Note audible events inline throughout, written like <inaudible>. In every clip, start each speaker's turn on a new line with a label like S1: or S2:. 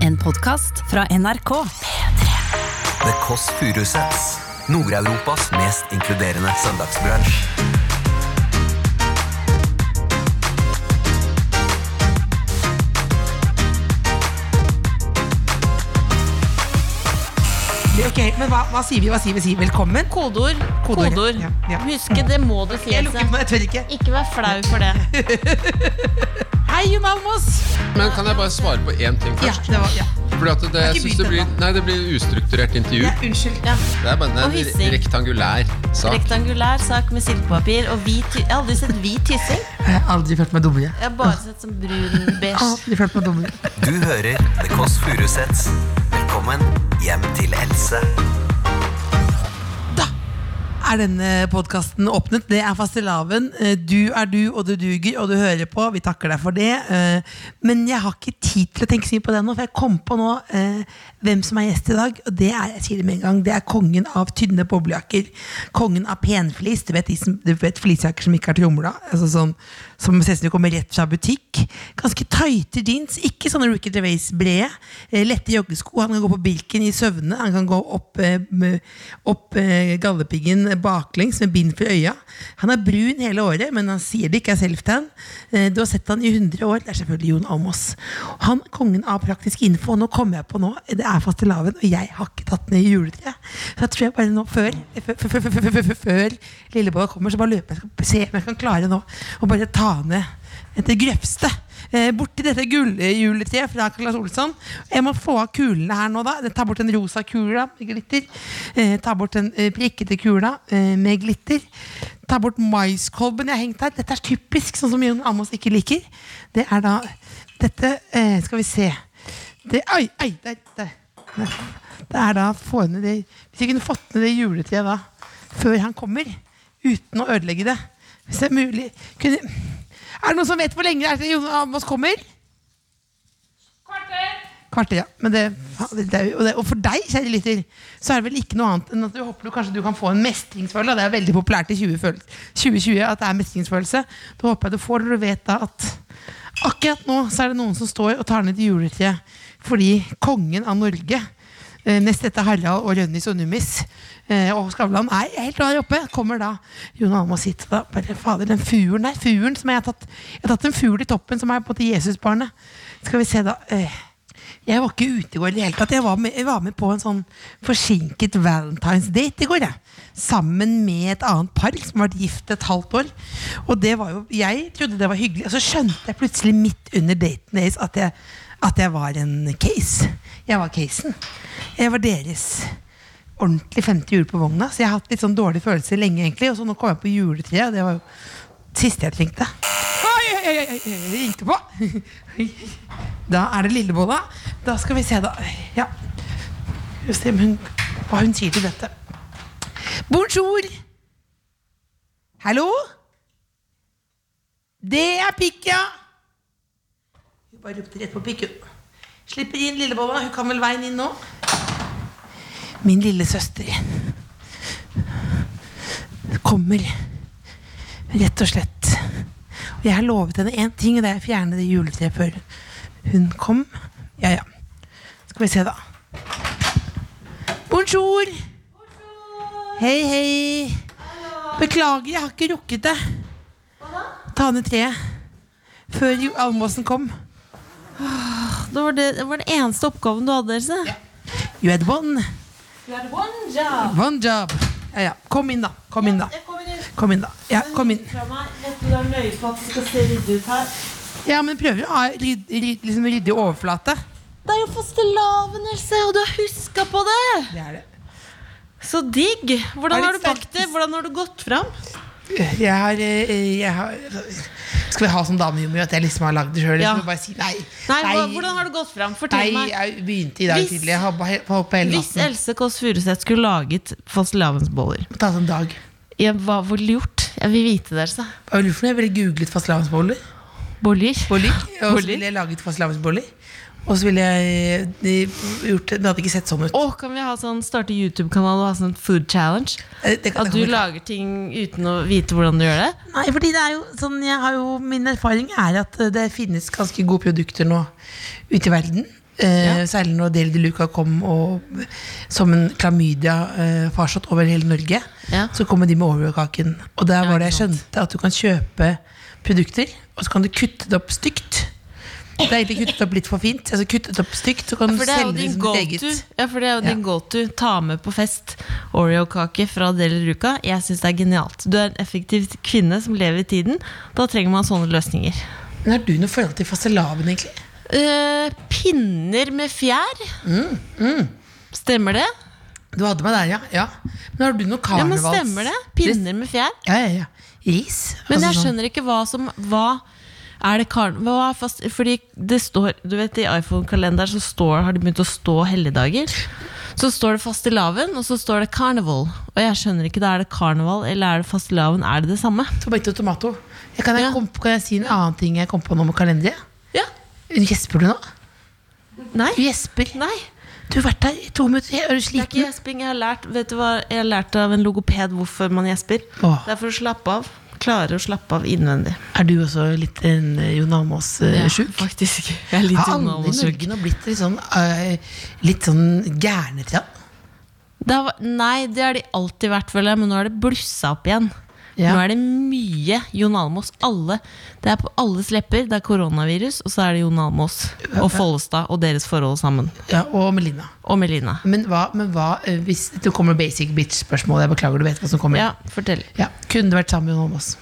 S1: En podkast fra NRK.
S2: The Kåss Furuseths. Nord-Europas mest inkluderende søndagsbransj.
S3: Ok, men hva, hva sier vi? Hva sier vi? Sier velkommen?
S4: Kodeord.
S3: Kodeord,
S4: Kodeord.
S3: ja, ja.
S4: Huske, det må du si.
S3: Jeg
S4: Else.
S3: lukker på meg, jeg tør ikke.
S4: Ikke vær flau for
S3: <laughs>
S4: det. Hei, Jon Almaas!
S5: Men kan jeg bare svare på én ting
S3: Ja,
S5: først?
S3: det var, ja.
S5: Fordi at det, jeg
S3: ikke
S5: synes det,
S3: begynt
S5: blir, nei, det blir ustrukturert intervju.
S3: ja unnskyld.
S4: Ja.
S5: Det er bare
S4: Og
S5: en
S4: hissig.
S5: re- rektangulær sak.
S4: Rektangulær sak med silkepapir og hvit ty- Jeg har aldri sett hvit tyssing.
S3: Jeg har aldri følt meg dummere.
S4: Jeg har bare sett som brun beige.
S3: Aldri følt meg dummere.
S2: Du hører The Kåss Furuseths. Velkommen hjem til Else.
S3: Er denne podkasten åpnet? Det er fastelavn. Eh, Du er du, og du duger, og du hører på. Vi takker deg for det. Eh, Men jeg har ikke tid til å tenke så mye på det nå, for jeg kom på nå eh, hvem som er gjest i dag. Og det er jeg sier det med en gang, det er kongen av tynne boblejakker. Kongen av penflis. Du vet, de som, du vet fleecejakker som ikke er tromla? Altså sånn, som ser ut som de kommer rett fra butikk. Ganske tighte jeans, ikke sånne Ricky Gervais-brede. Eh, Lette joggesko. Han kan gå på Birken i søvne. Han kan gå opp, eh, m- opp eh, gallepiggen baklengs med bind for øya. Han er brun hele året, men han sier det ikke er self-tan. Eh, Du har sett han i 100 år. Det er selvfølgelig Jon Almaas. Han kongen av praktisk info. Nå kommer jeg på nå, det er fastelavn, og jeg har ikke tatt ned juletreet. Så jeg tror jeg bare nå, før, før, før, før, før, før, før, før Lillebolla kommer, så bare løper jeg og se om jeg kan klare nå å bare ta ned etter grøfste. Eh, borti dette gulljuletreet fra Claes Olsson. Jeg må få av kulene her nå, da. Ta bort den rosa kula med glitter. Eh, ta bort den eh, prikkete kula eh, med glitter. Ta bort maiskolben jeg har hengt her. Dette er typisk sånn som Jon Almaas ikke liker. Det er da Dette eh, skal vi se. Det, oi, oi, der, der. Der. Det er da å få ned det Hvis jeg kunne fått ned det juletreet da, før han kommer, uten å ødelegge det Hvis det er mulig kunne, Er det noen som vet hvor lenge det er til Jon Almaas kommer? Kvarter, ja. Men det, det er, jo- og, det, og for deg, kjære lytter, så er det vel ikke noe annet enn at du håper du kanskje du kan få en mestringsfølelse. og Det er veldig populært i 2020, 2020 at det er mestringsfølelse. Da håper jeg du får når du vet da at akkurat nå så er det noen som står og tar ned til juletreet fordi kongen av Norge eh, Nest etter Harald og Rønnis og Nummis eh, og Skavlan er helt der oppe. Kommer da Jon Almaas hit. og Da bare, fader, den furen der, furen som jeg har tatt Jeg har tatt en fugl i toppen, som er på en måte Jesusbarnet. Skal vi se, da. eh, jeg var ikke ute i går i det hele tatt. Jeg var med, jeg var med på en sånn forsinket Valentine's date i går. Jeg. Sammen med et annet par som har vært gift et halvt år. Og det var jo, jeg trodde det var hyggelig. Og så skjønte jeg plutselig midt under daten deres at jeg, at jeg var en case. Jeg var casen. Jeg var deres ordentlig femte jul på vogna. Så jeg har hatt litt sånn dårlige følelser lenge, egentlig. Og så nå kom jeg på juletreet, og det var jo siste jeg trengte. Oi, oi, oi, oi, oi, ringte på. Da er det lillebolla. Da skal vi se, da. Ja. Skal vi se om hun, hva hun sier til dette. Bonjour! Hallo? Det er pikk, ja. Hun bare ropte rett på pikk, hun. Slipper inn lillebolla. Hun kan vel veien inn nå? Min lille søster kommer rett og slett. Og jeg har lovet henne én ting, og det er å fjerne det juletreet før hun kom. Ja, ja. Skal vi se, da. Bonjour! Hei, hei. Beklager, jeg har ikke rukket det. Ta ned treet. Før jo- almåsen kom.
S4: Det var, det, det var den eneste oppgaven du hadde, Else.
S3: You had one. One job. Ja, ja. Kom inn, da. Kom inn, da. Kom inn, da. Ja, kom inn. Ja, men prøver å ha ryd, ryd, liksom ryddig overflate.
S4: Det er jo fastelavn, Else, og du har huska på det!
S3: Det er det.
S4: Så digg!
S3: Det
S4: Hvordan
S3: er
S4: har du
S3: litt
S4: bakt det?
S3: sterkt.
S4: Hvordan har du gått fram?
S3: Jeg har, eh, jeg har Skal vi ha sånn damejumor at jeg liksom har lagd det sjøl?
S4: Ja.
S3: Bare si nei.
S4: Nei, hva- Hvordan har du gått fram? Fortell
S3: Nei,
S4: meg.
S3: jeg begynte i dag
S4: Hvis-
S3: tidlig. Jeg har bare holdt på hele
S4: Hvis
S3: natten.
S4: Else Kåss Furuseth skulle laget fastelavnsboller,
S3: Ta sånn dag.
S4: ja, hva ville du gjort? Jeg vil vite det, altså. Else.
S3: Jeg lurer på om jeg ville googlet fastelavnsboller.
S4: Boller?
S3: Boller. Og
S4: <laughs>
S3: så
S4: Boller.
S3: ville jeg laget fastelavnsboller. Og så ville jeg eh, gjort det. Det hadde ikke sett sånn ut.
S4: Å, kan vi ha sånn, starte YouTube-kanal og ha sånn food challenge?
S3: Eh, det kan- det kan
S4: At du
S3: vi-
S4: lager ting uten å vite hvordan du gjør det?
S3: Nei, fordi det er jo sånn, jeg har jo, min erfaring er at eh, det finnes ganske gode produkter nå ute i verden. Eh, Særlig når Deli de Luca kom og, som en klamydia-farsott over hele Norge.
S4: Ja.
S3: Så kom de med Oreo-kaken. Og der var det jeg
S4: ikke sant.
S3: skjønte at du kan kjøpe produkter, og så kan du kutte det opp stygt. Det er egentlig kuttet opp litt for fint. Altså kuttet opp stygt, så kan du
S4: For det er jo
S3: selge det
S4: din
S3: som ditt
S4: go-to.
S3: eget.
S4: Ja, for det er jo din go-to. Ta med på fest Oreo-kake fra Deli Ruca. Jeg syns det er genialt. Du er en effektiv kvinne som lever i tiden. Da trenger man sånne løsninger.
S3: Men har du noe forhold til fastelavn, egentlig?
S4: Eh, pinner med fjær. Mm, Stemmer det?
S3: Du hadde meg der, ja. ja. Men har du noe
S4: Ja, men
S3: karnevals?
S4: stemmer det? Pinner med fjær.
S3: Ja, ja, ja. Ris.
S4: Men jeg
S3: Altså sånn-
S4: skjønner ikke hva som Hva er det kar... Hva er fast, fordi det står Du vet i iPhone-kalenderen så står, har det begynt å stå helligdager. Så står det fastelavn, og så står det carnival. Og jeg skjønner ikke, da er det karneval eller er det fastelavn? Er det det samme?
S3: Tomato, tomato. Jeg kan, jeg
S4: Ja.
S3: kom, kan jeg si en annen ting jeg kom på nå med kalenderet?
S4: Ja.
S3: Gjesper du nå?
S4: Nei.
S3: Du gjesper.
S4: Nei.
S3: Du har vært der i to minutter. Er du
S4: Det er ikke
S3: sliten?
S4: gjesping. Jeg har lært Vet du hva, jeg har lært av en logoped hvorfor man gjesper.
S3: Åh.
S4: Det er for å slappe av. Klare å slappe av innvendig.
S3: Er du også litt en eh, Jon Almaas-sjuk?
S4: faktisk. Jeg er litt
S3: har alle i
S4: unnamålsjuk.
S3: Norge nå blitt litt sånn, eh, litt sånn gærne til han?
S4: Det har, nei, det har de alltid vært, føler jeg, men nå har det blussa opp igjen.
S3: Ja.
S4: Nå er det mye Jon Almaas. Alle. Det er på alles lepper. Det er koronavirus, og så er det Jon Almaas og Follestad og deres forhold sammen.
S3: Ja, og Melina.
S4: Og Melina.
S3: Men hva, men hva eh, hvis Det kommer basic bitch-spørsmål. Jeg beklager, du vet hva som kommer.
S4: Ja, fortell.
S3: Ja. Kunne du vært sammen med Jon Almaas?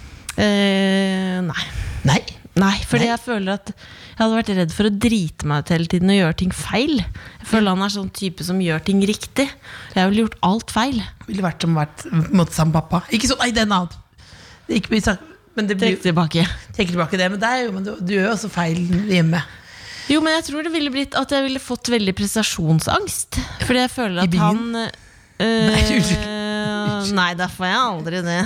S4: Eh, nei.
S3: Nei.
S4: Nei, fordi jeg føler at jeg hadde vært redd for å drite meg ut hele tiden og gjøre ting feil. Jeg føler han er sånn type som gjør ting riktig. Jeg ville gjort alt feil.
S3: Ville vært som vært måtte sammen med pappa. Ikke sånn, nei, det er en annen. Det er Ikke, mye sak- men det blir
S4: Trekk tilbake.
S3: tenker tilbake det, men, det er jo, men du, du gjør jo også feil hjemme.
S4: Jo, men jeg tror det ville blitt at jeg ville fått veldig prestasjonsangst. Fordi jeg føler
S3: I
S4: at
S3: byen?
S4: han eh,
S3: Nei, unnskyld.
S4: <laughs> Nei, da får jeg aldri det.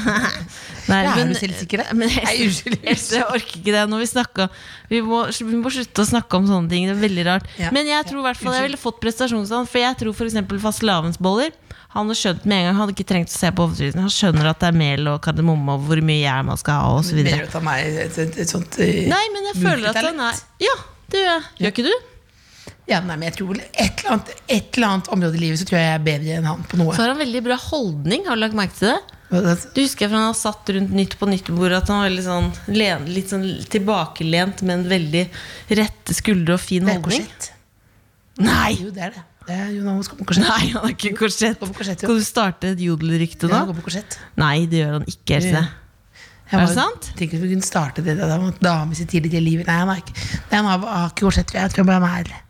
S4: <laughs> Nei,
S3: Ja, er du selvsikker, da?
S4: Men
S3: <laughs> Nei, unnskyld,
S4: jeg, jeg orker ikke det. Når vi snakker vi må, vi må slutte å snakke om sånne ting. Det er veldig rart.
S3: Ja.
S4: Men jeg tror i hvert fall jeg ville fått prestasjonsangst. For jeg tror f.eks. fastelavnsboller Han hadde skjønt med en gang, han hadde ikke trengt å se på overskriften. Han skjønner at det er mel og kardemomme og hvor mye gjær man skal ha og så videre
S3: Mener du at han er et, et, et sånt eh,
S4: Nei, men jeg føler at han er
S3: multitalent?
S4: Ja, det gjør jeg. Gjør ikke du?
S3: ja, nei, men jeg tror vel et eller, annet, et eller annet område i livet så tror jeg jeg er bedre enn han på noe.
S4: Så har han veldig bra holdning, har du lagt merke til det?
S3: Altså,
S4: Du husker fra han har satt rundt Nytt på Nytt-bordet at han var veldig sånn, len, litt sånn tilbakelent, men veldig rette skuldre og fin
S3: Det er
S4: holdning?
S3: korsett.
S4: Nei!
S3: Jo, det er det. det er Jon Almaas kommer på korsett.
S4: Nei, han er ikke korsett.
S3: Går på korsett, jo.
S4: Skal du starte et jodelrykte
S3: Ja, han
S4: nå?
S3: går på korsett.
S4: Nei, det gjør han ikke. Else.
S3: Jeg
S4: Er det
S3: var-
S4: sant?
S3: Tenker du vi kunne starte det der han var dame i sitt tidligere liv? Nei, han har ikke, nei, han har, har ikke korsett. tror Jeg Jeg tror bare han er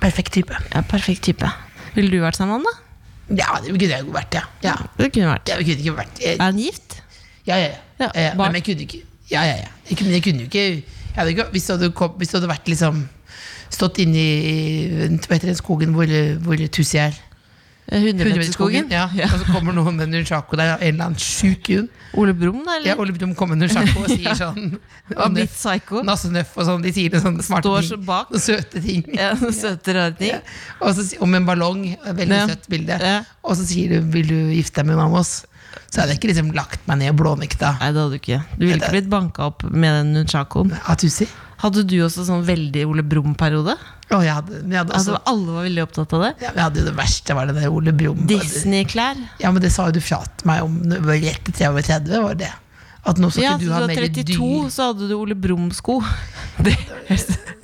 S3: perfekt type.
S4: Ja, perfekt type. Ville du vært sammen med han, da?
S3: Ja, det kunne jeg jo vært, ja. ja.
S4: Det kunne vært.
S3: Det kunne ikke vært eh, jeg,
S4: Er han gift?
S3: Ja, ja, ja.
S4: Ja,
S3: ja, ja.
S4: barn.
S3: Men jeg kunne ikke Ja, ja, ja. Jeg, kunne- jeg kunne jo ikke, jeg hadde ikke hvis, du hadde kom, hvis du hadde vært liksom Stått inne i hva heter det, skogen hvor, hvor Tussi er.
S4: Eh, Hundemeterskogen?
S3: Ja. Og så kommer noen med en nunchako der, en eller annen sjuk hund.
S4: Ole Brumm, da?
S3: Ja,
S4: Eller?
S3: Ole Brumm kommer med nunchako og
S4: <laughs>
S3: sier sånn
S4: Og blitt psycho?
S3: Nassenøff og sånn. De sier noen sånne smarte
S4: Står
S3: ting.
S4: så bak.
S3: noen søte ting.
S4: <laughs>
S3: <laughs>
S4: Ja, søte rare ting.
S3: Og så, si- om en ballong. et Veldig
S4: Ja.
S3: søtt bilde.
S4: Ja.
S3: Og så sier du 'vil du gifte deg med noen av oss'? Så hadde jeg ikke liksom lagt meg ned og blånekta
S4: Nei, det hadde du ikke. Du ville ikke blitt banka opp med den nunchakoen.
S3: av Tussi.
S4: Hadde du også sånn veldig Ole Brumm-periode?
S3: Og jeg hadde, men jeg hadde også
S4: Altså, alle var veldig opptatt av det.
S3: Ja, men jeg hadde jo det verste, var det der Ole Brumm.
S4: Disney-klær.
S3: Ja, men det sa jo du fra til meg om når vi var rett etter jeg var 30, var det. At nå skal
S4: Ja,
S3: ikke
S4: så
S3: du
S4: du
S3: ha
S4: var
S3: mer
S4: 32,
S3: dyr.
S4: så hadde du Ole Brumm-sko. <laughs> Det-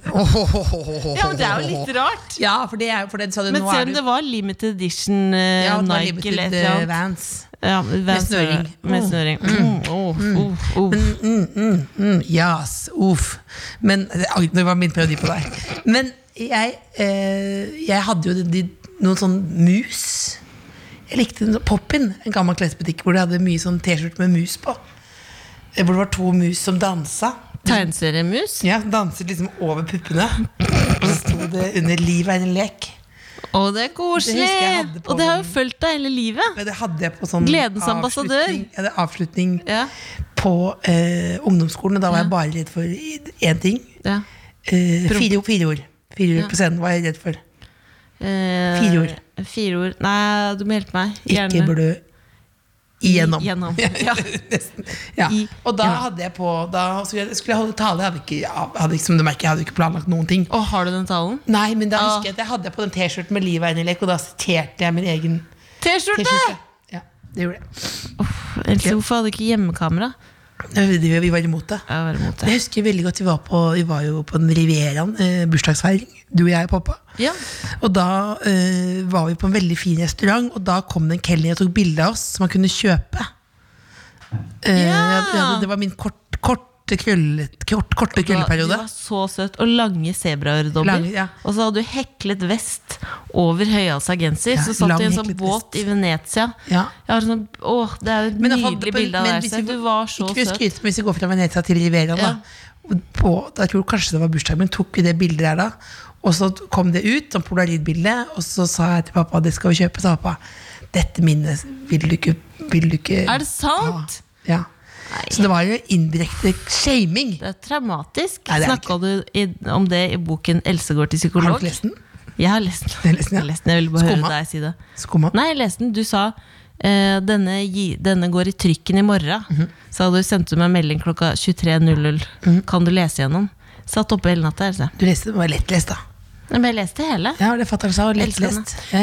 S4: Ja, men det er jo litt rart.
S3: Ja, for det er for det sa du
S4: Men
S3: nå
S4: se
S3: er
S4: om
S3: du
S4: det var limited edition eh,
S3: ja, nå er
S4: Nike eller
S3: limited,
S4: et eller
S3: eh,
S4: annet.
S3: Vans.
S4: Ja, Vans- eh,
S3: snøring.
S4: Med
S3: Mm.
S4: snøring. Mm, oh, oh, oh.
S3: Mm, yes, uff. Men Oi, det var min periodi på deg. Men jeg, eh, jeg hadde jo de, de, noen sånn mus. Jeg likte en sånn Poppin, en gammel klesbutikk hvor de hadde mye sånn T-skjorte med mus på. Eh, Hvor det var to mus som dansa.
S4: Tegneseriemus.
S3: Ja, danset liksom over puppene. Og så sto det under 'Livet er en lek'.
S4: Å, det er
S3: Det husker jeg
S4: koselig!
S3: hadde på
S4: Og det har jo
S3: den.
S4: fulgt deg hele livet.
S3: Men Det hadde jeg på sånn
S4: Gledens ambassadør.
S3: avslutning, ja, det er avslutning
S4: Ja.
S3: på eh, ungdomsskolen. Og da var jeg bare redd for i- én ting.
S4: Ja.
S3: Eh, fire, fire ord. Fire ord på scenen var jeg redd for.
S4: Eh,
S3: Fire ord.
S4: Fire ord. Nei, du må hjelpe meg.
S3: Ikke blø Igjennom. <laughs>
S4: Gjennom. Ja.
S3: Nesten. Ja.
S4: I-
S3: Og da
S4: ja.
S3: hadde jeg på Da skulle jeg, skulle jeg holde tale. Jeg hadde ikke, jeg hadde, ikke- som du merker, jeg hadde ikke planlagt noen ting.
S4: Og har du den talen?
S3: Nei, men da
S4: Ah.
S3: husker jeg at jeg hadde på den T-skjorten med livet er inne i lek, og da siterte jeg min egen
S4: T-skjorte!
S3: T-skjorte. Ja, det gjorde jeg.
S4: Ellers Hvorfor hadde du ikke hjemmekamera?
S3: Vi- Vi var imot det.
S4: Jeg var imot det.
S3: Jeg husker veldig godt vi var på, vi var jo på den Rivieraen, eh, bursdagsfeiring. Du og jeg og pappa.
S4: Ja.
S3: Og da eh, var vi på en veldig fin restaurant, og da kom det en kelner og tok bilde av oss som man kunne kjøpe. Eh,
S4: Ja.
S3: jeg hadde- det var min kort, korte, krøllet, kort, korte
S4: Det
S3: krølleperiode.
S4: var så søtt. Og lange sebraøredobber.
S3: Lange, ja.
S4: Og så hadde du heklet vest over høyhalsa genser.
S3: Ja,
S4: så satt
S3: lang
S4: du i en sånn
S3: heklet
S4: båt
S3: vest.
S4: i Venezia.
S3: Ja.
S4: Jeg har en sånn, åh, det er jo et
S3: Men jeg hadde
S4: nydelig
S3: på-
S4: bilde av
S3: men
S4: deg.
S3: hvis
S4: Øystein.
S3: vi-
S4: Du var
S3: Ikke
S4: så
S3: for å
S4: søt.
S3: skryte, men hvis vi går fra Venezia til Rivieraen, da. På, da tror jeg kanskje det var bursdagen min, tok vi det bildet der da. Og så kom det ut, som polaroidbilde, og så sa jeg til pappa det skal vi kjøpe. Sa pappa dette minnet vil du ikke, vil du ikke
S4: Er det sant?
S3: ha». Ja. Så det var jo indirekte shaming.
S4: Det er traumatisk.
S3: Nei, det er
S4: Snakka du i, om det i boken 'Else går til
S3: Har du
S4: psykolog'?
S3: ikke lest den?
S4: Jeg har lest den.
S3: Jeg har lest den, ja.
S4: Jeg, har lest den. jeg ville bare
S3: Skumma.
S4: høre deg si det.
S3: Skumma.
S4: Nei, jeg leste den. Du sa eh, denne, gi, 'denne går i trykken i morgen'.
S3: Mhm.
S4: Sa du sendte du meg melding klokka 23.00. Kan du lese gjennom? Satt oppe hele natta. Altså.
S3: Du leste den var lettlest, da.
S4: Men jeg leste hele.
S3: Ja, det fatter'n sa. og
S4: Elsker den.
S3: Lettlest. Ja.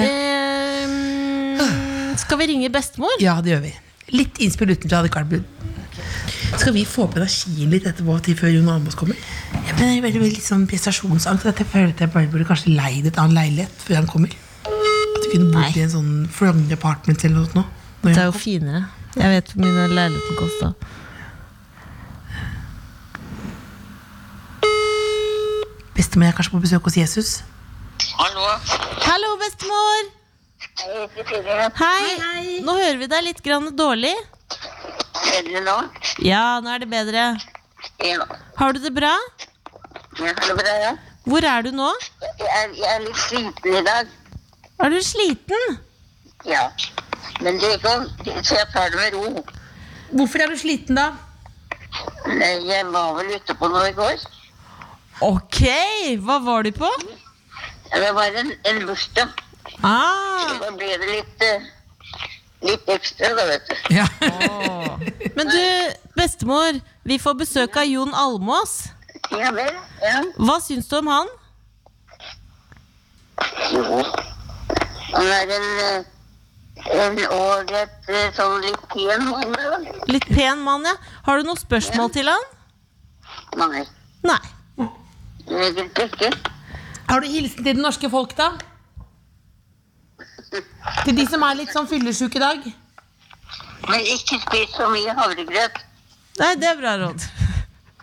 S4: Eh, skal vi ringe bestemor?
S3: ja, det gjør vi. Litt innspill utenfra hadde ikke vært bud. Skal vi få opp energien litt etterpå til før Jon Almaas kommer? Jeg blir veldig, veldig litt sånn prestasjonsangst. At jeg føler at jeg bare burde kanskje leid et annen leilighet før han kommer. At vi kunne bodd i en sånn Frogner Apartment eller noe sånt. nå, når
S4: Det er
S3: han
S4: jo finere. Jeg vet hvor mye den leiligheten kosta.
S3: kom. Bestemor er kanskje på besøk hos Jesus.
S6: Hallo.
S4: Hallo, bestemor!
S6: Hei, Cecilie.
S4: Hei. Nå hører vi deg litt grann dårlig.
S6: Bedre nå?
S4: Ja, nå er det bedre.
S6: Ja.
S4: Har du det bra?
S6: Jeg har det bra, ja.
S4: Hvor er du nå?
S6: Jeg er, jeg er litt sliten i dag.
S4: Er du sliten?
S6: Ja. Men det går, så jeg tar det med ro.
S3: Hvorfor er du sliten, da?
S6: Nei, Jeg var vel ute på noe i går.
S4: Ok, hva var du på?
S6: Det var en, en bursdag.
S4: Ah,
S6: Da ble det litt, eh, litt ekstra, da, vet du.
S3: <laughs> Ja.
S4: men du, bestemor, vi får besøk av Jon Almås.
S6: Ja vel? Ja.
S4: Hva syns du om han?
S6: Jo. Han er en, eh, en ålreit eh, sånn litt pen mann, da.
S4: Litt pen mann, ja. Har du noen spørsmål til han?
S6: Nei.
S4: Nei.
S6: Egentlig ikke.
S3: Har du hilsen til det norske folk, da? Til de som er litt sånn fyllesyke i dag?
S6: Men ikke spis så mye havregrøt.
S4: Nei, det er bra råd.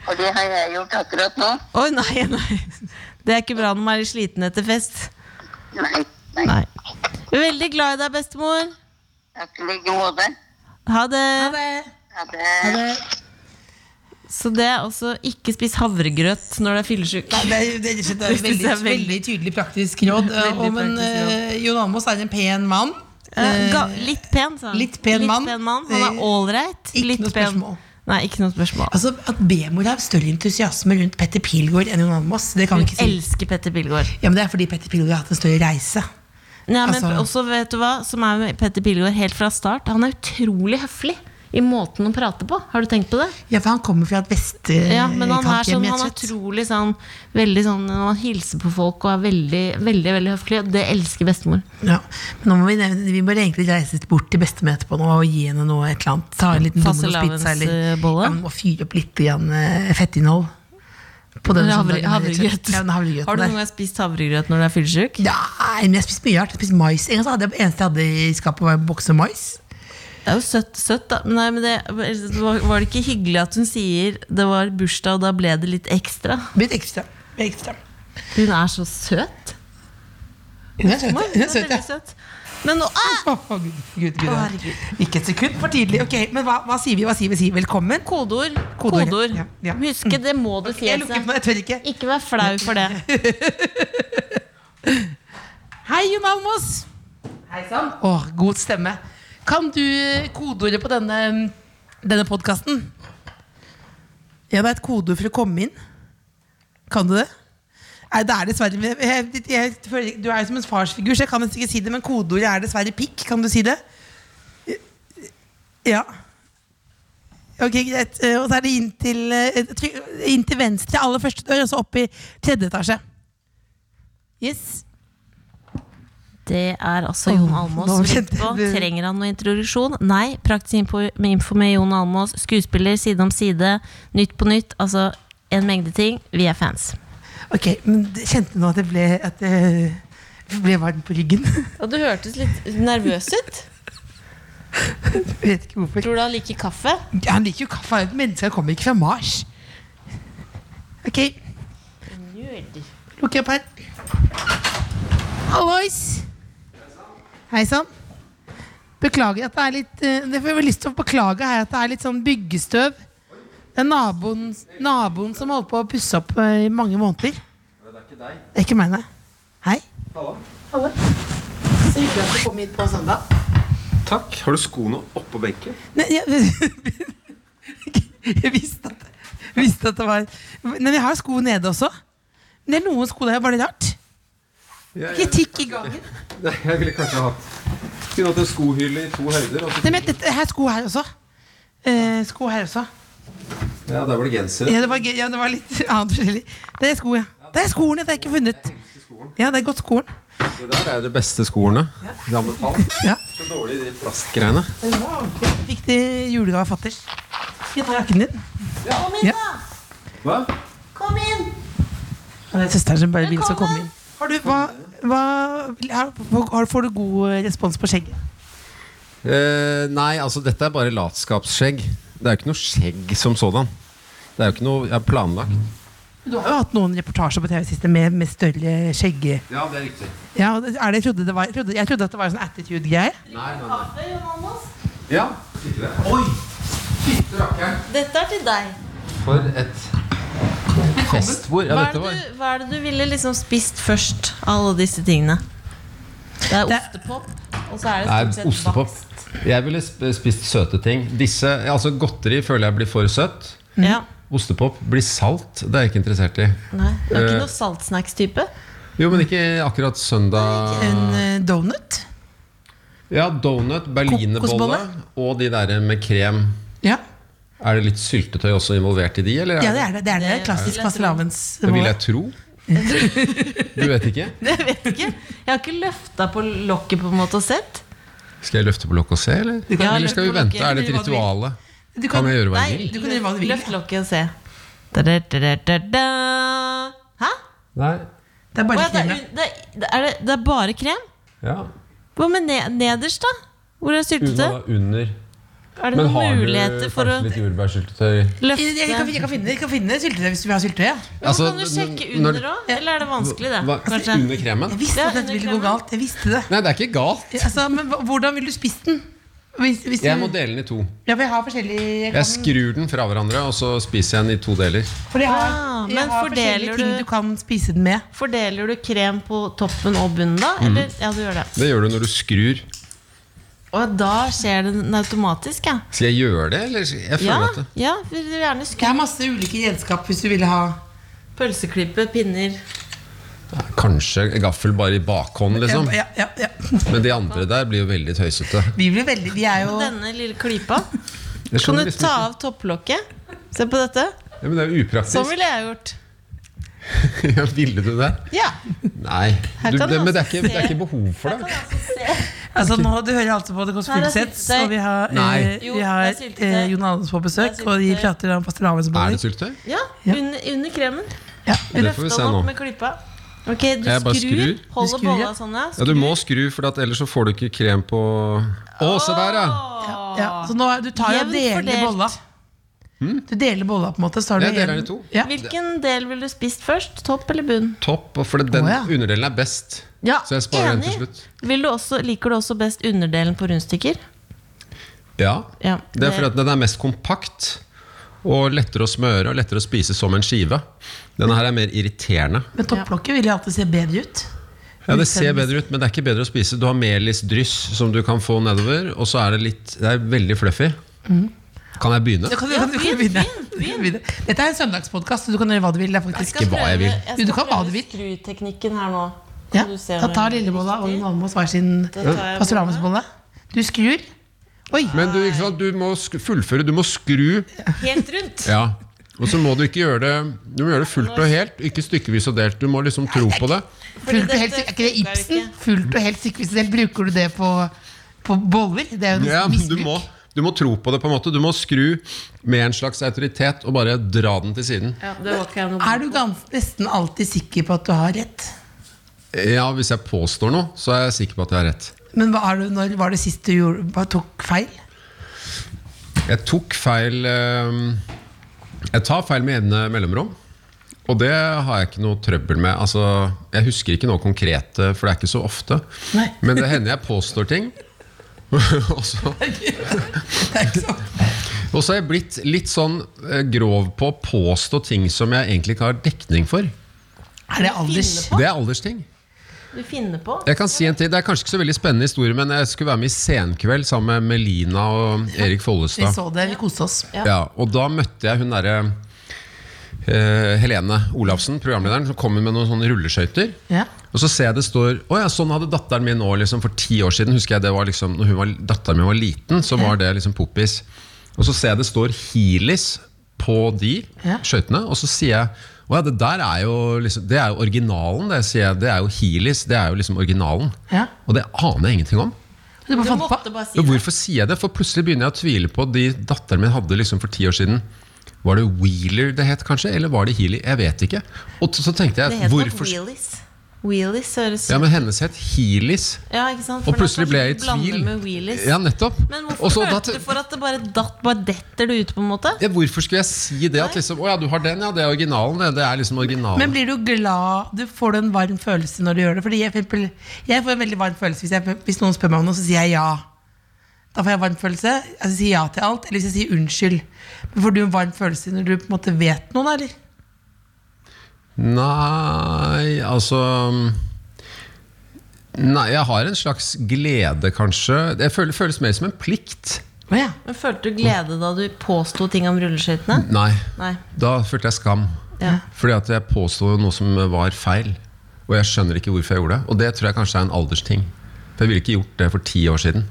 S6: Og det har jeg gjort akkurat nå.
S4: Oi, nei, nei. Det er ikke bra når man er litt sliten etter fest.
S6: Nei, nei.
S4: Nei. Veldig glad i deg, bestemor.
S6: Takk i like måte.
S4: Ha det.
S6: Ha det.
S4: Så det er også ikke spis havregrøt når du er fyllesyk.
S3: Det er, det er, det er
S4: Det synes
S3: veldig,
S4: jeg er veldig-
S3: veldig tydelig praktisk råd.
S4: Veldig
S3: eh, om en,
S4: praktisk råd.
S3: eh, Jon Almaas er en pen mann.
S4: Eh, ga- Litt pen, sa han.
S3: litt pen mann.
S4: Han er
S3: Eh,
S4: ålreit.
S3: ikke
S4: Litt
S3: noe
S4: pen.
S3: spørsmål.
S4: Nei, ikke noe spørsmål.
S3: Altså, At B-mor har større entusiasme rundt Petter Pilgaard enn Jon Almaas, det kan vi ikke si.
S4: Elsker Petter Pilgaard.
S3: Ja, men Det er fordi Petter Pilgaard har hatt en større reise.
S4: Nei, men
S3: Altså-
S4: også, vet du hva, som er med Petter Pilgaard helt fra start, han er utrolig høflig i måten å prate på. Har du tenkt på det?
S3: Ja, for han kommer fra et vestkant
S4: Ja, men han er sånn,
S3: hjemme i
S4: han er
S3: Edtvedt.
S4: utrolig sånn, veldig sånn, han hilser på folk og er veldig, veldig, veldig høflig. og Det elsker bestemor.
S3: Ja. Men nå må vi, nevne, vi må egentlig reise bort til bestemor etterpå nå, og gi henne noe et eller annet. Ta en liten Domino's-pizza eller
S4: Fastelavnsbolle?
S3: ja, men må fyre opp litt grann, eh, fettinnhold. På den
S4: Havre,
S3: søndagen, rett og slett.
S4: havregrøt.
S3: Ja, den havregrøten
S4: Har du
S3: der.
S4: noen gang spist havregrøt når du er fyllesyk?
S3: Nei, men jeg spiste mye rart. Jeg spiste mais. En gang så hadde jeg, eneste jeg hadde i skapet, var en bokse mais.
S4: Det er jo søtt, søtt da. Men Nei, men det, var var det ikke hyggelig at hun sier det var bursdag, og da ble det litt ekstra?
S3: Blitt ekstra. Blitt ekstra.
S4: Hun er så søt.
S3: Hun er søt, ja.
S4: Oi,
S3: Hun er søt,
S4: veldig
S3: ja.
S4: søt. Men nå ah!
S3: Å, Gud, Gud, Gud, ja.
S4: Herregud.
S3: Ikke et sekund for tidlig. Ok, Men hva, hva sier vi? Hva sier vi? Sier velkommen?
S4: Kodeord.
S3: Kodeord,
S4: Kodeord.
S3: ja, ja.
S4: Husk, det må du
S3: Jeg lukker på,
S4: fjeset.
S3: jeg tør ikke.
S4: Ikke vær flau for det.
S3: Hei, Jon Almaas. Hei sann. Å, god stemme. Kan du eh, kodeordet på denne, denne podkasten? Ja, det er et kodeord for å komme inn. Kan du det? Nei, det er dessverre jeg, jeg, jeg, føler ikke- Du er jo som en farsfigur, så jeg kan nesten ikke si det. Men kodeordet er dessverre pikk. Kan du si det? Ja. Ok, greit. Eh, Og så er det inn til, eh, try- inn til venstre, aller første dør, og så opp i tredje etasje. Yes.
S4: Det er altså Jon
S3: Åh,
S4: Almås.
S3: nå
S4: vi
S3: kjente
S4: på.
S3: jeg det.
S4: Trenger han noe introduksjon? Nei. Praktisk info med, info med Jon Almås. Skuespiller Side om side. Nytt på nytt. Altså en mengde ting. Vi er fans.
S3: Ok, men det- Kjente du nå at det ble, at det ble varmt på ryggen? <laughs>
S4: Og du hørtes litt nervøs ut.
S3: Jeg vet ikke hvorfor.
S4: Tror du han liker kaffe?
S3: Han liker jo kaffe. Han er et menneske, han kommer ikke fra Mars. Ok, lukk opp her. Hallois! Hei sann. Beklager at det er litt eh, Det får jeg vel lyst til å beklage her at det er litt sånn byggestøv. Det er naboen, naboen som holdt på å pusse opp eh, i mange måneder. Det er ikke meg, nei. Hei. Hallo. Så hyggelig at du kom hit på søndag.
S7: Takk. Har du skoene oppå benken?
S3: Nei, jeg, <laughs> jeg visste at, visste at det var Men jeg har sko nede også. Men det er noen sko der er bare litt rart.
S7: Jeg,
S3: Ikke tikk i gangen.
S7: Nei, jeg ville kanskje hatt Kunne hatt en skohylle i to høyder. Og så,
S3: Nei, men dette, jeg har sko her også. Eh, sko her også.
S7: ja, der var det gensere.
S3: Ja, det var, gøy. ja, det var litt <laughs> annet forskjellig. Det er sko, ja. Det er skoene jeg ikke har funnet. Ja, det er godt skolen.
S7: Det der er de beste skoene. Ja.
S3: Ja.
S7: Så dårlig de plastgreiene.
S3: Fikk de julegave av fatter. Skal jeg ta jakken din?
S7: Hva?
S3: Ja, Det er søsteren som bare vil skal komme inn. Har du, hva, hva, har, har- får du god respons på skjegget?
S5: Eh, nei, altså dette er bare latskapsskjegg. Det er jo ikke noe skjegg som sådan. Det er jo ikke noe jeg har planlagt.
S3: Du har jo hatt noen reportasjer på TV siste med, med større skjegge...
S5: Ja, det er riktig.
S3: Ja, og det- er det, jeg, trodde det var, jeg, trodde, jeg trodde at det var en sånn attitude-greie.
S5: Nei, nei, nei. Ja. Sitter der. Oi! Fytte rakkeren.
S4: Dette er til deg.
S5: For et festbord. Ja,
S4: Hva er,
S5: dette
S4: det
S5: var
S4: du, hva er det du ville liksom spist først av alle disse tingene? Det er
S3: Det-
S4: ostepop, og så er
S5: Det
S4: det
S5: er
S4: stort sett
S5: ostepop.
S4: bakst.
S5: Jeg ville sp- spist søte ting. Disse, altså Godteri føler jeg blir for søtt.
S3: Mm.
S4: Ja.
S5: Ostepop blir salt. Det er jeg ikke interessert i.
S4: Nei, det er
S5: Eh.
S4: ikke noe saltsnacks-type.
S5: Jo, men ikke akkurat søndag.
S3: En eh, donut.
S5: Ja, donut, berlinerbolle
S3: Kokosbolle?
S5: og de der med krem.
S3: Ja,
S5: Er det litt syltetøy også involvert i de, eller?
S3: ja det er det. Det er det
S4: vil
S3: klassisk
S4: jeg tro.
S3: fastelavns.
S5: Det vil jeg tro. Du vet ikke?
S4: <laughs> Jeg vet ikke. Jeg har ikke løfta på lokket på en måte og sett.
S5: Skal jeg løfte på lokket og se, eller?
S4: kan-
S5: Eller skal vi
S4: Løfte på lokket,
S5: vente? Er det et
S3: eller hva du vil.
S5: ritual?
S3: Du
S5: Kan jeg gjøre hva jeg
S4: Nei,
S5: vil?
S3: Du kan gjøre hva du vil.
S4: Løft lokket og se. Da, da, da, da, da, da. Hæ?
S5: Nei.
S3: Det er
S4: Å,
S3: bare
S4: ja,
S3: litt
S4: det,
S3: krem.
S4: er, det, er- er det, det er bare krem?
S5: Ja.
S4: Hva med ne nederst, da? Hvor er
S5: Hva
S4: syltetøy?
S5: da? Under.
S4: Er det noen muligheter for å
S5: jordbærsyltetøy?
S3: Jeg, jeg, kan,
S4: løfte?
S3: jeg kan finne, jeg kan finne syltetøy hvis vi har syltetøy. Ja.
S5: Altså,
S4: kan du sjekke
S5: når-
S4: under òg? Eller er det vanskelig, det?
S5: Hva,
S4: Kanskje?
S5: under kremen?
S3: Jeg visste
S4: Ja,
S3: at dette
S4: under
S3: ville gå
S4: kremen.
S3: galt. Jeg visste det.
S5: Nei, det er ikke galt.
S3: Altså, men hva- hvordan vil du spise den? Hvis, hvis du,
S5: Jeg må dele den i to.
S3: ja, for jeg har forskjellige jeg
S5: Jeg
S3: kan,
S5: skrur den fra hverandre, og så spiser jeg den i to deler.
S3: for jeg har,
S4: Ah,
S3: jeg
S4: men
S3: har
S4: fordeler
S3: forskjellige ting
S4: du-
S3: du kan spise den med.
S4: Fordeler du krem på toppen og bunnen, da?
S5: Mhm.
S4: Eller, ja, du gjør det.
S5: Det gjør du når du skrur.
S4: Og da skjer det den automatisk, ja.
S5: Skal jeg gjøre det, eller? Jeg føler
S4: Ja,
S5: at det.
S4: ja vil du gjerne
S3: Jeg
S4: skru
S3: har masse ulike redskap hvis du ville ha
S4: pølseklippe, pinner
S5: Kanskje gaffel bare i bakhånd, liksom.
S3: ja, ja, ja.
S5: Men de andre der blir jo veldig tøysete.
S3: Vi blir veldig Vi er jo
S4: Denne lille klypa.
S5: Jeg
S4: Kan
S5: skjønner
S4: du
S5: liksom
S4: ta
S5: ikke.
S4: av topplokket? Se på dette.
S5: Ja, men det er jo
S4: Sånn
S5: upraktisk.
S4: ville jeg gjort.
S5: <laughs> Ja, Ville du det?
S4: Ja.
S5: Nei.
S4: Her
S5: Du,
S4: kan
S5: det,
S4: du
S5: men det er,
S4: altså
S5: ikke, det er
S4: se.
S5: ikke behov for det.
S3: Altså nå, Du hører altså på The Kåss
S4: Nei, det er
S3: Furuseths,
S4: syltetøy.
S3: og vi har,
S5: Nei.
S3: eh,
S4: Jo,
S3: vi har
S4: det er syltetøy.
S3: eh, Jon Alnes på besøk,
S4: Det er
S3: og de
S4: syltetøy.
S3: prater om
S5: Er det
S3: fastelavnsboller.
S5: syltetøy?
S4: ja
S3: Ja.
S4: under, under kremen.
S3: Ja.
S5: Det får vi
S4: Løfta
S5: se
S4: den
S5: nå.
S4: opp med klypa. Ok, du
S5: Jeg bare
S4: skrur.
S5: skrur.
S3: Du
S4: Holder
S3: skrur, ja.
S4: bolla sånn, ja.
S5: Ja, du må skru, for at ellers så får du ikke krem på Å, se der, ja!
S3: Ja, så nå, er- du tar jo og
S4: Jevnt
S3: deler
S4: fordelt.
S3: bolla. Du deler bolla, på en måte. Så har du
S5: Hmm? Jeg deler
S3: en-
S5: den i to.
S3: Ja.
S4: Hvilken del ville du spist først? Topp eller bunn?
S5: Topp. og For den
S3: Å, ja.
S5: underdelen er best.
S4: Ja,
S5: Så jeg sparer den til slutt.
S4: Vil du også, liker du også best underdelen på rundstykker?
S5: Ja.
S4: Ja,
S5: Det er
S4: det-
S5: fordi at den er mest kompakt. Og lettere å smøre og lettere å spise som en skive. Denne her er mer irriterende.
S3: Men topplokket vil jo alltid se bedre ut.
S5: Ja, Det ser bedre ut, men det er ikke bedre å spise. Du har melisdryss som du kan få nedover, og så er det litt Det er veldig fluffy. Kan jeg
S3: Du
S5: begynne?
S3: kan, du kan, du kan begynne. Begynne. Dette er en søndagspodkast, så du kan gjøre hva du vil. Det er faktisk
S5: Ikke hva jeg vil.
S3: Jo, du kan hva du vil.
S4: Skruteknikken her nå.
S3: ja.
S4: Kan du se
S3: Da
S4: om
S3: tar
S4: jeg-
S3: lillebolla og Jon Almaas hver sin
S4: Da tar jeg bolla.
S3: fastelavnsbolle. Du skrur, Oi.
S5: Men du, ikke sant, du må sk- fullføre, du må skru.
S4: Helt rundt.
S5: Ja. Og så må du ikke gjøre det Du må gjøre det fullt og helt, ikke stykkevis og delt. Du må liksom tro på det.
S3: Fullt og helt, sik- er ikke det Ibsen? Fullt og helt sikkervis selv. Bruker du det på, på boller? Det er jo
S5: Ja,
S3: nesten
S5: men du
S3: misbruk.
S5: må, du må tro på det, på en måte. Du må skru med en slags autoritet og bare dra den til siden.
S4: Ja, det var ikke jeg noe
S3: Er du gans, nesten alltid sikker på at du har rett?
S5: Ja, hvis jeg påstår noe, så er jeg sikker på at jeg har rett.
S3: Men hva er du, når var det sist du gjorde, hva tok feil?
S5: Jeg tok feil eh, Jeg tar feil med jevne mellomrom. Og det har jeg ikke noe trøbbel med. Altså, jeg husker ikke noe konkret, eh, for det er ikke så ofte.
S3: Nei.
S5: Men det hender jeg påstår ting. <laughs> og så
S3: Det er ikke sant.
S5: og så har jeg blitt litt sånn eh, grov på å påstå ting som jeg egentlig ikke har dekning for.
S3: Er det alders?
S5: Det er aldersting.
S4: du finner på.
S5: Jeg kan si en ting, Det er kanskje ikke så veldig spennende historie, men jeg skulle være med i Senkveld sammen med Melina og Erik
S3: Vi
S5: Follestad.
S3: så det, vi koste oss.
S5: Ja. og da møtte jeg hun derre eh, Helene Olafsen, programlederen, som kom med noen sånne rulleskøyter.
S3: Ja.
S5: Og så ser jeg det står Å ja, sånn hadde datteren min nå liksom, for ti år siden. Husker jeg det var liksom Når hun var, datteren min var liten, så var det liksom poppis. Og så ser jeg det står Helis på de
S3: Ja.
S5: skøytene, og så sier jeg å ja, det der er jo liksom, det er jo originalen. Det, sier jeg. det er jo Helis. Det er jo liksom originalen.
S3: Ja.
S5: Og det aner jeg ingenting om.
S3: Du bare
S4: Du
S3: fant
S4: måtte
S3: på.
S4: bare si
S5: Men
S4: det.
S5: hvorfor sier jeg det? For plutselig begynner jeg å tvile på de datteren min hadde liksom for ti år siden. Var det Wheeler det het, kanskje? Eller var det Healy? Jeg vet ikke. Og t- så tenkte
S4: Det
S5: jeg,
S4: heter nok
S5: hvorfor
S4: wheelies. Wheelies høres
S5: Ja, men hennes het Healis.
S4: Ja, ikke sant?
S5: Og
S4: For det er
S5: plutselig ble jeg i
S4: kanskje du blander
S5: tvil.
S4: Med wheelies.
S5: Ja, nettopp.
S4: Men
S5: Og
S4: hvorfor
S5: så da
S4: følte
S5: t-
S4: du for at det bare datt Bare detter det ut, på en måte?
S5: ja, hvorfor skulle jeg si det? At liksom, Å ja, du har den, ja. Det er originalen. Det, det er liksom originalen.
S3: Men blir du glad? Du får du en varm følelse når du gjør det? Fordi jeg, for eksempel, jeg får en veldig varm følelse hvis, jeg, hvis noen spør meg om noe, så sier jeg ja. Da får jeg en varm følelse. Altså, jeg sier ja til alt. Eller hvis jeg sier unnskyld. Men får du en varm følelse når du på en måte vet noe, da? Eller?
S5: Nei, altså mm, Nei, jeg har en slags glede, kanskje. Det føles, føles mer som en plikt.
S3: Å ja.
S4: Men Følte du glede da du påsto ting om rulleskøytene?
S5: Nei.
S4: Nei.
S5: Da følte jeg skam.
S4: Ja.
S5: Fordi at jeg påsto noe som var feil. Og jeg skjønner ikke hvorfor jeg gjorde det. Og det tror jeg kanskje er en aldersting. For jeg ville ikke gjort det for ti år siden.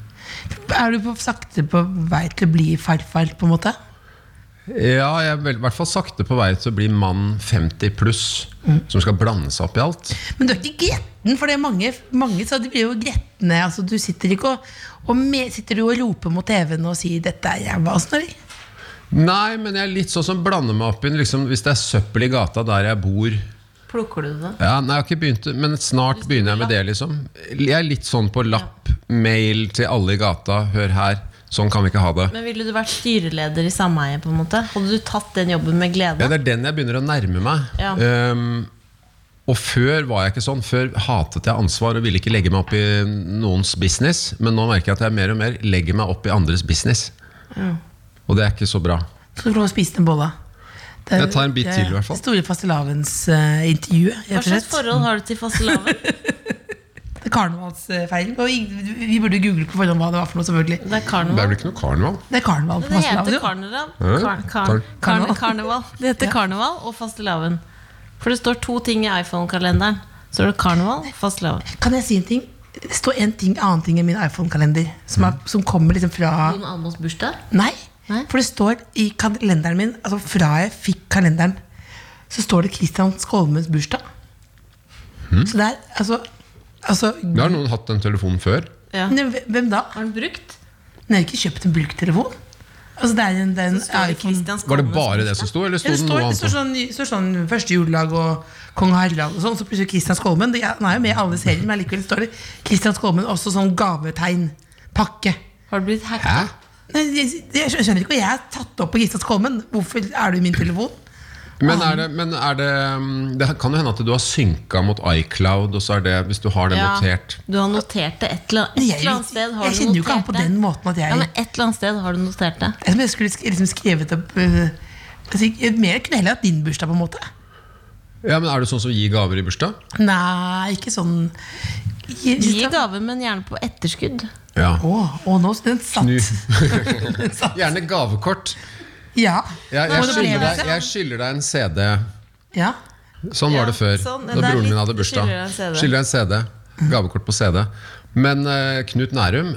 S3: Er du på, sakte på vei til å bli farfar, på en måte?
S5: Ja, jeg er vel- i hvert fall sakte på vei til å bli mann 50 pluss som skal blande seg opp i alt.
S3: Men du er ikke gretten, for det er mange, mange så de blir jo gretne. Altså, du sitter ikke og, og me- sitter du og roper mot TV-en og sier 'dette er ræva'? og sånn, eller?
S5: Nei, men jeg er litt sånn som blander meg opp i liksom, Hvis det er søppel i gata der jeg bor
S4: Plukker du det?
S5: ja, Nei, jeg har ikke begynt, men snart begynner jeg med det, liksom. Jeg er litt sånn på lapp, mail til alle i gata, hør her. Sånn kan vi ikke ha det.
S4: Men ville du vært styreleder i sameie? på en måte? Hadde du tatt den jobben med
S5: Ja,
S4: glede?
S5: det er den jeg begynner å nærme meg.
S4: Ja.
S5: Ehm, og før var jeg ikke sånn. Før hatet jeg ansvar og ville ikke legge meg opp i noens business. Men nå merker jeg at jeg mer og mer legger meg opp i andres business. Og det er ikke så bra.
S3: Så får du lov å spise den bolla. Det
S5: Jeg tar en bit
S3: det
S5: til, i hvert fall.
S3: det Store fastelavnsintervjuet, rett
S4: Hva
S3: og
S4: slags
S3: slett.
S4: forhold har du til fastelavn?
S3: Det er Karnevalsfeiring. Og vi, vi burde google på forhånd hva det var for noe, selvfølgelig.
S4: Det er
S5: Det er
S4: karneval.
S5: vel ikke noe karneval?
S3: Det er karneval
S4: Det
S3: på
S4: heter
S3: fastelavn. jo.
S4: karneval.
S5: Ja,
S4: Karn,
S5: karn-
S4: karn, karn, karneval. Det heter karneval og fastelavn. For det står to ting i iPhone-kalenderen. Så er det karneval og fastelavn.
S3: Kan jeg si en ting? Det står en ting, annen ting i min iPhone-kalender som,
S5: Mm.
S3: er- som kommer liksom fra
S4: Jon Almaas bursdag?
S3: Nei.
S4: Nei?
S3: For det står i kalenderen min, altså fra jeg fikk kalenderen, så står det Kristian Skolmes bursdag.
S5: Mm.
S3: Så det er altså, altså
S5: Da har noen hatt den telefonen før.
S4: Ja. Har
S3: ne- Hvem da?
S4: den brukt?
S3: Nei, jeg har ikke kjøpt en brukttelefon. Altså, det er en, det er en
S4: Står det
S3: iPhone.
S4: Christian
S5: Var det
S4: Skolmes
S5: bare det
S4: bursdag?
S5: som sto, eller
S3: Ja,
S5: sto
S3: det
S5: det noe
S3: står, det
S5: annet?
S3: står,
S5: også?
S3: sånn, det står sånn første juledag og kong Harald og sånn. Så plutselig Kristian Skolmen. Det- Han er jo med i alle serier, men likevel står det Kristian Skolmen også sånn gavetegn. Pakke.
S4: Har det blitt
S3: sånn.
S4: hacka?
S5: Hæ?
S3: Nei, jeg, jeg skjønner ikke, og jeg er tatt opp på Kristian Skolmen. Hvorfor er du i min telefon?
S5: Men, er det, men er det, um, det kan jo hende at du har synka mot iCloud, og så er det, hvis du har det
S4: Ja,
S5: notert
S4: Du har notert det et eller annet,
S3: Men
S4: et
S3: jeg,
S4: eller annet sted. Har
S3: jeg
S4: du
S3: kjenner jo ikke han
S4: notert
S3: på
S4: det.
S3: den måten at jeg
S4: Ja, men et eller annet sted har du notert det.
S3: Det er som jeg skulle sk- liksom skrevet opp øh, altså, jeg- Mer kunne jeg heller hatt din bursdag, på en måte.
S5: Ja, men Er du sånn som gir gaver i bursdag?
S3: Nei, ikke sånn Jeg-
S4: Gi gave, men gjerne på etterskudd.
S5: Ja.
S3: Å, å, nå den satt. <laughs>
S5: <laughs>
S3: den satt.
S5: Gjerne gavekort.
S3: Ja.
S5: Jeg,
S3: Nå
S5: jeg,
S3: må det bli
S5: skylder
S3: med
S5: deg,
S3: seg.
S5: jeg skylder deg en CD.
S3: ja.
S5: Sånn
S4: Ja,
S5: var det før.
S4: sånn.
S5: da
S4: Det er
S5: broren
S4: litt-
S5: min hadde
S4: skylder
S5: bursdag.
S4: deg en CD.
S5: Skylder deg en CD. Gavekort på CD. Men eh, Knut Nærum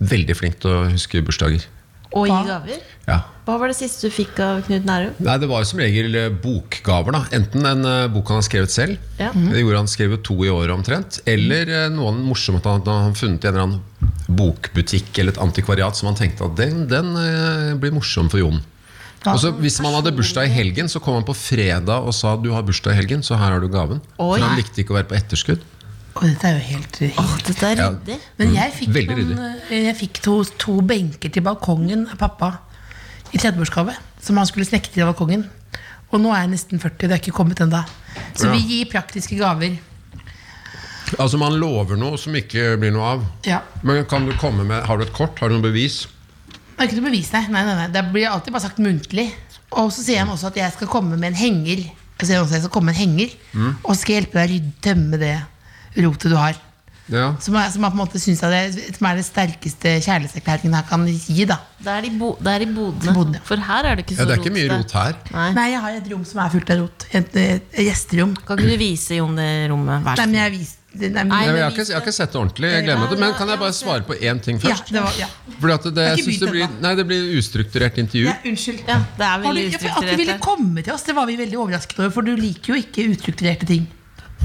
S5: Veldig flink til å huske bursdager.
S4: Og gi
S3: Hva?
S4: gaver?
S5: Ja.
S4: Hva var det siste du fikk av Knut Nærum?
S5: Nei, Det var som regel eh, bokgaver. da Enten en eh, bok han har skrevet selv.
S4: Ja.
S5: Det gjorde han skrevet to i året omtrent. Eller eh, noe morsomt at han at han funnet i en eller annen bokbutikk eller et antikvariat som han tenkte at den, den eh, blir morsom for Jon. Og så Hvis man hadde bursdag i helgen, så kom han på fredag og sa du har bursdag i helgen, så her har du gaven.
S4: Oi.
S5: For han likte ikke å være på etterskudd.
S3: Og dette er jo helt
S4: Åh, dette er
S5: Ja.
S4: ryddig.
S3: Men jeg fikk,
S5: Mm. Veldig
S3: noen, eh, jeg fikk to, to benker til balkongen av pappa i 30-årsgave. Som han skulle snekre til balkongen. Og nå er jeg nesten 40, det er ikke kommet ennå. Så
S5: Ja.
S3: vi gir praktiske gaver.
S5: Altså Man lover noe som ikke blir noe av.
S3: Ja.
S5: Men kan du komme med, Har du et kort? Har du noe bevis?
S3: Det er ikke noe bevis, nei. nei, nei, nei. Det blir alltid bare sagt muntlig. Og så sier han også at jeg skal komme med en henger. Jeg sier også at jeg skal komme med en henger
S5: Mm.
S3: Og så skal jeg hjelpe deg å rydde, tømme det rotet du har.
S5: Ja.
S3: Som, er, som, jeg på en måte synes at det, som er det sterkeste kjærlighetserklæringen jeg kan gi. da
S4: Det er i, bo det er i bodene.
S3: Bodene.
S4: For her er det ikke
S5: ja,
S4: så
S5: Det er ikke mye rot her.
S4: Nei.
S3: Nei, jeg har et rom som er fullt av rot. Et, et, et gjesterom.
S4: Kan ikke du vise Jon det rommet?
S3: Nei,
S4: Vær så
S3: men
S4: snill.
S3: jeg viste nei, men,
S4: Nei,
S5: Ja, men
S4: men
S5: jeg, har ikke, jeg har ikke sett det ordentlig. Jeg glemmer det. Men kan jeg bare svare på én ting
S3: ja,
S5: først?
S3: det var, ja.
S5: Fordi at det,
S3: har
S5: jeg
S3: ikke
S5: synes
S3: begynt
S5: det, blir,
S3: ennå.
S5: nei, det blir ustrukturert intervju.
S3: ja, Unnskyld.
S4: Ja, det er
S3: Har du,
S4: veldig
S3: ja, for at du ville
S4: ustrukturert. her.
S3: komme til oss, det var vi veldig overrasket over, for du liker jo ikke ustrukturerte ting.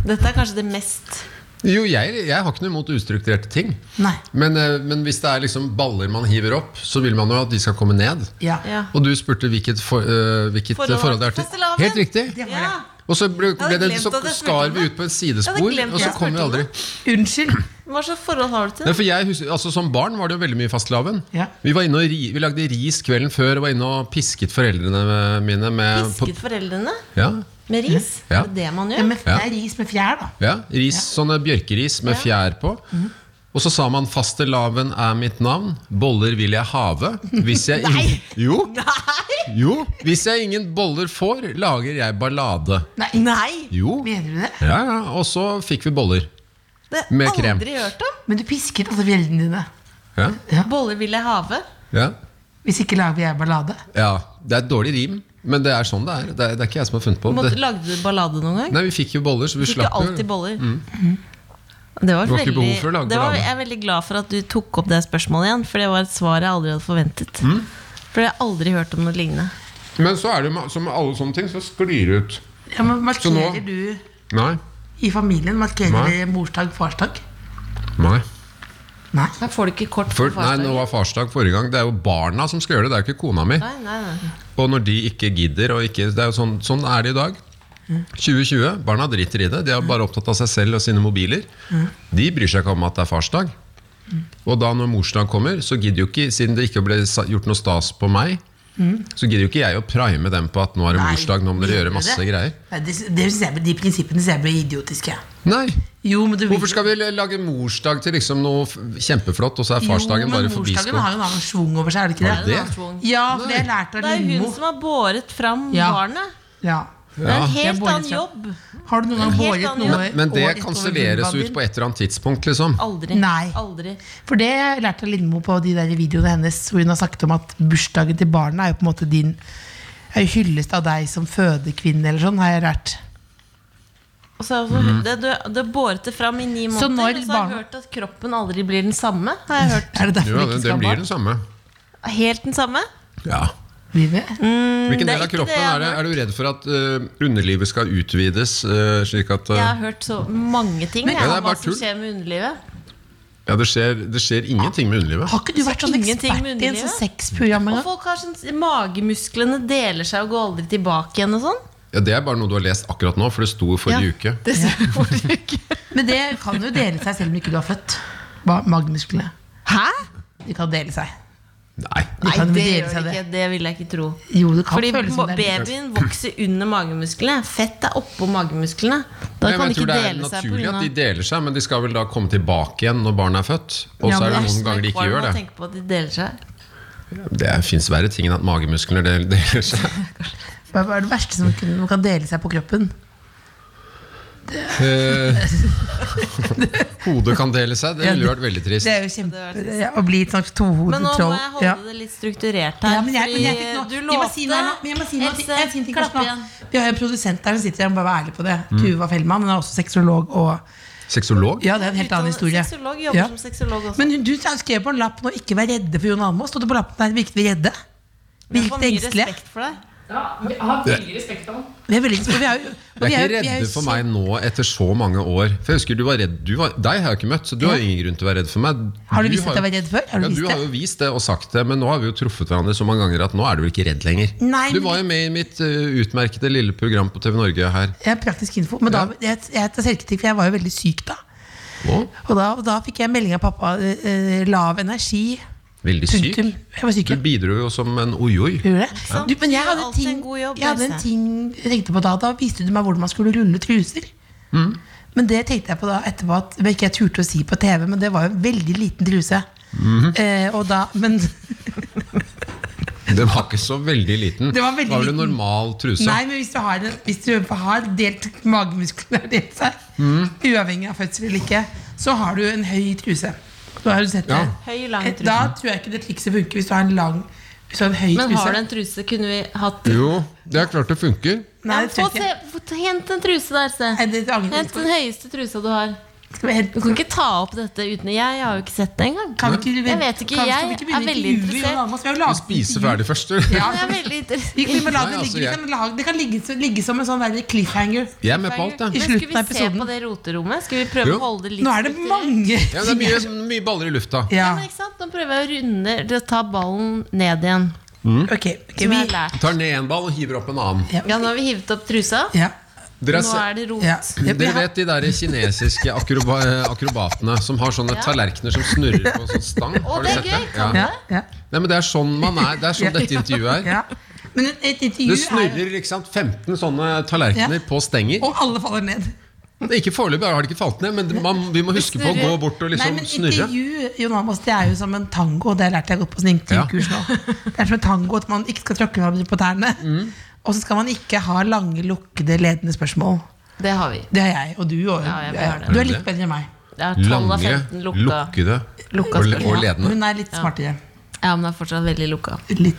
S4: Dette er kanskje det mest
S5: Jo, jeg, jeg har ikke noe imot ustrukturerte ting.
S3: Nei.
S5: Men, eh, men hvis det er liksom baller man hiver opp, så vil man jo at de skal komme ned.
S3: Ja.
S4: Ja.
S5: Og du spurte hvilket, for, eh, hvilket forhold,
S4: Forhold
S5: det er
S4: til
S5: til
S4: fastelavn.
S5: Helt riktig!
S3: Det var
S4: ja.
S3: det.
S5: Og så ble, ble
S4: hadde
S5: det,
S4: glemt
S5: så
S4: at jeg spurte
S5: skar
S4: om
S5: vi
S4: det.
S5: ut på et
S4: Jeg
S5: sidespor,
S4: hadde glemt
S5: og
S4: at
S5: så
S4: jeg
S5: kom vi
S4: spurte om
S5: aldri.
S4: det.
S3: Unnskyld.
S4: Hva slags forhold har du til
S5: Nei,
S4: det?
S5: for jeg husker, altså Som barn var det jo veldig mye fastelavn.
S3: Ja.
S5: Vi, var inne og ri, vi lagde ris kvelden før og var inne og pisket foreldrene mine med
S4: Pisket foreldrene
S5: Eh, På, ja,
S4: med ris?
S5: Ja.
S4: Er det det man
S3: Ja,
S4: gjør? <laughs>
S3: men det er ris med fjær, da.
S5: ja, ris, Sånne bjørkeris med fjær på.
S4: Mhm.
S5: Og så sa man 'fastelavn er mitt navn', 'boller vil jeg have'. Hvis
S4: <laughs>
S5: jeg ingen, jo, jo, hvis jeg ingen boller får, lager jeg ballade.
S3: Nei.
S4: Nei!
S5: Jo.
S3: Mener du det?
S5: Ja, ja, Og så fikk vi boller.
S4: Det har
S5: Med
S4: jeg
S5: krem.
S4: aldri hørt om.
S3: Men du pisket altså bjellene dine.
S5: Ja,
S4: Boller vil jeg have.
S5: ja,
S3: Hvis ikke lager jeg ballade.
S5: ja. Det er et dårlig rim, men det er sånn det er. Det er, det er ikke jeg som har funnet på
S4: Måtte,
S5: det.
S4: lagde du ballade noen gang?
S5: Nei, vi fikk jo boller, så vi
S4: Fikk jo
S5: slapp
S4: alltid
S5: jo.
S4: boller. Det var,
S5: Det var ikke
S4: veldig,
S5: behov for å lage
S4: det var,
S5: ballade.
S4: jeg er veldig glad for at du tok opp det spørsmålet igjen, for det var et svar jeg aldri hadde forventet.
S5: Mm.
S4: For jeg har aldri hørt om noe lignende.
S5: Men så er det jo ma- som med alle sånne ting, så sklir det ut.
S3: Ja, men
S5: Så
S3: Markerer
S5: nå-
S3: du
S5: Nei.
S3: i familien markerer
S5: Nei.
S3: dere morsdag, farsdag?
S5: Nei.
S3: Nei.
S4: Da får du ikke kort
S5: For,
S4: på
S5: nei, nå
S4: farsdagen.
S5: var farsdag forrige gang. Det er jo barna som skal gjøre det, det er jo ikke kona mi.
S4: Nei, nei, nei.
S5: Og når de ikke gidder og ikke, det er jo sånn, sånn er det i dag.
S3: Mm.
S5: 2020, barna driter i det. De er bare opptatt av seg selv og sine mobiler.
S3: Mm.
S5: De bryr seg ikke om at det er farsdag. Og da når morsdag kommer, så gidder jo ikke, siden det ikke ble sa- gjort noe stas på meg, så gidder jo ikke jeg å prime dem på at nå er det
S3: Mm. Nei,
S5: morsdag, nå må dere
S3: mener
S5: gjøre
S3: du
S5: masse
S3: det?
S5: greier.
S3: Nei, det, det synes jeg, de prinsippene ser jeg blir idiotiske.
S5: Nei,
S3: Jo, men du
S5: hvorfor skal vi lage morsdag til liksom noe f- kjempeflott, og så er farsdagen bare
S3: Jo, men morsdagen
S5: forbiskått?
S3: har jo en annen svung over seg, er det ikke
S5: Ja,
S3: det?
S5: det-
S3: Ja, for det har jeg
S5: Nei.
S3: lært av
S4: Det er jo
S3: Lindmo.
S4: hun som har båret fram
S3: Ja.
S4: barnet.
S3: Ja.
S4: Det er
S5: Ja.
S4: en
S3: Jeg
S4: helt
S3: båret
S4: annen
S3: fram.
S4: jobb.
S3: Har du noen gang
S4: helt
S3: båret
S4: annen
S3: noe
S5: Men, men det
S3: over-
S5: kanselleres
S3: over
S5: ut
S3: vulvaen
S5: på et eller annet tidspunkt, liksom.
S4: Aldri.
S3: Nei.
S4: Aldri.
S3: din? For det har jeg lært av Lindmo på de der videoene hennes, hvor hun har snakket om at bursdagen til barna er jo på en måte din er jo hyllest av deg som fødekvinne, eller sånn, har jeg lært.
S4: Og så er også,
S5: Mhm.
S4: det, det, det båret det fram i ni
S3: Så
S4: måneder,
S3: når
S4: men så har jeg
S3: barn-
S4: hørt at kroppen aldri blir den samme. Har jeg hørt.
S3: <laughs> Er det derfor
S5: Jo,
S3: vi
S5: det,
S3: ikke
S5: det
S3: skal ha
S5: blir
S3: barn?
S5: den samme.
S4: Helt den samme.
S5: Ja.
S3: Blir det?
S4: Mm.
S5: Hvilken
S4: det er
S5: del av
S4: ikke det
S5: kroppen
S4: jeg har
S5: er det? Er du redd for at eh, underlivet skal utvides? eh, slik at eh,
S4: Jeg har hørt så mange ting
S3: Men-
S4: jeg,
S5: Ja, det er
S4: om hva
S5: bare
S4: som
S5: tull.
S4: skjer med underlivet.
S5: ja, det, skjer, det skjer ingenting med underlivet.
S3: Har ikke du vært sånn
S4: Ingenting
S3: ekspert
S4: med
S3: i en sånn
S4: underlivet?
S3: sexprogram
S4: Og
S3: engang?
S4: folk har sånn, Magemusklene deler seg og går aldri tilbake igjen og sånn.
S5: Ja, det er bare noe du har lest akkurat nå, for det sto forrige uke.
S4: Det ser jeg forrige uke.
S3: Men det kan jo dele seg selv om ikke du har født. Ba- Magemusklene.
S4: Hæ?
S3: De kan dele seg.
S5: Nei.
S3: De
S4: Nei,
S3: kan
S4: det
S3: dele
S4: gjør
S3: seg
S4: det ikke. Det vil jeg ikke tro.
S3: Jo, det kan
S4: Fordi
S3: føles som
S4: ma-
S3: det. er-
S4: babyen vokser under magemusklene. Fett er oppå magemusklene. Da
S5: Nei, men
S4: kan
S5: jeg
S4: de ikke
S5: tror det er
S4: dele seg på
S5: naturlig
S4: grunn
S5: at
S4: av
S5: de deler seg, men de skal vel da komme tilbake igjen når barnet er født. Og
S3: Ja, men
S5: så er det
S3: det er
S5: noen ganger de ikke gjør det.
S4: Tenk på at de deler seg.
S5: Det fins verre ting enn at magemuskler del- deler seg.
S4: <laughs>
S3: Hva hva er det verste som kan, man kan dele seg på kroppen?
S5: Eh, <laughs> Hodet kan dele seg. Det ville jo vært veldig trist.
S3: Det er jo kjempe ja, Å bli et slags tohodet
S4: Men nå må
S3: troll.
S4: jeg
S3: Ja.
S4: holde det litt strukturert her.
S3: Ja, men jeg, men jeg, fikk nå-
S4: fordi
S3: jeg
S4: du
S3: må si noe,
S4: lovte
S3: men jeg må si noe, jeg må si
S4: Else,
S3: noe,
S4: klapp
S3: Karsten.
S4: igjen.
S5: Mm.
S3: Vi har jo en produsent der som sitter der, må bare være ærlig på det. Tuva Fellmann. Hun er også sexolog og
S5: Sexolog?
S3: Ja, det er en helt annen historie.
S4: Sexolog jobber
S3: Ja.
S4: som sexolog også.
S3: Men hun- du skrev på en lapp nå 'ikke vær redde for Jon Almaas'. Stod det på lappen der 'virket vi redde'?
S4: Jeg
S3: Virket
S4: får mye
S3: engstelige?
S4: respekt for deg.
S8: Ja, jeg har veldig respekt for ham.
S3: Vi er veldig respekt- vi er jo-
S5: Jeg
S3: vi
S5: er
S3: jo-
S5: ikke
S3: vi er jo
S5: redde for
S3: så-
S5: meg nå etter så mange år. For jeg husker du var redd du var, Deg har jeg ikke møtt, så du har ingen grunn til å være redd for meg.
S3: Har du vist at
S5: jo-
S3: jeg var redd før? Har du
S5: ja,
S3: vist
S5: du
S3: det?
S5: har jo vist det og sagt det, men nå har vi jo truffet hverandre så mange ganger at nå er du vel ikke redd lenger.
S3: Nei,
S5: du
S3: men-
S5: var jo med i mitt eh, utmerkede lille program på TV Norge her
S3: Jeg er praktisk info. Men da, jeg, jeg tar selvkritikk, for jeg var jo veldig syk da.
S5: nå.
S3: Og da, da fikk jeg melding av pappa. eh, eh, lav energi.
S5: Veldig syk.
S3: Punktum. Jeg var syk.
S5: Du
S3: ja.
S5: bidro jo som en ojoj.
S3: Gjorde jeg?
S4: sant?
S3: Du, men jeg
S4: Du gjør
S3: hadde, en
S4: alltid
S3: ting,
S4: en god jobb,
S3: jeg hadde en
S4: Else.
S3: ting jeg tenkte på da. Da viste du meg hvordan man skulle rulle truser.
S5: Mm.
S3: Men det tenkte jeg på da etterpå at det ikke jeg turte å si på TV, men det var jo en veldig liten truse.
S5: Mhm.
S3: eh, og da, men
S5: Den var ikke så veldig liten.
S3: Det var veldig
S5: vel en
S3: liten.
S5: normal truse.
S3: Nei, men hvis du har, en- hvis du har delt magemusklene <laughs> har delt seg,
S5: Mm.
S3: uavhengig av fødsel eller ikke, så har du en høy truse. Da har du sett det.
S5: Ja.
S4: Høy, lang
S3: Eh,
S4: truse.
S3: Da tror jeg ikke det trikset funker hvis du har en lang hvis du har en høy
S4: Men
S3: truse.
S4: har du en truse? Kunne vi hatt
S5: Jo, det er klart det funker.
S3: Nei,
S4: Ja,
S3: det
S4: få
S3: tror jeg ikke.
S4: se- få ta- Hent en truse der, se.
S3: Nei, det angrer jeg
S4: Hent den
S3: på.
S4: høyeste trusa du har.
S3: Skal vi hente-
S4: Du kan ikke ta opp dette uten Jeg har jo ikke sett det engang.
S3: Kan vi ikke,
S4: Jeg vet ikke,
S3: kan,
S4: jeg
S3: skal vi ikke begynne
S4: er veldig
S3: intervjuet Jon Almaas?
S4: interessert.
S3: Vi har jo
S5: Vi
S3: laget
S5: spiser
S3: intervju.
S5: ferdig først, du.
S3: Ja.
S4: Jeg er veldig interessert.
S3: Vi, vi må la det
S5: Nei, altså,
S3: ligge, vi
S5: jeg-
S3: kan, lage- det kan ligge, så- ligge som en sånn der cliffhanger.
S5: Jeg er med på alt, jeg.
S3: I
S4: Men
S3: slutten
S4: Skal
S3: av
S4: vi se
S3: episoden.
S4: på det roterommet? Skal vi prøve å
S5: Jo.
S4: holde det litt
S3: Nå er det
S4: strukturert?
S3: mange
S5: Ja, det er mye, mye baller i lufta.
S3: <laughs> Ja.
S4: Ja, men ikke sant? Nå prøver jeg å runde det å ta ballen ned igjen.
S3: Ok, ok, vi,
S4: Som jeg har lært.
S5: Tar ned en ball og hiver opp en annen.
S4: Ja, nå har vi hivet opp trusa.
S3: ja,
S5: Dere,
S4: Nå
S5: har
S4: er det rot.
S3: ja.
S5: se-
S3: Vi
S5: dere
S3: har-
S5: vet de der kinesiske akroba akrobatene som har sånne tallerkener som snurrer på en sånn stang? Har du
S4: det er
S5: sett det?
S4: gøy.
S5: Ja.
S3: ja, ja,
S5: Nei, men det er sånn man er. Det er sånn dette intervjuet er.
S3: ja. Men et, et intervju
S5: Det
S3: er jo
S5: snurrer ikke sant, 15 sånne tallerkener
S3: Ja.
S5: på stenger.
S3: Og alle faller ned.
S5: Det er Ikke Foreløpig har det ikke falt ned, men det- man, vi må huske på å gå bort og
S3: Nei,
S5: liksom
S3: men
S5: snurre.
S3: intervju Jon Almaas, det er jo som en tango. Det lærte jeg godt på sånn intervjukurs nå. Det er som en tango at man ikke skal tråkke hverandre på tærne.
S5: Mm.
S3: Og så skal man ikke ha lange, lukkede, ledende spørsmål.
S4: Det har vi.
S3: Det er jeg, og du òg.
S4: Ja, jeg har det.
S3: du er litt bedre enn meg.
S4: Det er 12 av
S5: Lange,
S4: 15 lukka.
S5: lukkede
S4: Lukka
S5: og,
S4: spørsmål.
S5: og ledende.
S3: Hun er litt smartere.
S4: Ja, men det er fortsatt veldig lukka.
S3: Litt.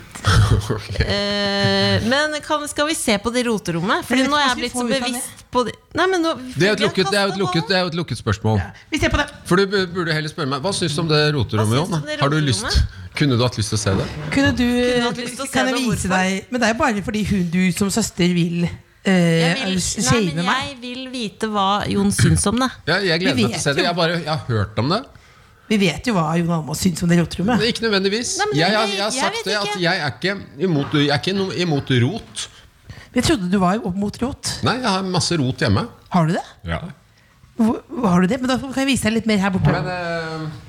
S5: Ok.
S4: Eh, men kan, skal vi se på det roterommet?
S3: Jeg
S4: Fordi
S3: vet
S4: nå
S3: ikke
S4: er
S3: hva
S4: jeg blitt
S3: vi
S4: så
S3: får ut av
S4: bevisst på det. Nei, men nå,
S5: Det er jo et
S4: vi har
S5: lukket, det er jo et
S4: kastet
S5: lukket,
S4: ballen.
S5: det er jo et lukket spørsmål.
S3: Vi ser på det.
S5: For du bu- burde heller spørre meg Hva syns du om det roterommet,
S4: Hva syns du om
S5: Jon?
S4: det
S5: Har du lyst,
S4: roterommet?
S5: kunne du hatt lyst til å se det?
S3: Kunne du,
S4: hatt lyst til å se
S3: kan jeg
S4: det,
S3: vise
S4: hvorfor?
S3: deg Men det er jo bare fordi hun du som søster vil
S4: Jeg
S3: eh,
S4: vil, nei,
S3: shame
S4: men
S3: meg.
S4: jeg vil vite hva Jon syns om det.
S5: Ja, jeg gleder
S3: Vi
S5: meg til å
S3: vet
S5: se det.
S3: jo.
S5: Jeg, bare, jeg har hørt om det.
S3: Vi vet jo hva Jon Almaas syns om det roterommet.
S5: Men ikke nødvendigvis.
S4: Nei, men det-
S5: jeg, har- jeg har
S4: jeg
S5: sagt
S4: vet
S5: det at
S4: ikke.
S5: jeg er ikke imot, jeg er ikke no, imot rot.
S3: Jeg trodde du var opp mot rot.
S5: Nei, jeg har masse rot hjemme.
S3: Har du det? Hvor, hvor har du det? Men da kan jeg vise deg litt mer her borte.
S5: Men eh, <laughs>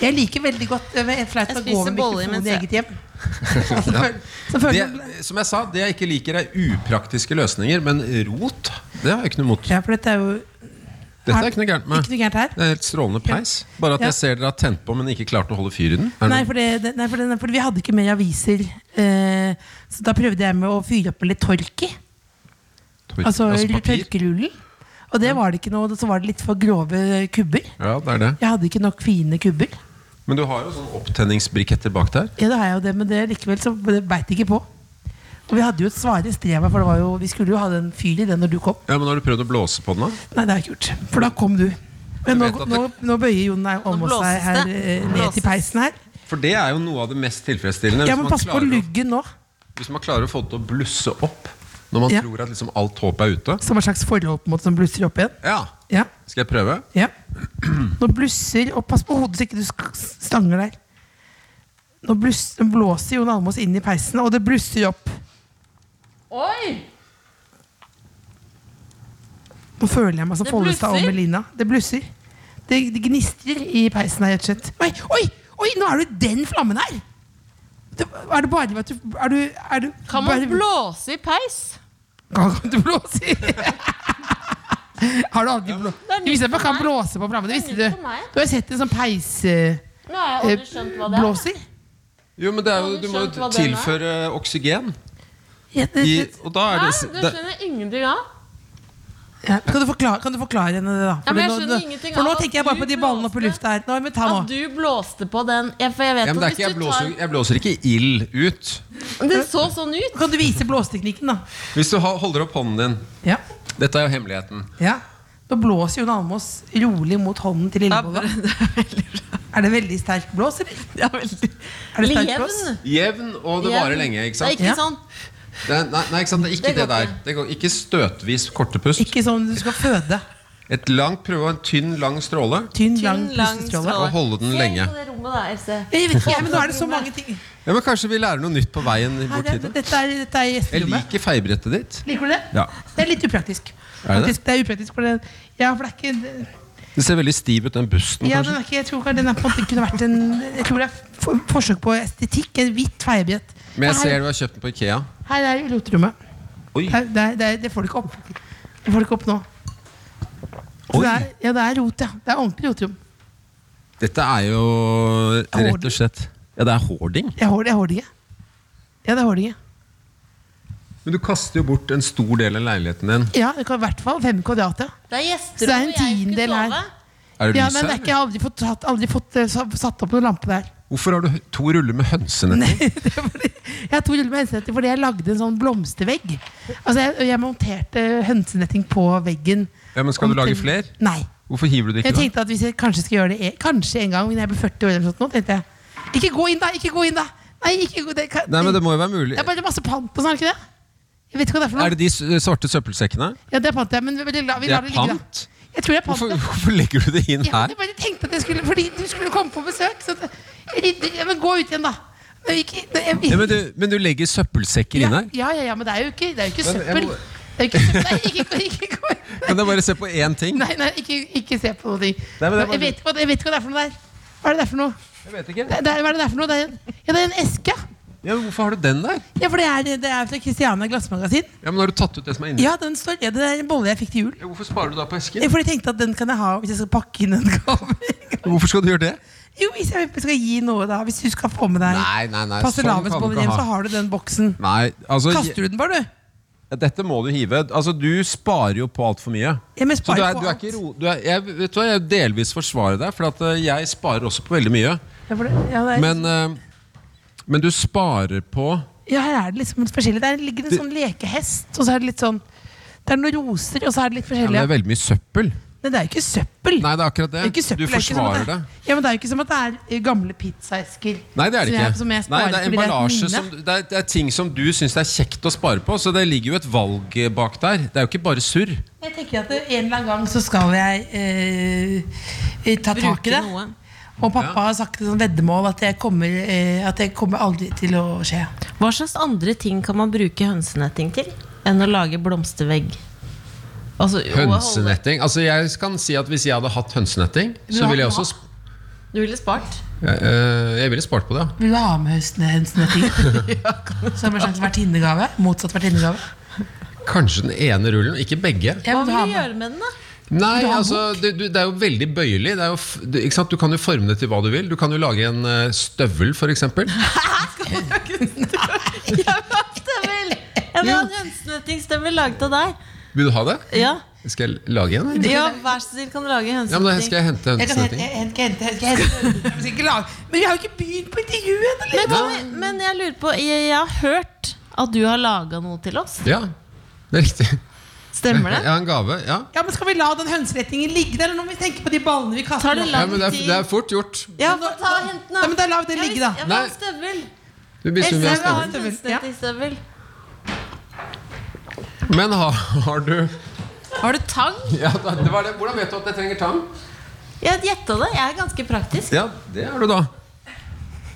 S3: Jeg liker veldig godt eh, en flaut
S4: Jeg
S3: å gå
S4: spiser
S3: med
S4: boller
S3: mikrofonen i
S4: mens
S3: eget hjem. Så føler- så føler man-
S5: det, som jeg sa, det jeg ikke liker, er upraktiske løsninger. Men rot, det har jeg ikke noe imot.
S3: Ja, for dette er jo
S5: Dette er ikke noe gærent med.
S3: Ikke noe gærent her?
S5: Det er helt strålende peis. Bare at
S3: Ja.
S5: jeg ser dere har tent på, men ikke klart å holde fyr i den. Er det
S3: Nei,
S5: noe-
S3: for, det, det- nei, for, det, nei, for vi hadde ikke mer aviser. Eh, så da prøvde jeg med å fyre opp med litt tork i.
S5: Tor-
S3: Altså,
S5: altså papir?
S3: tørkerullen. Og det var det ikke noe, så var det litt for grove kubber.
S5: Ja, det er det.
S3: Jeg hadde ikke nok fine kubber.
S5: Men du har jo sånn opptenningsbriketter bak der.
S3: Ja, det har jeg jo det, men det likevel så beit jeg ikke på. Og vi hadde jo et svare strevet, for det var jo, vi skulle jo ha den fyr i den når du kom.
S5: Ja, men Har du prøvd å blåse på den? da?
S3: Nei, det har jeg ikke gjort. For da kom du. Men nå,
S5: Jeg vet at det-
S3: nå, nå bøyer Jon deg om
S4: Nå
S3: oss her,
S4: blåses det.
S3: eh, ned
S4: Blåses.
S3: til peisen her.
S5: For det er jo noe av det mest tilfredsstillende.
S3: Jeg
S5: hvis
S3: må
S5: man
S3: passe på
S5: klarer å-
S3: luggen nå,
S5: Hvis man klarer å få det til å blusse opp når man
S3: Ja.
S5: tror at liksom alt håp er ute.
S3: som en slags forlåp mot som blusser opp igjen.
S5: Ja,
S3: Ja.
S5: Skal jeg prøve?
S3: Ja. Nå blusser Og pass på hodet så ikke du sk- stanger der. Nå bluss, nå blåser Jon Almaas inn i peisen, og det blusser opp.
S4: Oi!
S3: Nå føler jeg meg som
S4: Det
S3: Follestad og
S4: blusser?
S3: Melina. Det blusser. Det, det gnistrer i peisen her, rett og slett. Oi, oi, oi, nå er du den flammen her! Det, er det bare ved at du Er du, er du
S4: Kan man
S3: bare-
S4: blåse i peis?
S3: <laughs> Kan kan du blåse <laughs> i? Har du aldri blå...
S4: er nytt
S3: Du visste at man
S4: for
S3: kan
S4: meg.
S3: blåse på flamme? Det
S4: Det er
S3: visste
S4: nytt
S3: du.
S4: for meg.
S3: Du har sett en sånn peisblåser?
S4: Nå har jeg aldri skjønt hva det er.
S5: Jo, men det er jo,
S4: Har du
S5: Du må
S4: skjønt hva den
S5: jo
S4: er?
S5: tilføre oksygen.
S3: Ja, det-
S5: I,
S3: det-
S5: og da er
S4: Hæ?
S5: det,
S4: Du
S5: det
S4: skjønner ingenting av?
S3: ja. Kan, du forklare, kan du forklare henne det, da?
S4: Ja, men jeg
S3: nå-
S4: skjønner
S3: nå-
S4: ingenting
S3: for nå
S4: av at
S3: tenker jeg bare
S4: du
S3: på de ballene oppe i
S4: blåste.
S3: lufta her. Nå, men ta nå.
S4: At du blåste på den ja, For jeg vet
S5: ja, men det er
S4: at
S5: ikke, jeg,
S4: hvis du
S5: blåser,
S4: tar
S5: jeg blåser ikke ild ut.
S4: Det så sånn ut.
S3: Kan du vise blåseteknikken, da?
S5: Hvis du ha- holder opp hånden din
S3: Ja.
S5: Dette er jo hemmeligheten.
S3: ja. Da blåser Jon Almås rolig mot hånden til
S4: Ja,
S3: Lillebolla.
S4: det er veldig bra.
S3: Er det veldig sterk blås, eller?
S4: Ja, veldig.
S3: Er det sterk
S4: Jevn.
S3: blås?
S5: Jevn, og det varer
S4: Jevn.
S5: lenge. ikke
S4: Det
S5: sant?
S4: er
S3: Ja.
S4: ikke sånn.
S5: Det er, nei, nei, ikke sant, det er ikke
S4: Det går
S5: det, der.
S4: ikke.
S5: Det går, ikke støtvis korte pust.
S3: Ikke sånn du skal føde.
S5: Et langt prøve og en tynn, lang stråle.
S3: Tynn, lang
S4: Tynn, lang stråle.
S3: pustestråle.
S5: Og holde den Mm, lenge.
S4: Se på det rommet da, Else.
S3: Jeg vet ikke, men nå er det så mange ting.
S5: Ja, men Kanskje vi lærer noe nytt på veien
S3: Her
S5: bort
S3: er,
S5: hit. da?
S3: dette er, dette er
S5: Jeg
S3: gjesterommet.
S5: liker feiebrettet ditt.
S3: Liker du det?
S5: Ja.
S3: Det er litt upraktisk.
S5: Er det det?
S3: Faktisk, det er upraktisk for det. Ja, for det er ikke
S5: Det ser veldig stiv ut, den busten.
S3: ja, den
S5: kanskje
S3: er ikke, Jeg tror ikke den er på en måte kunne vært en Jeg tror det er for, forsøk på estetikk. En hvitt feiebrett.
S5: Men jeg
S3: Her-
S5: ser du har kjøpt den på Ikea.
S3: Her er roterommet.
S5: Oi.
S3: Det, er- det, er- det, er- det får du ikke opp. Det får du ikke opp nå. Så
S5: Oi.
S3: Det er, ja, det er rot, ja. Det er ordentlig roterom.
S5: Dette er jo rett og slett Ja, det er hoarding.
S3: Jeg har det, jeg har det ikke. Ja, det har det ikke.
S5: Men du kaster jo bort en stor del av leiligheten din.
S3: Ja, det kan i hvert fall fem kvadrat, ja.
S4: Det er
S3: Så det er en
S4: gjesterom, og jeg skulle
S3: tiendedel her.
S4: sove.
S5: Er det
S3: ja
S5: lys
S3: men det
S5: her?
S3: er ikke, jeg har aldri fått, tatt- aldri fått eh, sa- satt opp noen lampe der. <laughs>
S5: Hvorfor har du to ruller med hønsenetting?
S3: Det er fordi- Jeg har to ruller med hønsenetting fordi jeg lagde en sånn blomstervegg. Altså, jeg, jeg monterte hønsenetting på veggen.
S5: Ja, men skal du lage
S3: Omtrent-
S5: flere?
S3: Nei.
S5: Hvorfor hiver du det
S3: Jeg
S5: ikke? da?
S3: tenkte at hvis jeg kanskje skal gjøre det e- Kanskje en gang når jeg blir 40 år, eller noe sånt, nå, tenkte jeg. Ikke gå inn, da! Ikke gå inn, da! Nei, ikke gå, det, kan,
S5: Nei, men Det må jo være mulig.
S3: Det er bare masse pant og sånn, er det ikke det? Jeg vet ikke hva det er for
S5: Er
S3: noe.
S5: det de s- svarte søppelsekkene?
S3: Ja, det er pant, ja, men vi, vi, la- vi
S5: Det
S3: lar
S5: er
S3: det ligge,
S5: pant?
S3: da. Jeg tror det er pant.
S5: Hvorfor,
S3: ja.
S5: hvorfor legger du det inn
S3: Ja,
S5: her?
S3: jeg bare tenkte at jeg skulle Fordi du skulle komme på besøk. Så at- jeg rydder- ja, men gå ut igjen, da. Men ikke, det- jeg,
S5: Ja, men, du, men du legger søppelsekker inn
S3: ja,
S5: her?
S3: ja, ja, ja, men det er jo ikke, det er jo ikke
S5: Men jeg
S3: søppel.
S5: må-
S3: Det er jo ikke søppel. Nei, ikke, gå- ikke,
S5: <laughs>
S3: gå inn.
S5: Kan jeg bare se på én ting?
S3: nei, nei ikke, ikke se på noe ting.
S5: Nei, men det er bare-
S3: jeg, vet ikke hva, det- jeg vet ikke hva det er for noe der. Hva er det der for noe?
S5: Jeg vet ikke.
S3: Det er, hva er det der for noe? Det er, en- ja, det er en eske.
S5: Ja, men Hvorfor har du den der?
S3: Ja, for det er, det er fra Christiania glassmagasin.
S5: Ja, men Har du tatt ut det som er inni?
S3: Ja, den står, ja, det er en bolle jeg fikk til jul.
S5: Ja, Hvorfor sparer du da på
S3: Ja,
S5: esken?
S3: For jeg tenkte at den kan jeg ha hvis jeg skal pakke inn en gave. <laughs>
S5: Hvorfor skal du gjøre det?
S3: Jo, hvis jeg skal gi noe, da. Hvis du skal få med deg
S5: Nei, nei, nei. sånn
S3: fastelavnsboller hjem, så
S5: ha.
S3: har du den boksen.
S5: Nei, altså,
S3: Kaster du den bare, du?
S5: ja, Dette må du hive. Altså, Du sparer jo på altfor mye.
S3: Ja, men jeg
S5: Så du
S3: sparer
S5: er,
S3: på
S5: du er
S3: alt.
S5: ikke ro... Du er, jeg, vet du hva, jeg delvis forsvarer deg, for at eh, jeg sparer også på veldig mye.
S3: Ja, for det, ja, det er,
S5: Men, eh, men du sparer på
S3: ja, her er det liksom litt forskjellig. Der ligger det en sånn lekehest, og så er det litt sånn Det er noen roser, og så er det litt
S5: ja, men
S3: forskjellig.
S5: Det er veldig mye søppel.
S3: Nei, det er jo ikke søppel.
S5: Nei, det er akkurat det.
S3: Det er ikke søppel,
S5: du
S3: det er ikke som at
S5: forsvarer
S3: det.
S5: det.
S3: er- Ja, men det er jo ikke som at det er eh, gamle pizzaesker.
S5: Nei, det er det
S3: som
S5: ikke.
S3: Jeg, som jeg
S5: Nei,
S3: sparer
S5: det er
S3: fordi et
S5: emballasje
S3: minne.
S5: som, det er, det er ting som du syns det er kjekt å spare på, så det ligger jo et valg eh, bak der. Det er jo ikke bare surr.
S3: Jeg tenker at det, en eller annen gang så skal jeg eh, ta tak i
S4: Bruke
S3: det.
S4: noe.
S3: Og pappa
S5: Ja.
S3: har sagt et sånt veddemål at jeg kommer, eh, at jeg kommer aldri til å skje.
S4: Hva slags andre ting kan man bruke hønsenetting til enn å lage blomstervegg? Altså, å holde-
S5: Hønsenetting. Altså, jeg kan si at hvis jeg hadde hatt hønsenetting, så ville jeg også sp-
S4: Du ville spart.
S5: jeg, eh, jeg ville spart på det, ja.
S3: Vil du ha med høsten hønsenetting?
S4: <laughs>
S3: Som en slags vertinnegave? Motsatt vertinnegave?
S5: Kanskje den ene rullen, ikke begge.
S3: Ja,
S4: Hva
S3: men du
S4: vil
S3: har
S4: du
S3: med-
S4: gjøre med den, da? <laughs>
S5: Nei, altså, det, du, det er jo veldig bøyelig. Det er jo, f- det, ikke sant? Du kan jo forme det til hva du vil. Du kan jo lage en eh, støvel, f.eks.
S4: Støvel! Jeg vil ha en hønsenettingstøvel laget av deg.
S5: Vil du ha det?
S4: Ja,
S5: Skal jeg lage en? eller?
S4: ja Vær så snill, kan du lage
S5: Ja, men da skal
S4: hønsenetting?
S5: jeg hente sånn
S3: Jeg kan hente,
S5: hønsenetting.
S3: jeg, jeg, jeg, jeg, jeg, jeg, jeg skal ikke lage. Men vi har jo ikke begynt på intervjuet! liksom.
S4: Men,
S3: Eller?
S4: kan vi, men jeg lurer på Jeg, jeg har hørt at du har laga noe til oss.
S5: Ja, det er riktig. <laughs>
S4: Stemmer
S5: Jeg
S4: det?
S5: har en gave. ja
S3: Ja, men Skal vi la den hønserettingen ligge der, eller nå må vi tenke på de ballene vi kaster?
S4: Tar det
S3: nå?
S5: Ja,
S4: lang
S5: men det er,
S4: tid?
S5: det er fort gjort.
S4: Ja, få ta og hent den,
S3: Nei, men
S4: da.
S3: da lar vi det
S4: Jeg
S3: ligge,
S4: vil
S3: da.
S4: jeg vil ha
S5: Nei.
S4: en støvel.
S5: Du blir
S4: Else,
S5: som
S4: jeg
S5: vi har
S4: vil ha en
S5: stemt.
S3: støvel.
S4: hønsenettingstøvel.
S5: Men har, har du
S4: Har du tang?
S5: ja, da- det var det. Hvordan vet du at jeg trenger tang?
S4: Jeg gjetta det. Jeg er ganske praktisk.
S5: Ja, det har du da.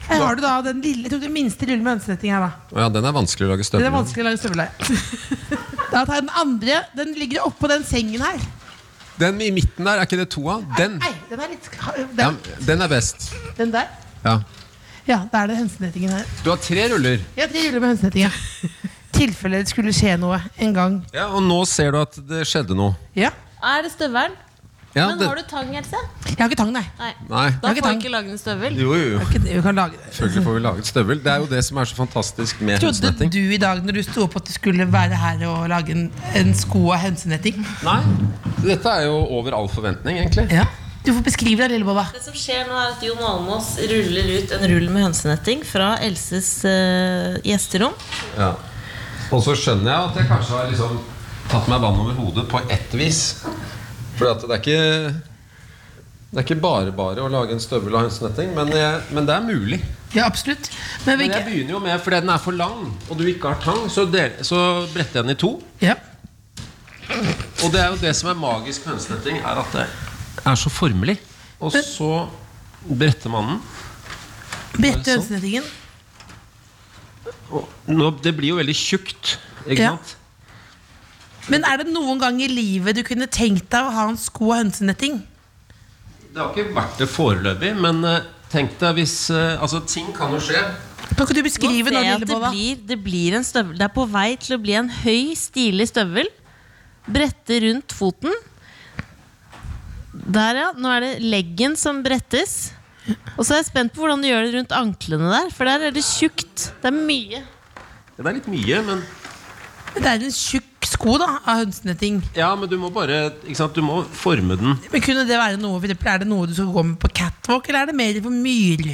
S3: Her har du da den lille, jeg tok den minste lille med hønsenetting her, da.
S5: Å ja, den er vanskelig å
S3: Det
S5: lage
S3: er
S5: støvler av.
S3: vanskelig å lage støvel her. <laughs> Da tar jeg den andre. Den ligger oppå den sengen her.
S5: Den i midten der, er ikke det to av? Den.
S3: Nei, den er litt
S5: Ja,
S3: Den,
S5: den er best.
S3: den der.
S5: Ja.
S3: Ja, da er det hønsenettingen her.
S5: Du har tre ruller.
S3: Ja, tre ruller med hønsenetting, ja. <laughs> tilfelle det skulle skje noe en gang.
S5: Ja, Og nå ser du at det skjedde noe.
S3: Ja.
S4: Er det støvelen?
S5: Ja,
S4: Men
S5: det-
S4: har du tang, Else?
S3: Jeg har ikke tang, nei.
S4: Nei.
S5: Nei.
S4: Da
S3: ikke
S4: får
S3: tang.
S4: du ikke lage en støvel.
S5: Jo, jo, jo.
S3: Ikke det, Vi kan lage det.
S5: Selvfølgelig får vi laget støvel. Det er jo det som er så fantastisk med
S3: Trodde
S5: hønsenetting.
S3: du i dag når du sto opp at du skulle være her og lage en, en sko av hønsenetting?
S5: Nei, Dette er jo over all forventning, egentlig.
S3: Ja. Du får beskrive deg, Lillebolla.
S4: Det som skjer nå, er at Jon Almås ruller ut en rull med hønsenetting fra Elses eh, gjesterom.
S5: Ja. Og så skjønner jeg at jeg kanskje har liksom tatt meg vann over hodet på ett vis. For at det er ikke det er ikke bare bare å lage en støvel av hønsenetting, men, jeg- men det er mulig.
S3: Ja, absolutt. Men vi
S5: Men jeg
S3: ikke
S5: begynner jo med, fordi den er for lang, og du ikke har tang, så, del, så bretter jeg den i to.
S3: ja.
S5: Og det er jo det som er magisk med hønsenetting, er at det er så formelig. Og så bretter man den.
S3: Brette hønsenettingen.
S5: Og nå, det blir jo veldig tjukt, ikke
S3: Ja.
S5: sant?
S3: Men er det noen gang i livet du kunne tenkt deg å ha en sko av hønsenetting?
S5: Det har ikke vært det foreløpig, men eh, tenk deg hvis eh, Altså, ting kan jo skje.
S3: Kan ikke du beskrive nå,
S4: Nå ser jeg at det
S3: Lillebolla?
S4: blir, det blir en støvel Det er på vei til å bli en høy, stilig støvel. Brette rundt foten. Der, ja. Nå er det leggen som brettes. Og så er jeg spent på hvordan du gjør det rundt anklene der, for der er det tjukt. Det er mye.
S5: Det er litt mye, men
S3: Det er en tjukk sko da, av hønsenetting.
S5: Ja, men du må bare ikke sant? Du må forme den.
S3: Men kunne det være noe, for eksempel, Er det noe du skal gå med på catwalk, eller er det mer for myr?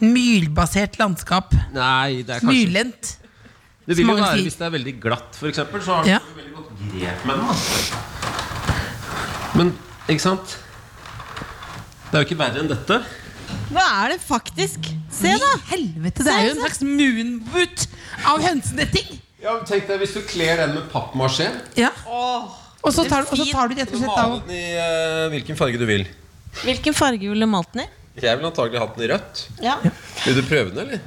S3: Myrbasert landskap.
S5: Nei, det er kanskje
S3: Myrlendt.
S5: Det vil jo
S3: mange
S5: være
S3: sier.
S5: hvis det er veldig glatt, for eksempel, så har
S3: Ja.
S5: du veldig godt grep med den. da. Men ikke sant? Det er jo ikke verre enn dette.
S4: Hva er det faktisk? Se, da!
S3: Helvete, det er jo en slags moonboot av hønsenetting!
S5: Ja, Tenk deg hvis du kler den med pappmasjé.
S3: Ja. Og så tar, og så tar du rett og slett av
S5: den i eh, hvilken farge du vil.
S4: Hvilken farge ville du malt den i?
S5: Jeg ville antagelig hatt den i rødt.
S4: Ja,
S5: Vil du prøve den, eller?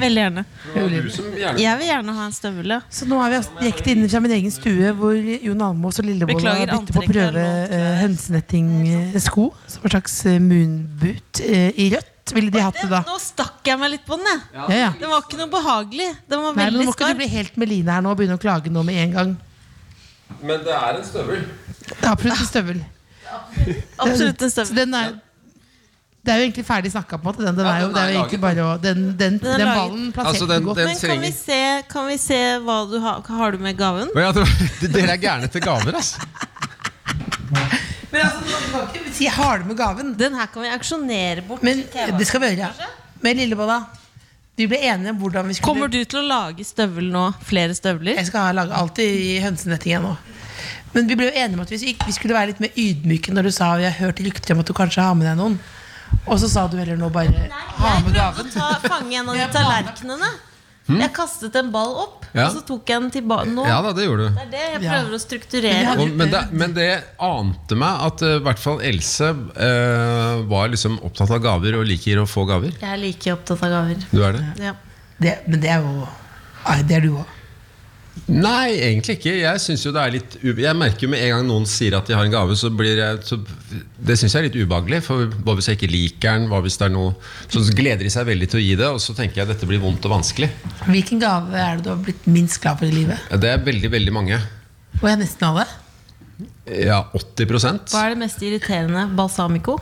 S4: Veldig gjerne.
S5: Det var du som gjerne
S4: Jeg vil gjerne ha en støvel. ja.
S3: Så nå er vi altså direkte inne fra min egen stue, hvor Jon Almaas og Lillebolla
S4: Beklager,
S3: bytter på å
S4: antrekket er
S3: prøve
S4: lånt.
S3: eh, hønsenettingsko som en slags eh, moonboot eh, i rødt. Ville de hatt det da?
S4: Nå stakk jeg meg litt på den, jeg.
S3: Ja, ja.
S4: Den var ikke noe behagelig. Den var
S3: Nei, men
S4: veldig
S3: Nå må ikke du
S4: skarp.
S3: bli helt Meline her nå og begynne å klage nå med en gang.
S5: Men det er en støvel.
S3: Det er absolutt en støvel.
S4: Absolutt en
S3: Så
S4: støvel.
S3: den er, det er jo egentlig ferdig snakka på. en måte, Den, den,
S5: Ja,
S3: er jo,
S5: den
S3: det
S5: er
S3: er jo egentlig
S5: laget.
S3: bare å Den, den,
S4: er
S3: den
S4: laget.
S3: ballen plasserte
S5: Altså, den-
S3: du godt.
S5: den-
S4: Men kan vi,
S5: trenger-
S4: se, kan vi se hva du har, har du med gaven?
S5: <laughs> Dere er gærne til gaver, ass.
S3: Men altså, du kan ikke si har du med gaven.
S4: Den her kan vi auksjonere bort.
S3: Men
S4: til TV.
S3: det skal vi gjøre. Men Lillebolla, vi ble enige om hvordan vi skulle
S4: Kommer du til å lage støvel nå? Flere støvler?
S3: Jeg skal ha lage alltid i hønsenetting jeg nå. Men vi ble jo enige om at vi, ikke- vi skulle være litt mer ydmyke når du sa vi har hørt rykter om at du kanskje har med deg noen. Og så sa du heller nå bare ha
S4: Jeg
S3: med
S4: prøvde
S3: gaven. Hmm?
S4: å ta, fange en av de tallerkenene. Jeg kastet en ball opp,
S5: Ja.
S4: og så tok jeg den tilbake. Nå
S5: Ja da, det gjorde du.
S4: det er det jeg
S3: Ja.
S4: prøver å strukturere.
S5: Og, men, det, men det ante meg at eh, i hvert fall Else eh, var liksom opptatt av gaver og liker å få gaver.
S4: Jeg er like opptatt av gaver.
S5: Du er det?
S4: Ja.
S3: Det, men det er jo Nei, det er du òg.
S5: Nei, egentlig ikke. Jeg synes jo det er litt u Jeg merker jo med en gang noen sier at de har en gave, så blir jeg så, Det syns jeg er litt ubehagelig. For hva hvis jeg ikke liker den? Hva hvis det er noe Så gleder de seg veldig til å gi det, og så tenker jeg dette blir vondt og vanskelig.
S3: Hvilken gave er det du har blitt minst glad for i livet?
S5: Ja, Det er veldig, veldig mange.
S3: Og jeg er nesten alle.
S5: Ja, 80
S4: Hva er det mest irriterende? Balsamico?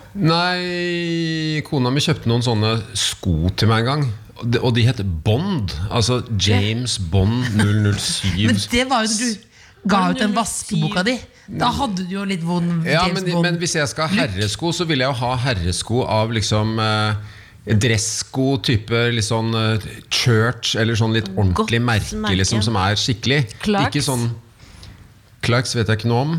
S5: Nei, kona mi kjøpte noen sånne sko til meg en gang. Og de- Og de heter Bond. Altså James Bond 007.
S3: Men det var jo når du ga ut den vaskeboka di. Da hadde du jo litt vond
S5: ja,
S3: James
S5: men,
S3: Bond.
S5: men hvis jeg skal ha herresko, så vil jeg jo ha herresko av liksom eh, Dressko, type litt sånn eh, church, eller sånn litt ordentlig
S4: Godt
S5: merke,
S4: merke.
S5: liksom, som er skikkelig.
S4: Clarks?
S5: Ikke sånn Clarks vet jeg ikke noe om.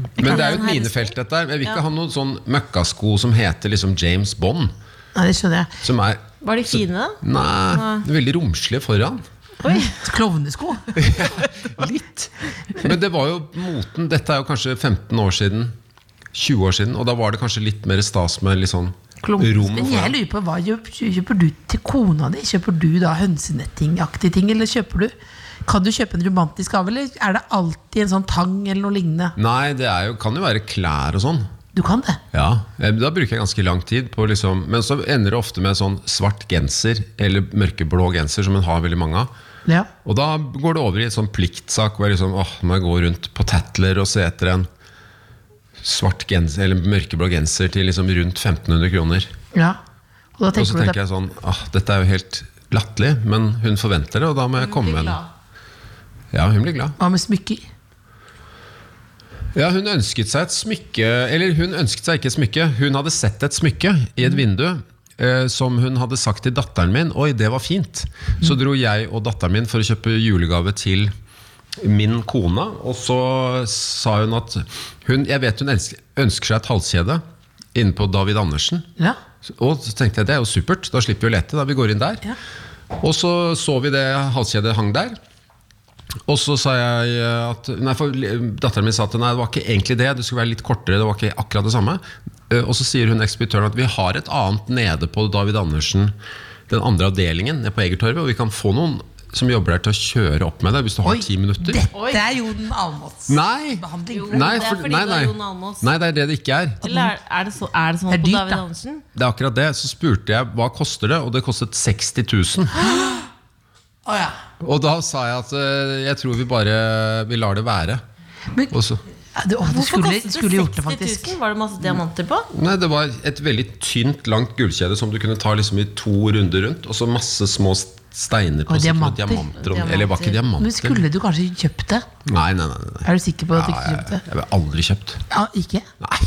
S5: Men
S4: Kan
S5: det
S4: jeg
S5: er
S4: ha en
S5: jo et
S4: herresko?
S5: minefelt, dette her. Jeg vil
S4: Ja.
S5: ikke ha noen sånn møkkasko som heter liksom James Bond.
S3: Nei, det skjønner jeg. Mm.
S5: Som er
S4: Var de fine, da?
S5: Nei,
S4: Nei.
S5: det er veldig romslige foran. <laughs>
S3: Klovnesko.
S5: Litt. Men det var jo moten. Dette er jo kanskje 15 år siden. 20 år siden. Og da var det kanskje litt mer stas med litt sånn rom
S4: Klumpete.
S3: Men jeg
S5: foran.
S3: lurer på, hva kjøper, kjøper du til kona di? Kjøper du da hønsenettingaktige ting, eller kjøper du Kan du kjøpe en romantisk gave, eller er det alltid en sånn tang eller noe lignende?
S5: Nei, det er jo, kan jo være klær og sånn.
S3: Du kan det.
S5: Ja, eh, Da bruker jeg ganske lang tid på liksom Men så ender det ofte med sånn svart genser eller mørkeblå genser, som hun har veldig mange av.
S3: Ja.
S5: Og da går det over i en sånn pliktsak hvor jeg liksom, åh, må jeg gå rundt på Tatler og se etter en svart genser, eller mørkeblå genser til liksom rundt 1500 kroner.
S3: ja. Og da
S5: Og
S3: tenker
S5: så
S3: du
S5: tenker
S3: det.
S5: jeg sånn ah, Dette er jo helt latterlig, men hun forventer det, og da må jeg komme med noe. Ja, hun blir glad.
S3: Hva med smykker?
S5: Ja, Hun ønsket seg et smykke Eller hun ønsket seg ikke et smykke. Hun hadde sett et smykke i et vindu eh, som hun hadde sagt til datteren min. Oi, det var fint. Så dro jeg og datteren min for å kjøpe julegave til min kone, og så sa hun at hun, Jeg vet hun elsker, ønsker seg et halskjede inne på David Andersen.
S3: Ja.
S5: Og så tenkte jeg det er jo supert, da slipper vi å lete. da vi går inn der
S3: Ja.
S5: Og så så vi det halskjedet hang der. Og så sa jeg eh, at Nei, for datteren min sa at nei, det var ikke egentlig det. Det skulle være litt kortere. det var ikke akkurat det samme Eh, Og så sier hun ekspeditøren at vi har et annet nede på David Andersen, den andre avdelingen nede på Egertorvet, og vi kan få noen som jobber der, til å kjøre opp med deg hvis du har ti minutter.
S3: Dette er Jon Almås.
S5: Nei!
S3: Behandling.
S4: Jo.
S5: Nei,
S4: det er
S5: for,
S4: fordi
S5: nei,
S4: du er
S5: nei.
S4: Jon Almaas.
S5: nei, det er det det ikke er.
S4: Eller er, er det så, er det sånn
S3: Det er
S4: på
S3: dyrt,
S4: David
S3: da.
S4: Andersen?
S5: Det er akkurat det. Så spurte jeg hva koster det, og det kostet 60 000.
S3: Å, ja.
S5: Og da sa jeg at eh, jeg tror vi bare vi lar det være.
S3: Men-
S5: Og så,
S3: Ja, du, å, du
S4: Hvorfor
S3: skulle,
S4: kostet
S3: skulle gjort det,
S4: 60 000?
S3: faktisk.
S4: Var det masse diamanter på?
S5: nei, det var et veldig tynt, langt gullkjede som du kunne ta liksom i to runder rundt, og så masse små s- steiner på.
S3: Og
S5: så kunne
S3: diamanter.
S5: diamanter om, eller var ikke
S3: Men
S5: diamanter.
S3: skulle du kanskje kjøpt det?
S5: Nei, nei, nei. nei.
S3: Er du sikker på at du ikke
S5: Ja, jeg,
S3: kjøpte det?
S5: jeg ville aldri kjøpt.
S3: Ja, ikke?
S5: Nei,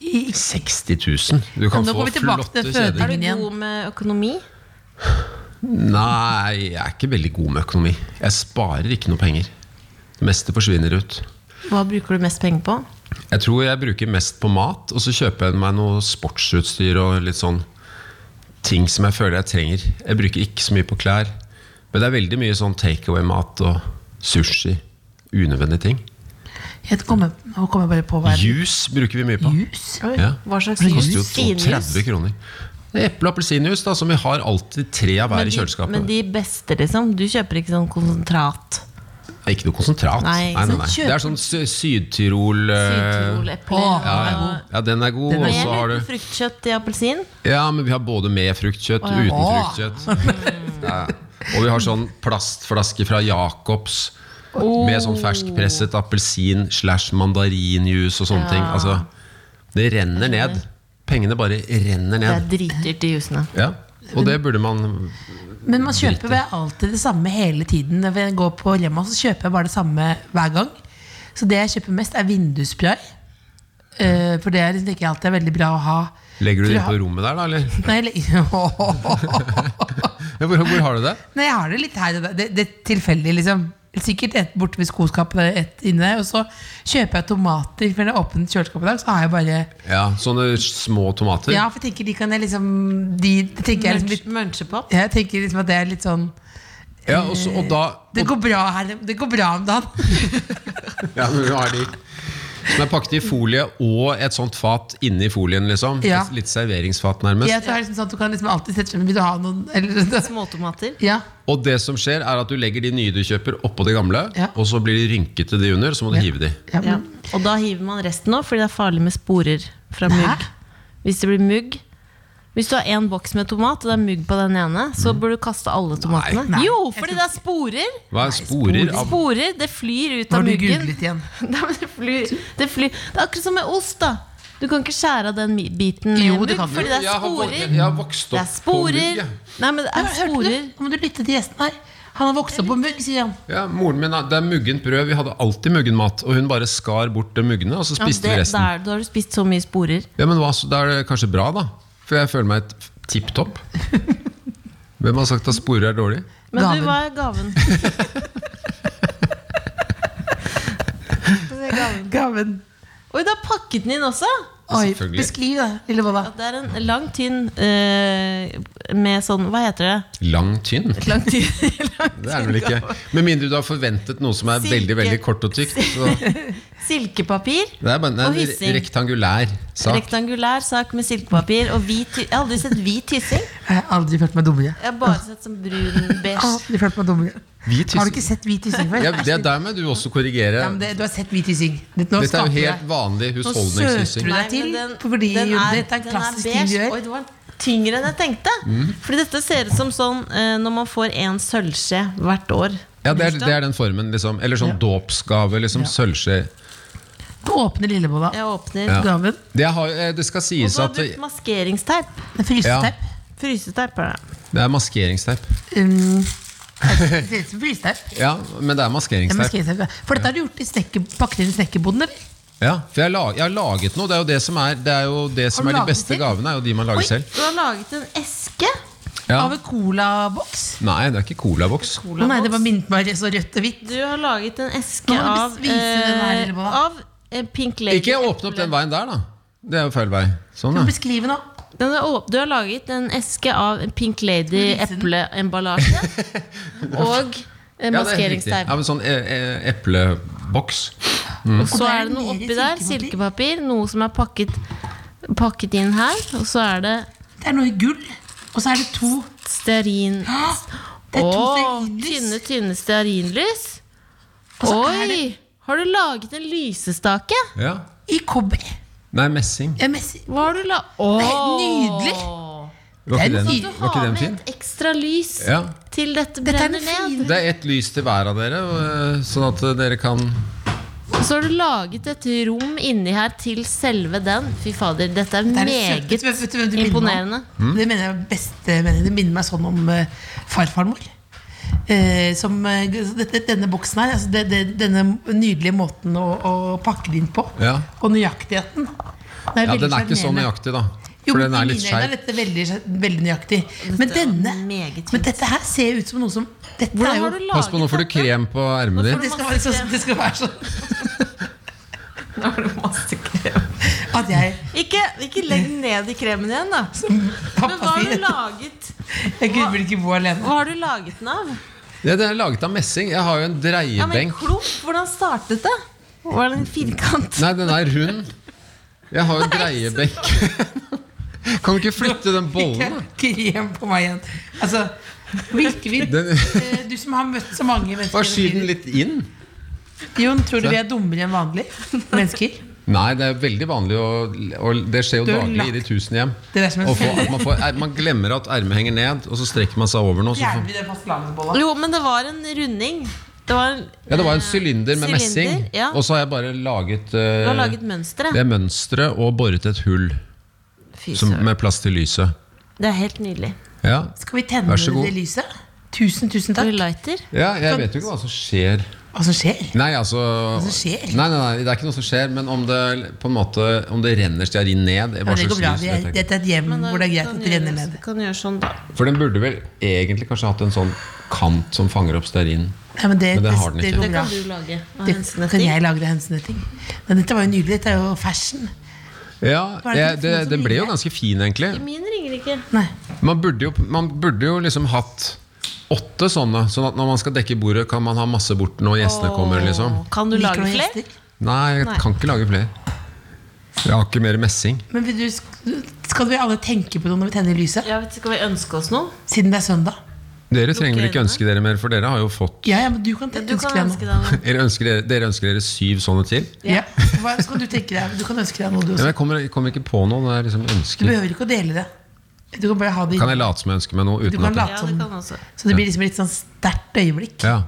S3: I-
S5: 60 000. Du kan
S3: Nå
S5: få
S3: går vi tilbake
S5: flotte
S3: til
S5: kjeder.
S4: Er du
S3: Ingen.
S4: god med økonomi?
S5: Nei, jeg er ikke veldig god med økonomi. Jeg sparer ikke noe penger. Det meste forsvinner ut.
S4: Hva bruker du mest penger på?
S5: Jeg tror jeg bruker mest på mat, og så kjøper jeg meg noe sportsutstyr og litt sånn ting som jeg føler jeg trenger. Jeg bruker ikke så mye på klær. Men det er veldig mye sånn takeaway-mat og sushi. Unødvendige ting.
S3: Jeg kommer, nå kommer jeg bare på hva er
S5: Juice bruker vi mye på.
S3: Jus?
S5: Ja.
S4: Hva slags
S5: Det koster jo
S4: jus? Finjus?
S5: 32 kroner. Det er Eple- og appelsinjuice, da, som vi har alltid tre av hver
S4: Men
S5: i
S4: de,
S5: kjøleskapet.
S4: men de beste, liksom? Du kjøper ikke sånn konsentrat?
S5: Det er Ikke noe konsentrat.
S4: Nei,
S5: Nei,
S4: ikke
S5: nei, nei,
S4: sant?
S5: Det er sånn sy- Syd-Tyrol eh,
S4: Sydtyrol, epler
S3: Åh,
S5: Ja,
S4: og-
S5: ja. ja, den er god.
S3: Den er
S5: Og
S4: Men jeg
S5: så har
S4: lurer på
S5: du
S4: fruktkjøtt i appelsin.
S5: Ja, men vi har både med fruktkjøtt og uten
S3: Åh.
S5: fruktkjøtt. Ja. Og vi har sånn plastflaske fra Jacobs med sånn ferskpresset appelsin slash mandarinjuice og sånne ting. Altså, det renner ned. Pengene bare renner
S4: Det er
S5: ned.
S4: dritdyrt, de jusene.
S5: Ja. Og det burde man
S3: Men man kjøper vel alltid det samme hele tiden. Når jeg går på Rema, så kjøper jeg bare det samme hver gang. Så det jeg kjøper mest, er vindusspray. Eh, for det er- tenker jeg alltid er veldig bra å ha.
S5: Legger du
S3: For
S5: det inn på
S3: jeg-
S5: rommet der, da? Eller?
S3: Nei, eller-
S5: Ja, Hvor, hvor har du det?
S3: <laughs> Nei, jeg har det litt her og der. Det, det er tilfeldig, liksom. Sikkert et borte ved skoskapet, et inne. Og så kjøper jeg tomater. For når jeg åpner kjøleskapet i dag, så har jeg bare
S5: Ja, Sånne små tomater?
S3: Ja, for jeg tenker de kan jeg liksom De det tenker jeg liksom litt
S4: Munchepop.
S3: Jeg tenker liksom at det er litt sånn
S5: Ja, og, så, og da
S3: Det går bra her, det går bra om
S5: <laughs>
S3: dagen.
S5: Ja, men du har de Som er pakket i folie og et sånt fat inni folien, liksom.
S3: Ja.
S5: Et litt serveringsfat, nærmest.
S3: Jeg tror det er liksom sånn at Du kan liksom alltid sette frem Vil du ha noen eller, sånn,
S4: Småtomater.
S3: Ja,
S5: Og det som skjer, er at du legger de nye du kjøper, oppå de gamle,
S3: Ja.
S5: og så blir de rynkete, de under, så må du hive de.
S3: ja,
S4: Ja.
S3: men,
S4: Og da hiver man resten òg, fordi det er farlig med sporer fra mugg. Hvis det blir mugg Hvis du har én boks med tomat, og det er mugg på den ene,
S5: Mm.
S4: så bør du kaste alle tomatene.
S3: Nei.
S4: Jo, fordi det er sporer!
S5: Hva er sporer av
S4: Sporer, Det flyr
S3: Nå
S4: ut av
S3: har du
S4: muggen.
S3: googlet igjen
S4: <laughs> Nei, men det, flyr, det, flyr. det er akkurat som med ost, da. Du kan ikke skjære av den mi- biten med
S3: Jo, det
S4: mugg,
S3: kan du.
S4: fordi det er
S5: Jeg har vok-
S4: sporer.
S5: jeg har
S4: Det
S5: vokst opp
S4: er sporer.
S5: på mugg.
S4: Nei, men det
S3: Hørte
S4: er
S3: du?
S4: sporer.
S3: Nå må du lytte til gjesten her Han har vokst opp på mugg, sier han
S5: Ja, moren min, Det er muggent brød. Vi hadde alltid muggen mat. Og hun bare skar bort det muggene, og så
S4: Ja,
S5: spiste
S4: det,
S5: vi resten.
S4: der, da har du spist så mye sporer.
S5: Ja, men hva, så Da er det kanskje bra, da. For jeg føler meg et tipp topp. Hvem har sagt at sporer er dårlig?
S4: Men
S3: Gaven.
S4: du, hva er gaven? Få se gaven.
S3: Gaven
S4: Oi, du har pakket den inn også!
S3: Oi,
S5: Selvfølgelig.
S3: beskriv det, lille Bolla
S4: Det er en lang, tynn eh, med sånn Hva heter det?
S5: Lang, tynn?
S4: Lang, tynn,
S5: Det er det vel ikke. Med mindre du har forventet noe som er
S4: Silke.
S5: veldig veldig kort og tykt. Så det
S4: Silkepapir.
S5: er bare
S4: Og
S5: en
S4: hyssing.
S5: rektangulær sak.
S4: Rektangulær sak med silkepapir og hvit ty- Jeg har aldri sett hvit hyssing.
S3: Jeg har aldri følt meg dummere
S4: Jeg har bare sett sånn brun, beige.
S3: Aldri følt meg dummere
S5: Hvit
S3: Har du
S5: hyssing.
S3: ikke sett hvit hyssing før?
S5: Ja, det er der må du også korrigere.
S3: Ja, men det, du har sett hvit hyssing Dette
S5: Dette er jo helt vanlig
S3: Nå søter du
S5: husholdningshyssing.
S3: deg
S4: Nei, men
S3: til Fordi
S4: den
S3: Jon,
S4: er-
S3: dette er en
S4: den
S3: klassisk
S4: beige.
S3: ting du
S4: Oi,
S3: gjør
S4: det var tyngre enn jeg tenkte.
S5: Mm.
S4: Fordi dette ser ut som sånn eh, når man får en sølvskje hvert år.
S5: Ja, det er, det er den formen, liksom. Eller sånn dåpsgave, liksom. Sølvskje.
S3: Du åpner lille Bolla
S4: Jeg åpner.
S5: Ja.
S3: Gaven
S5: Det, har, eh, det skal
S4: Og
S5: sies
S4: så har
S5: at
S4: du
S5: det
S4: brukt maskeringsteip.
S3: En frystepp
S4: Fryseteip er det.
S5: det er maskeringsteip.
S4: <laughs>
S3: um, Det ser ut som frystepp
S5: Ja, men det
S3: Ja,
S5: er
S3: men skal
S5: maskeringsteip.
S3: jeg si det? For dette har du gjort i snekker, pakket inn i snekkerboden, eller?
S5: Ja, for jeg har, la- jeg har laget noe. Det er jo det som er, det er, jo det som
S3: Har du
S5: er de
S3: laget
S5: beste
S3: selv?
S5: gavene, er jo de man
S4: Oi,
S5: lager selv.
S4: du har laget en eske.
S5: Ja.
S3: Av en colaboks?
S5: Nei, det er ikke colaboks.
S3: Å nei, det bare minnet meg så rødt og hvitt.
S4: Du har laget en eske
S3: Nå må du
S4: av,
S3: vise den her,
S4: eh,
S3: eller hva?
S4: av eh, Pink Lady.
S5: Ikke åpne opp den veien der, da. Det er jo feil vei. Sånn, ja.
S3: Beskriv nå.
S4: Den er åp- du har laget en eske av Pink Lady-epleemballasje.
S5: <laughs>
S4: og eh,
S5: Ja, det er helt riktig.
S4: maskeringsteip.
S5: Ja, men sånn eh, eh, epleboks.
S4: Og så
S3: det er
S4: er det noe
S3: mer
S4: oppi der.
S3: silkepapir.
S4: Silkepapir. Noe som er pakket, pakket inn her. Og så er det
S3: Det er noe i gull, og så er det to
S4: stearin...
S3: Hå! <gasps> Det er to
S4: Å, tynne,
S3: stearinlys.
S4: tynne stearinlys.
S3: så er
S4: Oi!
S3: det-
S4: Har du laget en lysestake?
S5: Ja.
S3: I kobber.
S5: Nei, messing.
S3: Ja, men si-
S4: Hva har du la... Å!
S3: nydelig.
S5: Var
S3: Den
S5: ikke
S4: Så
S5: den,
S4: du
S5: var ikke
S4: har
S5: den
S4: med
S5: fin?
S4: et ekstra lys
S5: Ja.
S4: til dette
S3: Dette er
S4: brenner
S3: det
S4: ned.
S3: fine.
S5: Det er ett lys til hver av dere, og, eh, sånn at eh, dere kan
S4: Så har du laget et rom inni her til selve den. Fy fader, dette er,
S3: Det er det søteste.
S4: meget
S3: Vet du hvem du minner meg om?
S4: imponerende.
S3: Det mener jeg er beste meningen. Det minner meg sånn om eh, farfaren vår. Eh, som, eh, så dette, denne boksen her, altså det, det, denne nydelige måten å, å pakke det inn på,
S5: Ja.
S3: og nøyaktigheten Det
S5: Ja,
S3: veldig
S5: den er ikke så
S3: sjarmerende.
S5: nøyaktig, da.
S3: Jo,
S5: For den
S3: men
S5: er
S3: i
S5: litt
S3: mine øyne er
S5: skeiv.
S3: dette veldig, veldig nøyaktig. Men denne
S4: meget
S3: Men dette her ser ut som noe som Dette
S4: Hvordan
S3: er jo
S4: har du
S5: Pass på, nå
S4: laget
S5: får du
S4: dette?
S5: krem på ermet
S4: Nå får du-
S5: ditt.
S3: det skal, være så, det skal være sånn
S4: <laughs> Nå har du masse krem.
S3: at jeg
S4: Ikke, ikke legg den ned i kremen igjen, da. Men
S3: Pappa
S4: hva har du
S3: sier
S4: laget?
S3: Jeg kunne vel ikke bo alene.
S4: Hva har du laget den av?
S5: Ja, den er laget av messing. Jeg har jo en
S4: Ja, men
S5: dreiebenk.
S4: klump, hvordan startet det? Var det en firkant?
S5: Nei, den er rund. Jeg har jo en dreiebenk. <laughs> Kan du ikke flytte den bollen, da?
S3: Krem på meg igjen. Altså, virkelig.
S5: Den,
S3: Eh, Du som har møtt så mange mennesker
S5: bare skyv
S3: i
S5: den
S3: livet.
S5: litt inn.
S3: Jon, tror du vi er dummere enn vanlige mennesker?
S5: Nei, det er veldig vanlig, og, og det skjer jo
S3: Du har
S5: daglig i de
S3: lagt-
S5: tusen hjem.
S3: Det er som en
S5: Og få- at man, får, er- man glemmer at ermet henger ned, og så strekker man seg over nå. Så
S3: Gjerne
S5: får,
S3: vi det fastelavnsbolla.
S4: Jo, men det var en runding. Det var en,
S5: ja, det var en sylinder med
S4: Sylinder,
S5: messing,
S4: ja.
S5: og så har jeg bare laget,
S4: Du har
S5: uh,
S4: laget mønsteret.
S5: det mønsteret og boret et hull
S4: Fy
S5: som,
S4: søren.
S5: med plass til lyset.
S4: Det er helt nydelig.
S5: Ja.
S3: Skal vi
S5: Vær
S3: tenne
S5: så god.
S3: det lyset? Tusen, tusen
S4: Har
S3: takk.
S4: du lighter?
S5: ja, jeg vet jo ikke hva som skjer.
S3: Hva som skjer?
S5: Nei, altså
S3: som skjer?
S5: Nei, nei, nei, det er ikke noe som skjer, men om det, på en måte, om det renner stearin ned
S3: Ja,
S5: hva
S3: det
S5: slags
S3: går bra.
S5: lys,
S3: Vi
S5: vet
S3: er,
S5: jeg ikke.
S3: dette er et hjem
S4: Men da-
S3: hvor det er greit
S4: kan
S3: at
S4: du
S3: det renner
S4: gjøre-
S3: ned.
S4: Kan du gjøre sånn, da.
S5: For den burde vel egentlig kanskje hatt en sånn kant som fanger opp stearin.
S3: Nei, men det,
S5: Men det har den ikke.
S3: går
S4: Det
S3: bra.
S4: kan du lage. av
S3: Det kan
S4: hensenetting.
S3: jeg lage det hensenetting. Men dette var jo nydelig. Dette er jo fashion.
S5: Ja,
S3: Hva er det
S5: jeg,
S3: for
S5: det,
S3: noe som
S5: den ble jo
S3: ringer?
S5: ganske fin, egentlig.
S4: Min ringer ikke.
S3: Nei.
S5: Man burde jo, man burde jo liksom hatt åtte sånne, sånn at når man skal dekke bordet, kan man ha masse bort når gjestene kommer. liksom
S4: Åh, Kan du
S3: Liker
S4: lage
S3: du noen
S4: flere?
S3: gjester?
S5: Nei, jeg
S4: Nei.
S5: kan ikke lage flere. Jeg har ikke mer messing.
S3: Men vil du, skal vi alle tenke på noe når vi tenner lyset?
S4: Jeg vet, ikke, skal vi ønske oss noe?
S3: Siden det er søndag.
S5: Dere trenger vel ikke
S4: øynene.
S5: ønske dere mer, for dere har jo fått
S3: Ja, ja, men du kan
S4: Du
S3: ønske
S4: kan
S3: deg
S4: ønske deg
S3: noe. <laughs>
S4: noe.
S5: Dere ønsker dere, dere ønsker dere syv sånne til?
S3: Ja. Hva skal du tenke deg? Du kan ønske deg noe, du
S5: Ja, men
S3: også.
S5: jeg, kommer, jeg kommer ikke på noe. Det er liksom
S3: Du
S5: ønsker.
S3: behøver ikke å dele det. Du kan bare ha det
S5: Kan jeg
S3: inne.
S5: late som jeg ønsker meg noe
S3: Du
S5: uten
S3: kan
S5: at
S3: late
S4: Ja,
S3: som.
S4: det kan også.
S3: Så det blir liksom litt sånn sterkt øyeblikk.
S5: ja.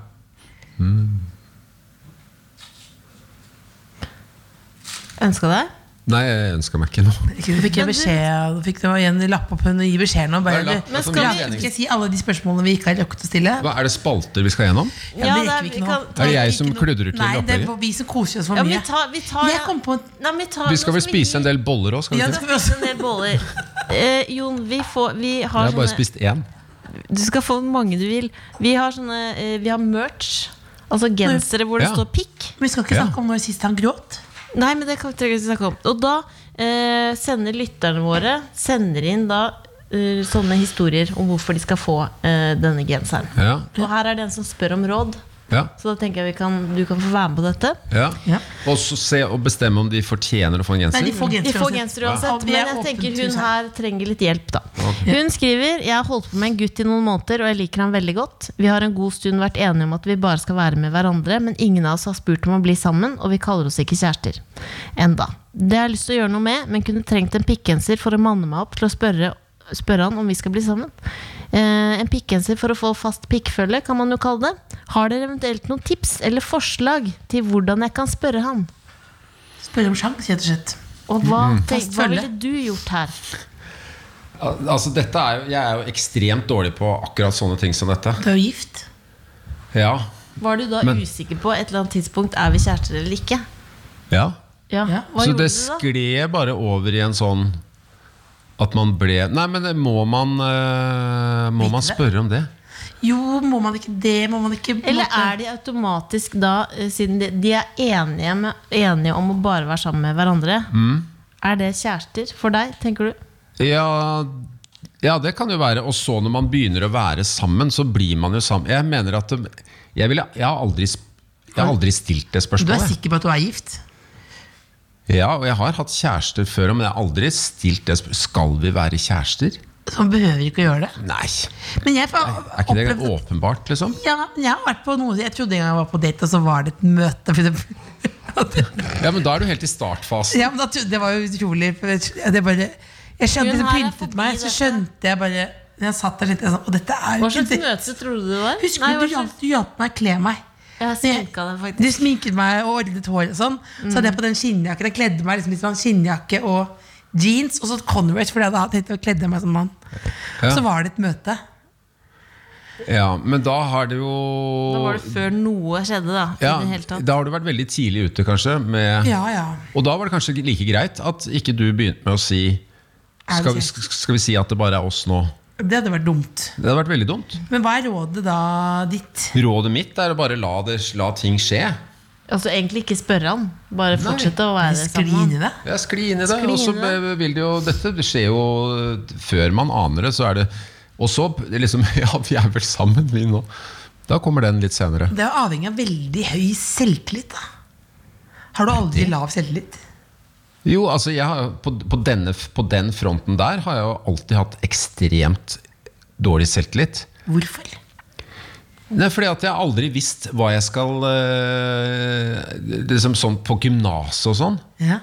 S4: Ønska deg?
S5: Nei, jeg ønsker meg ikke noe.
S3: Ikke, Nå fikk jeg
S4: Men du-
S3: beskjed Nå fikk det var igjen lapp opp hun og gi beskjed nå. Bare,
S5: Nei, lapp,
S3: du,
S5: Men
S4: skal
S3: skal,
S4: vi-
S3: vi, skal jeg si alle de spørsmålene vi ikke har rukket å stille?
S5: Hva, er det spalter vi skal gjennom?
S3: Ja, det rekker vi ikke nå.
S5: Er det jeg som
S3: Ikke noe-
S5: kludrer til
S3: Nei, det
S5: opplegget?
S3: var vi som koser oss for
S4: Ja, men
S3: mye.
S4: vi tar, vi tar
S3: Jeg kom på en-
S4: Nei, men vi tar,
S5: Vi skal
S4: nå
S5: vel spise en del boller òg?
S3: Ja,
S5: Ja,
S3: det skal vi også.
S4: en del boller. Eh, Jon, vi, får, vi
S5: jeg
S4: har
S5: har bare
S4: sånne
S5: spist én.
S4: Du skal få hvor mange du vil. Vi har sånne eh, Vi har merch. Altså gensere hvor det
S5: Ja.
S4: står pikk.
S3: Men vi skal ikke
S5: Ja.
S3: snakke om når sist han gråt.
S4: Nei, men det kan vi trenger vi ikke snakke om. Og da eh, sender lytterne våre Sender inn da eh, sånne historier om hvorfor de skal få eh, denne genseren.
S5: Ja,
S4: Og her er det en som spør om råd,
S5: ja,
S4: så da tenker jeg vi kan, du kan få være med på dette.
S5: ja.
S3: Ja.
S5: Og så se og bestemme om de fortjener å få
S3: Nei,
S5: en genser.
S3: de får
S4: Vi
S3: genser
S4: får
S3: uansett.
S4: genser
S3: Ja,
S4: uansett,
S3: vi
S4: men
S3: er
S4: jeg
S3: åpent
S4: tenker
S3: hus
S4: hun
S3: her.
S4: her trenger litt hjelp, da. Hun skriver Jeg har holdt på med en gutt i noen måneder, og jeg liker ham veldig godt. Vi har en god stund vært enige om at vi bare skal være med hverandre, men ingen av oss har spurt om å bli sammen, og vi kaller oss ikke kjærester. Enda. Det har jeg lyst til å gjøre noe med, men kunne trengt en pikkgenser for å manne meg opp til å spørre, spørre han om vi skal bli sammen. Eh, en pikkgenser for å få fast pikkfølge, kan man jo kalle det. Har dere eventuelt noen tips eller forslag til hvordan jeg kan spørre han?
S3: Spør om sjans, rett og slett.
S4: Og hva, tenk,
S3: Fast
S4: hva
S3: følge.
S4: ville du gjort her?
S5: Al- Altså, dette er jo, jeg er jo ekstremt dårlig på akkurat sånne ting som dette.
S3: Du er jo gift.
S5: Ja.
S4: Var du da
S5: Men-
S4: usikker på et eller annet tidspunkt er vi kjærester eller ikke?
S5: ja.
S4: Ja,
S3: Ja.
S4: Hva gjorde
S5: Så det
S4: du da?
S5: skled bare over i en sånn At man ble Nei, men det må man, eh, må man spørre om det?
S3: Jo, må man ikke det? Må man ikke på en
S4: Eller
S3: måte-
S4: er de automatisk da, eh, siden de, de er enige, med, enige om å bare være sammen med hverandre,
S5: Mm.
S4: er det kjærester for deg, tenker du?
S5: Ja, ja, det kan jo være. Og så når man begynner å være sammen, så blir man jo sammen. Jeg mener at det- Jeg, ville, jeg, har, aldri, sp- jeg har aldri stilt det
S3: Du er
S5: spørsmålet.
S3: sikker på at du er gift?
S5: Ja, og jeg har hatt kjærester før, men jeg har aldri stilt det spørsmålet. Skal vi være kjærester?
S3: Så man behøver ikke å gjøre det.
S5: Nei.
S3: Men jeg har
S5: Er ikke det
S3: opplevd-
S5: åpenbart, liksom?
S3: ja, men jeg har vært på noe Jeg trodde en gang jeg var på date, og så var det <laughs> et møte. For det,
S5: Ja, men da er du helt i startfasen.
S3: ja, men da, trodde- det var jo utrolig. for Jeg, det bare, jeg skjønte
S4: Hun
S3: det
S4: her er
S3: pyntet
S4: forbi
S3: meg, så
S4: dette.
S3: skjønte jeg bare Når jeg satt der litt, jeg sa, Og dette er jo
S4: Hva
S3: ikke
S4: slags
S3: det-
S4: møte trodde du det var?
S3: Husker
S4: Nei,
S3: du
S4: hva
S3: du hjalp
S4: slags-
S3: du hjalp meg å kle meg?
S4: Jeg har sminka det, faktisk.
S3: Du Altså, sminket meg og ordnet hår og sånn. Så hadde jeg på den skinnjakken. Jeg kledde meg liksom litt sånn skinnjakke og jeans, og så Conrad, fordi jeg hadde tenkt å kledde meg som mann.
S5: Ja.
S3: Så var det et møte.
S5: Ja, men da har det jo
S4: Da var det før noe skjedde, da.
S5: ja,
S4: i det hele tatt.
S5: Da har du vært veldig tidlig ute, kanskje. Med,
S3: Ja, ja.
S5: Og da var det kanskje like greit at ikke du begynte med å si
S3: Er
S5: skal,
S3: vi
S5: vi- sk- skal vi si at det bare er oss nå?
S3: Det hadde vært dumt.
S5: Det hadde vært veldig dumt.
S3: Men hva er rådet da ditt?
S5: Rådet mitt er å bare la, det, la ting skje.
S4: Altså egentlig ikke spørre han. Bare fortsette å være
S3: Skli
S4: sammen.
S3: inn i
S4: med han.
S3: det?
S5: Ja, skli inn i det.
S4: Skli
S5: Og så
S4: inn i det.
S5: be- vil det jo Dette skjer jo eh, før man aner det, så er det Og så liksom <laughs> Ja, vi er vel sammen, vi nå. Da kommer den litt senere.
S3: Det er jo avhengig av veldig høy selvtillit, da. Har du aldri lav selvtillit?
S5: Jo, altså jeg har, jo- på, på, denne, på den fronten der har jeg jo alltid hatt ekstremt dårlig selvtillit.
S3: Hvorfor?
S5: Nei, fordi at jeg har aldri visst hva jeg skal eh, Liksom sånn på gymnaset og sånn,
S3: Ja.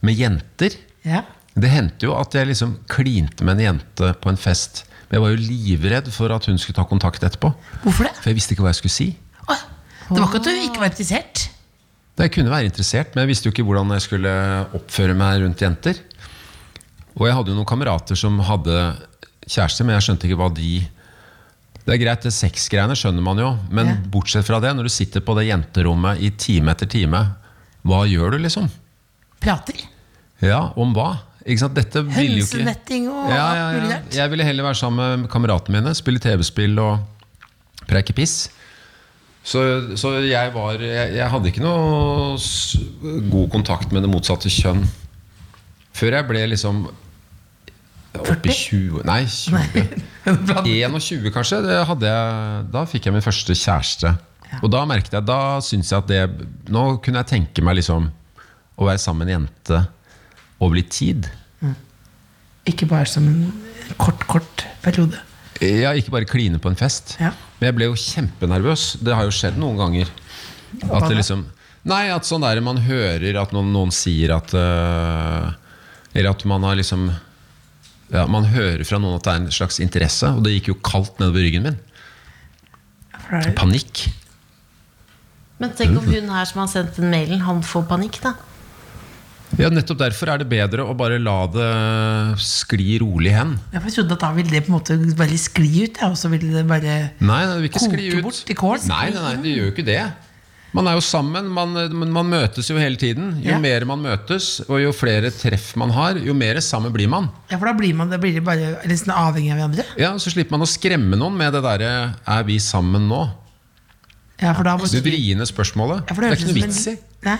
S5: med jenter.
S3: ja.
S5: Det hendte jo at jeg liksom klinte med en jente på en fest. Men jeg var jo livredd for at hun skulle ta kontakt etterpå.
S3: Hvorfor det?
S5: For jeg visste ikke hva jeg skulle si.
S3: Å, det var ikke at du ikke var interessert.
S5: Da jeg kunne være interessert, men jeg visste jo ikke hvordan jeg skulle oppføre meg rundt jenter. Og jeg hadde jo noen kamerater som hadde kjæreste, men jeg skjønte ikke hva de Det er greit, det sexgreiene skjønner man jo, men
S3: Ja.
S5: bortsett fra det, når du sitter på det jenterommet i time etter time, hva gjør du, liksom?
S3: Prater.
S5: Ja, om hva? Ikke sant? Dette ville jo ikke
S3: Hønsenetting og
S5: ja, ja,
S3: alt mulig
S5: ja.
S3: rart. <laughs>
S5: Jeg ville heller være sammen med kameratene mine, spille TV-spill og preike piss. Så, så jeg var jeg, jeg hadde ikke noe s- god kontakt med det motsatte kjønn før jeg ble liksom oppe i 20 Nei, 20. <laughs> 21 kanskje. Det hadde jeg, da fikk jeg min første kjæreste. Og da merket jeg, da syntes jeg at det Nå kunne jeg tenke meg liksom å være sammen med en jente over litt tid.
S3: Ikke bare som en kort, kort periode.
S5: Ja, ikke bare kline på en fest.
S3: Ja.
S5: Men jeg ble jo kjempenervøs. Det har jo skjedd noen ganger. At det liksom Nei, at sånn der man hører at noen, noen sier at øh, Eller at man har liksom ja, Man hører fra noen at det er en slags interesse, og det gikk jo kaldt nedover ryggen min.
S3: For det er-
S5: Panikk.
S4: Men tenk om hun her som har sendt den mailen, han får panikk, da.
S5: Ja, Nettopp derfor er det bedre å bare la det skli rolig hen.
S3: Jeg trodde at da ville det på en måte bare skli ut, ja, og så ville det bare
S5: Nei, det vil ikke
S3: Koke
S5: skli ut.
S3: bort i kål?
S5: Nei, nei, nei, det gjør jo ikke det. Man er jo sammen, man, men man møtes jo hele tiden. Jo
S3: Ja.
S5: mer man møtes, og jo flere treff man har, jo mer sammen blir man.
S3: Ja, for da blir man da blir det bare litt sånn avhengig av hverandre.
S5: Ja, Så slipper man å skremme noen med det derre 'er vi sammen nå?'
S3: Ja, for da må
S5: Det vriene spørsmålet.
S3: ja, for
S5: det, er
S3: høres
S5: ikke noe
S3: ut som en-
S5: vits i.
S3: Nei.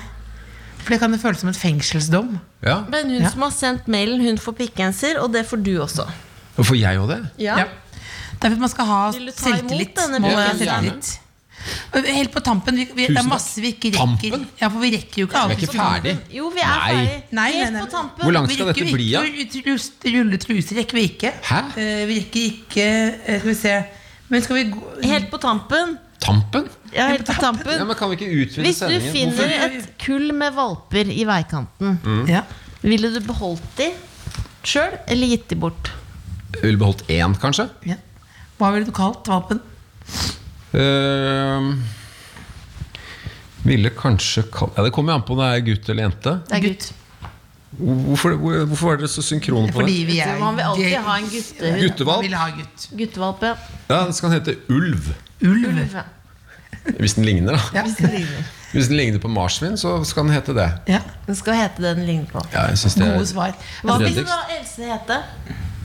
S3: For det kan jo føles som en fengselsdom.
S5: Ja.
S4: Men hun
S3: Ja.
S4: som har sendt mailen, hun får pikkgenser, og det får du også.
S5: Og får jeg jo det?
S3: Ja. altså, Derfor man skal ha
S4: Vil du ta imot
S3: selvtillit.
S4: denne
S3: Må ha
S5: pikken?
S3: selvtillit. Og Helt på tampen. Vi, vi, det er
S5: Tusen
S3: masse vi ikke rekker.
S5: Tampen?
S3: Ja, for vi rekker jo ikke alt.
S5: Vi er ikke ferdig.
S4: Jo, vi er
S5: Nei.
S4: ferdig.
S3: Nei, nei,
S4: Helt
S3: nei.
S4: på tampen.
S5: Hvor langt
S3: Vi
S5: skal
S3: rekker
S5: dette
S3: jo
S5: bli? Ja?
S3: ikke rust- Rulle truser rekker vi ikke.
S5: Hæ?
S3: Eh, Vi rekker ikke eh, Skal vi se Men skal vi gå
S4: Helt på tampen.
S5: Tampen?
S4: Ja, helt på
S5: Ja,
S4: tampen.
S5: men Kan vi ikke utvide
S4: Hvis du
S5: sendingen?
S4: finner
S5: Hvorfor? Mm.
S4: et kull med valper i veikanten,
S3: Ja.
S4: ville du beholdt de sjøl, eller gitt de bort?
S5: Jeg ville beholdt én, kanskje?
S3: ja. Hva ville du kalt valpen?
S5: Eh, ville kanskje kall- ja, Det kommer jo an på om det er gutt eller jente.
S4: Det er gutt.
S5: Hvorfor, hvor- hvorfor var dere så synkrone på
S3: Fordi
S5: det?
S3: vi er
S4: Man vil alltid ha en guttehund.
S5: Guttevalp?
S3: Vil ha gutt.
S4: Guttevalpe.
S5: Ja, den skal hete Ulv.
S3: Ulv.
S5: Hvis den ligner, da.
S3: Ja.
S5: Hvis den ligner på marsvin, så skal den hete det.
S3: Ja,
S4: Den skal hete det den ligner på.
S5: Ja, jeg synes det
S3: Gode
S5: er
S3: svar.
S4: Hva
S5: Fredriksen.
S4: ville da Else hete?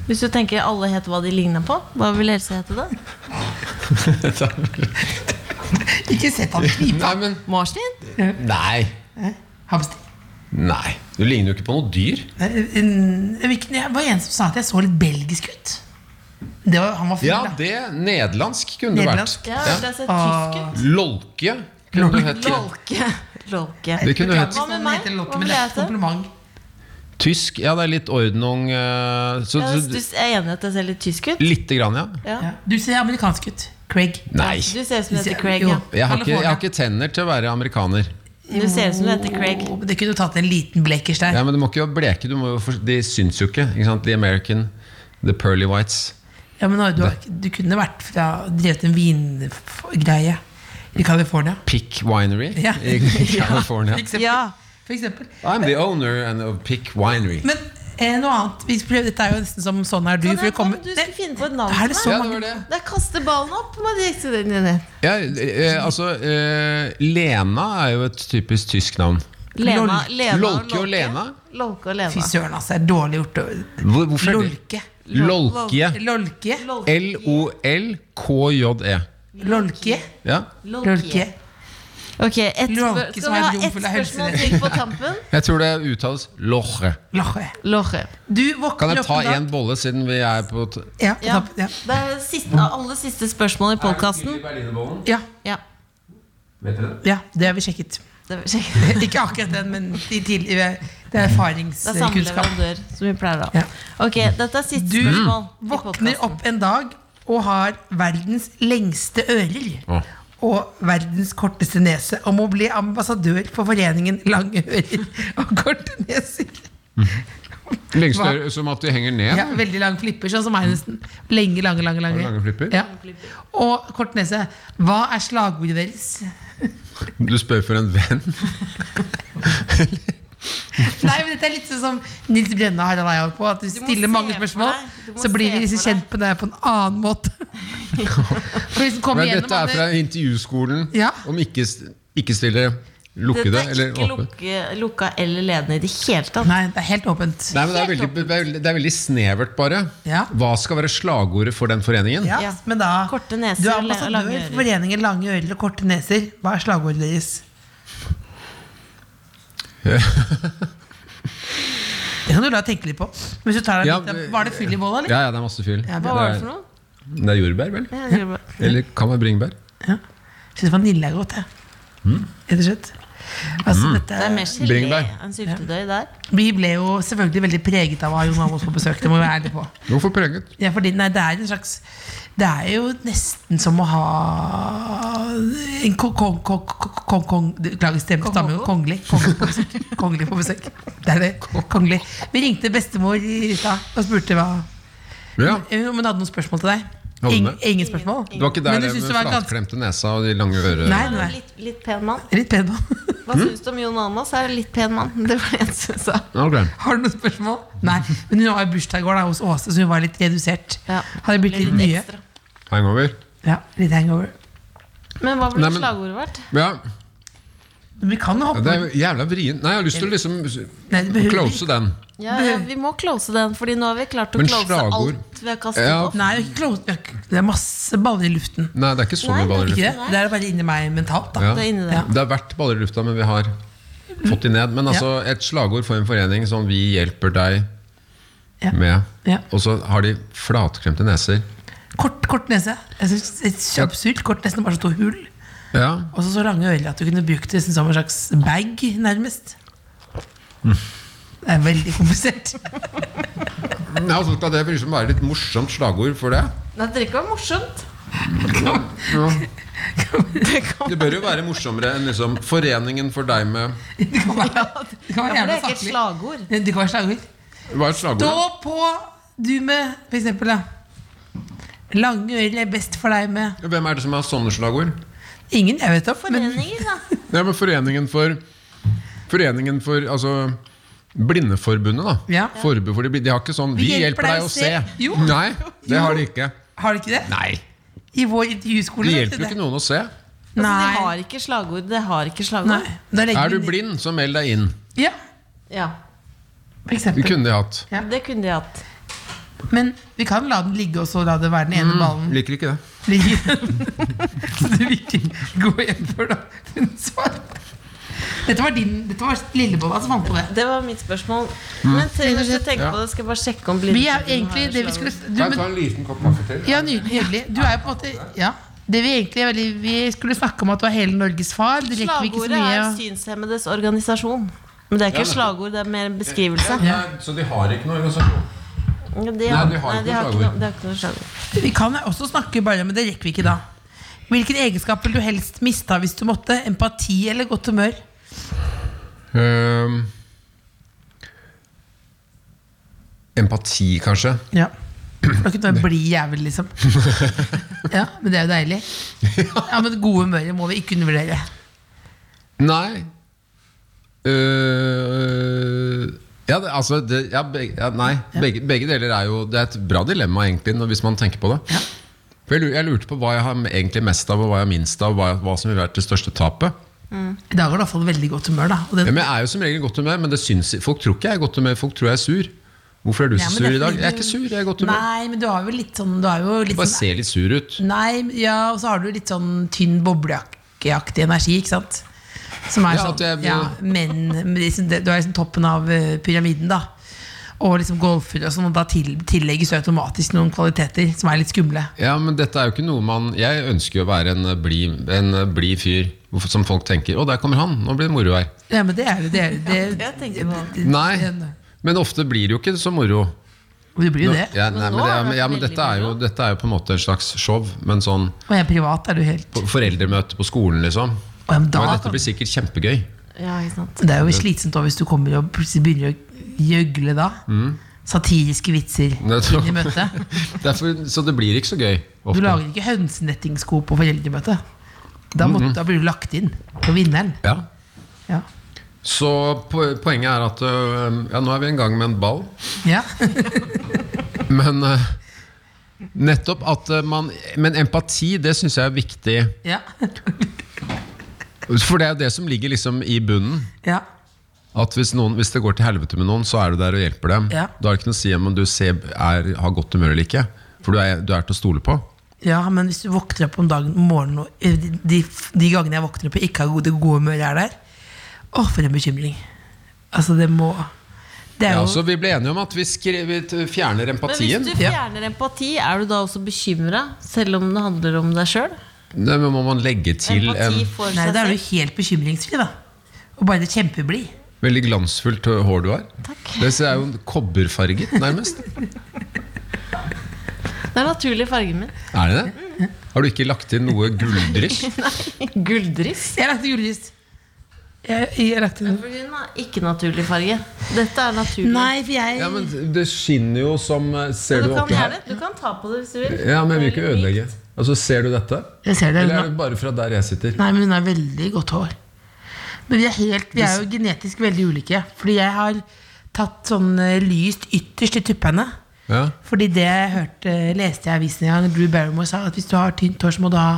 S4: Hvis du tenker alle heter hva de ligner på, hva vil Else hete da?
S3: Ikke sett han knipe.
S5: <laughs> Nei, men
S4: Marsvin?
S5: Nei.
S3: Hamster.
S5: Nei. Du ligner jo ikke på noe dyr.
S3: Eh, en- hvilken- Det var en som sa at jeg så litt belgisk ut. Det var, han var full,
S5: Ja,
S3: da.
S5: det nederlandsk kunne det vært.
S3: Nederlandsk?
S4: Ja,
S5: Ja.
S4: det ser tysk ut.
S5: Lolke kunne du hett.
S4: Lolke. Lolke.
S5: Det kunne du
S3: Beklager
S5: hett.
S3: hvis
S4: Hva med
S3: noen
S4: meg?
S3: heter Lokke,
S4: Hva
S3: men
S4: vil
S3: det er
S4: jeg
S3: et
S4: hete?
S3: kompliment.
S5: Tysk. Ja, det er litt ordnung eh, Så,
S4: Jeg
S5: så
S4: er enig i at jeg ser litt tysk ut.
S5: lite grann, ja.
S3: Ja. Du ser amerikansk ut. Craig.
S5: Nei.
S4: Du ser ut som du heter Craig.
S3: Jo,
S4: Ja.
S5: Jeg har, ikke, jeg har
S3: California.
S5: ikke tenner til å være amerikaner.
S4: Du ser ut som du heter Craig.
S3: Jo, men Det kunne tatt en liten blekers der.
S5: Ja, men du må ikke bleke. Du må, jo for- de syns jo ikke. ikke sant? The American, the pearly whites.
S3: Ja, men du, har, ikke- du kunne vært fra, drevet en vingreie i California.
S5: Pick Winery
S3: <laughs> Ja.
S5: <laughs> i California.
S3: For eksempel.
S4: Ja.
S3: For eksempel.
S5: I'm the owner and of Pick Winery.
S3: Men eh, noe annet vi prøver, Dette er jo nesten som Sånn er du.
S4: Kan
S3: For
S4: jeg,
S3: det
S4: kan
S3: kommer,
S4: du skulle
S3: Nei,
S4: finne på et navn
S3: er det
S4: til
S3: så
S5: Ja,
S4: meg?
S5: det
S3: mange
S5: var det.
S4: Det er kaste ballen opp. Må direkte den inn i.
S5: Ja, eh, altså, eh, Lena er jo et typisk tysk navn.
S4: Lena,
S3: Lolke.
S4: Lena
S5: Lolke og Lena?
S4: Lolke og
S3: Fy
S4: Lena.
S3: søren, altså. Det er dårlig gjort. å-
S5: Hvor, hvorfor er det?
S3: Lolke.
S5: Lolke.
S3: Lolke.
S4: Lolke.
S5: L-O-L-K-J-E.
S3: Lolke.
S5: E. Ja.
S3: Lolke.
S4: Ok, et spør-
S3: Lolke
S4: Skal
S3: som
S4: vi
S3: er
S4: ha
S3: rom
S4: ett
S3: full av helse.
S4: spørsmål til på tampen?
S5: Jeg tror det uttales Loche.
S3: <laughs> Lolke.
S4: Lolke.
S3: Du
S5: Kan
S3: våkner
S5: jeg
S3: opp
S5: ta
S3: en dag
S5: én bolle, siden vi er på t-
S3: Ja,
S4: Ja.
S3: ja. ja.
S4: Det er siste, alle siste spørsmål i podkasten.
S3: ja,
S4: Ja.
S3: ja, det har vi sjekket. <laughs>
S4: Det <laughs> er, det
S3: Ikke akkurat den, men de tidligere. Det er
S4: er samme
S3: erfaringskunnskap.
S4: leverandør som vi pleier å ha.
S3: Ja.
S4: Ok, dette er siste
S3: Du
S4: spørsmål. i
S3: Våkner
S4: podcasten.
S3: opp en dag og har verdens lengste ører.
S5: Å.
S3: Og verdens korteste nese. Og må bli ambassadør for foreningen Lange ører <laughs> og korte neser.
S5: Lengst
S3: Hva?
S5: øre, som at de henger ned?
S3: Ja, veldig lang flipper, sånn som meg nesten. Lenge, lange, lange. lange.
S5: Lange flipper?
S3: Ja. Og kort nese. Hva er slagordet deres?
S5: Du spør for en venn.
S3: Nei, men dette er litt sånn som Nils Brenna og Harald Eia holdt på. At du
S4: må
S3: stiller
S4: se
S3: mange
S4: for
S3: spørsmål,
S4: deg. Du må
S3: så blir
S4: se
S3: vi liksom
S4: for deg.
S3: kjent med deg på en annen
S5: <laughs>
S3: måte. For hvis den kommer
S5: Men
S3: gjennom
S5: dette er
S3: alle-
S5: fra intervjuskolen
S3: Ja.
S5: om ikke, st- ikke stille lukkede
S4: Dette er
S5: eller
S4: ikke
S5: åpne.
S4: lukke, lukka eller ledende i det hele tatt.
S3: Nei, det er helt åpent.
S5: Nei, men det er,
S4: Helt
S5: veldig, det er veldig- det er veldig snevert, bare.
S3: Ja.
S5: Hva skal være slagordet for den foreningen?
S3: Ja,
S4: Ja.
S3: Men da
S4: Korte neser
S3: Du er
S4: og la-
S3: ambassadør
S4: lange ører.
S3: for foreningen Lange ører og korte neser. Hva er slagordet deres?
S4: <laughs>
S3: det kan du la tenke litt på. Hvis du tar deg
S5: Ja,
S3: litt, av- var det fyll i bolla, eller?
S5: Ja, ja, det er masse fyll.
S3: Ja,
S4: Hva var det for noe?
S5: er- det er jordbær, vel?
S4: Ja, det var-
S5: Eller kan være bringebær?
S3: Syns vanilje er godt, jeg.
S5: Mm.
S3: Rett og slett. Altså, dette,
S4: Det er mer
S5: Eh,
S4: gelé
S5: Bringebær.
S4: enn syltetøy der.
S3: vi ble jo selvfølgelig veldig preget av å ha Jon Amos på besøk. Det må vi være ærlige på.
S5: Hvorfor preget?
S3: Ja, fordi, nei, det er en slags Det er jo nesten som å ha en kong, kong, kong, kong, kong, kong Beklager, stemme, stamme jo. Kongelig. Kongelig på besøk. Kongelig på besøk. Det er det. Kongelig. Vi ringte bestemor i stad og spurte hva
S5: Ja.
S3: Jo, men hadde noen spørsmål til deg.
S5: Hadde hun
S3: Ing,
S5: det?
S3: ingen spørsmål?
S5: Det var ikke der
S3: Men du
S5: det
S3: synes
S5: med
S3: det var ganske-
S5: flatklemte nesa og de lange ørene
S3: Nei, nei.
S4: Litt, litt pen mann.
S3: Litt pen mann. <laughs>
S4: Hva syns du om Jon Almaas? Er litt pen mann? <laughs> Det var det jeg synes sa.
S5: Ok.
S3: Har du noen spørsmål? Nei, men hun har jo bursdag i går da, hos Åse, så hun var litt redusert.
S4: Ja.
S3: Hadde blitt litt nye.
S4: ekstra.
S5: Hangover.
S3: Ja, litt hangover.
S4: Men hva ville
S5: Nei, men-
S4: slagordet vært?
S5: Ja,
S3: Men vi kan jo
S5: ja,
S3: hoppe
S5: det er jævla vrien. Nei, jeg har lyst til å liksom
S3: Nei, det behøver
S5: close den.
S4: Ja, ja, vi må close den, Fordi nå har vi klart å
S5: Men
S4: close
S5: slagord-
S4: alt vi har kastet
S5: Ja.
S4: opp.
S3: Nei, ikke close, vi har ikke- det er masse baller i luften.
S5: Nei, det er ikke så
S4: Nei,
S5: mye baller i
S3: Ikke
S5: lufta.
S3: det? Det er bare inni meg mentalt, da.
S5: Ja.
S4: Det er inni der.
S3: Ja.
S5: Det har vært baller i lufta, men vi har fått de ned. Men altså, et slagord for en forening som vi hjelper deg
S3: Ja.
S5: med.
S3: Ja.
S5: Og så har de flatklemte neser.
S3: Kort, kort nese. Jeg synes det er så absurd. Kort nese, bare så to hull.
S5: Ja,
S3: Og så så lange ører at du kunne brukt det nesten som en slags bag, nærmest. Det er veldig komplisert. <laughs>
S5: ja så skal det liksom være litt morsomt slagord for det.
S4: Nei, det ikke var morsomt.
S5: Ja. Det bør jo være morsommere enn liksom 'Foreningen for deg med
S3: Det kan være, det kan være
S4: Ja, for det
S3: jævla
S4: er ikke et
S3: saklig.
S4: slagord.
S3: Det kan være slagord.
S5: Hva er slagordet?
S3: Stå på, du med, for eksempel, da. Lange ører er best for deg med
S5: Hvem er det som har sånne slagord?
S3: Ingen jeg vet om, men
S4: Foreninger, <laughs> da. Altså,
S5: Ja, men Foreningen for Foreningen for Altså Blindeforbundet, da.
S3: Ja.
S5: Forbud for de blinde. De har ikke sånn 'Vi, hjelper deg å se'.
S3: Jo.
S5: Nei, det har de ikke.
S3: har de ikke det?
S5: Nei,
S3: I vår intervjuskole.
S5: Det
S3: vet
S5: hjelper
S3: du
S5: jo
S3: det.
S5: ikke noen å se.
S4: Altså,
S3: Nei.
S4: de har ikke slagord. Det har ikke slagord.
S3: Nei, da legger
S5: Er du
S3: vi den-
S5: blind, så meld deg inn.
S3: Ja,
S4: Ja,
S3: for
S5: Det
S3: eksempel.
S5: kunne de hatt.
S3: Ja.
S4: Det kunne de hatt.
S3: Men vi kan la den ligge, og så la det være den ene ballen
S5: Liker ikke det.
S3: ligge. <laughs> så du vil ikke gå hjem før da hun svarer. Dette var, din, dette var lillebolla som fant på det.
S4: Det var mitt spørsmål.
S5: Mm.
S4: Men Trine, hvis du tenker
S5: Ja.
S4: på det, skal jeg bare sjekke om
S3: Vi er
S4: blindtiden
S3: egentlig
S4: har
S3: det vi
S4: slagord.
S3: skulle du,
S7: Kan jeg
S3: men,
S7: ta en liten kopp kaffe til?
S3: Ja, nydelig. nydelig. Du er jo på en måte Ja. Det vi egentlig er veldig Vi skulle snakke om at du er hele Norges far. Det rekker vi ikke så
S4: Slagordet
S3: mye.
S4: er
S3: å-
S4: synshemmedes organisasjon. Men det er ikke
S5: Ja, men-
S4: slagord, det er mer en beskrivelse.
S5: Så de har ikke noe organisasjon?
S4: De
S5: Nei, de har ikke noe slagord.
S4: noe- de har ikke noe slagord.
S3: Vi kan også snakke bare, men det rekker vi ikke da. Hvilken egenskap vil du helst mista hvis du måtte? Empati eller godt humør?
S5: Ehm, empati, kanskje? <clears throat>
S3: Ja. Det var ikke noe blid jævel,
S5: <laughs>
S3: liksom. Ja, Men det er jo deilig. Ja, Men det gode humøret må vi ikke undervurdere.
S5: Nei. Eh, ja, det, altså det, ja, begge, ja, Nei. Begge, begge deler er jo Det er et bra dilemma, egentlig, når- hvis man tenker på det. For jeg, lu- jeg lurte på hva jeg har egentlig mest av, og hva jeg har minst av, hva, hva som vil være det største tapet.
S3: I dag har du iallfall veldig godt humør, da. Og
S5: Ja,
S3: den,
S5: men jeg er jo som regel i godt humør, men det syns, folk tror ikke jeg er i godt humør. Folk tror jeg er sur. Hvorfor er du
S3: Ja, men
S5: så sur
S3: det er
S5: i dag?
S3: fordi
S5: Jeg er
S3: du-
S5: ikke sur, jeg er i godt humør.
S3: nei, men du har jo litt sånn, du har jo litt
S5: Bare
S3: sånn
S5: ser litt sur ut.
S3: Nei, ja, og så har du litt sånn tynn bobleaktig energi, ikke sant? Som er
S5: Ja,
S3: sånn,
S5: at jeg-
S3: ja, men men liksom, det- du er liksom toppen av eh, pyramiden, da. Og liksom golfer og sånn, og da til, tillegges du automatisk noen kvaliteter som er litt skumle.
S5: Ja, men dette er jo ikke noe man Jeg ønsker jo å være en eh, blid en, eh, blid fyr hvorfor- som folk tenker 'Å, der kommer han! Nå blir det moro her'.
S3: Ja, men det er jo det. Er, det,
S4: Ja, det tenker jeg på.
S3: det-
S5: Nei,
S3: det-
S5: men ofte blir det jo ikke så moro.
S3: Det blir jo det.
S5: Ja, nei,
S4: Men
S5: men
S4: nå
S5: det,
S4: har
S5: er-
S4: det vært
S5: ja, men
S4: veldig
S5: dette, er jo,
S4: moro.
S5: dette er jo på en måte et slags show, men sånn
S3: Og jeg er privat, er du helt
S5: på- foreldremøte på skolen, liksom.
S3: Å, ja, men da
S5: Men dette
S3: kan-
S5: blir sikkert kjempegøy. <laughs>
S4: Ja, ikke sant.
S3: Det er jo slitsomt også hvis du kommer og plutselig begynner å gjøgle da.
S5: Mm.
S3: Satiriske vitser
S5: tror-
S3: inn i møtet.
S5: <laughs> Derfor, så det blir ikke så gøy.
S3: Du
S5: Ofte.
S3: lager ikke hønsenettingsko på foreldremøte. Da, må, da blir du lagt inn på vinneren.
S5: Ja.
S3: Ja.
S5: Så po- poenget er at øh, ja, nå er vi i gang med en ball.
S3: ja. <laughs>
S5: Men eh, nettopp at eh, man Men empati, det syns jeg er viktig.
S3: ja.
S5: For det er jo det som ligger liksom i bunnen.
S3: ja.
S5: At hvis, noen, hvis det går til helvete med noen, så er du der og hjelper dem.
S3: Ja.
S5: Da er det ikke noe å si om du ser, er, har godt humør eller ikke. For du er, du er til å stole på.
S3: Ja, men hvis du våkner opp om dagen om morgenen og eh, de, de, de gangene jeg våkner opp og ikke har gode, gode humøret er der Å, for en bekymring. Altså, det må Det er
S5: Ja, altså,
S3: jo
S5: så vi ble enige om at vi, skri, vi t- fjerner
S4: Men hvis
S5: empatien.
S4: du
S3: Ja.
S4: fjerner empati, er du da også bekymra? Selv om det handler om deg sjøl?
S5: Det må man legge til en
S4: Empati for
S3: Nei,
S4: seg
S3: da er du
S4: selv.
S3: helt bekymringsfri, da. Og bare kjempeblid.
S5: veldig glansfullt eh, hår du har.
S4: Takk.
S5: Det ser- er jo kobberfarget, nærmest.
S4: Det er naturlig fargen <laughs> min.
S5: er det det? Har du ikke lagt inn noe gulldryss?
S4: Gulldryss.
S3: Jeg lagde julelys. Jeg, jeg lagde
S4: For hun har ikke naturlig farge. Dette er naturlig.
S3: Nei, for jeg
S5: Ja, men det skinner jo som eh, Ser
S4: du,
S5: du
S4: kan
S5: oppi her?
S4: gjerne, du kan ta på det hvis du vil.
S5: Ja, men jeg vil ikke ødelegge. Altså, Ser du dette?
S3: Jeg ser det.
S5: Eller er det bare fra der jeg sitter?
S3: Nei, men hun har veldig godt hår. Men vi er, helt, vi er jo genetisk veldig ulike. Fordi jeg har tatt sånn eh, lyst ytterst i tuppene.
S5: Ja.
S3: Fordi det jeg hørte, leste jeg i avisen en gang, Drew Barrymore sa at hvis du har tynt hår, så må du ha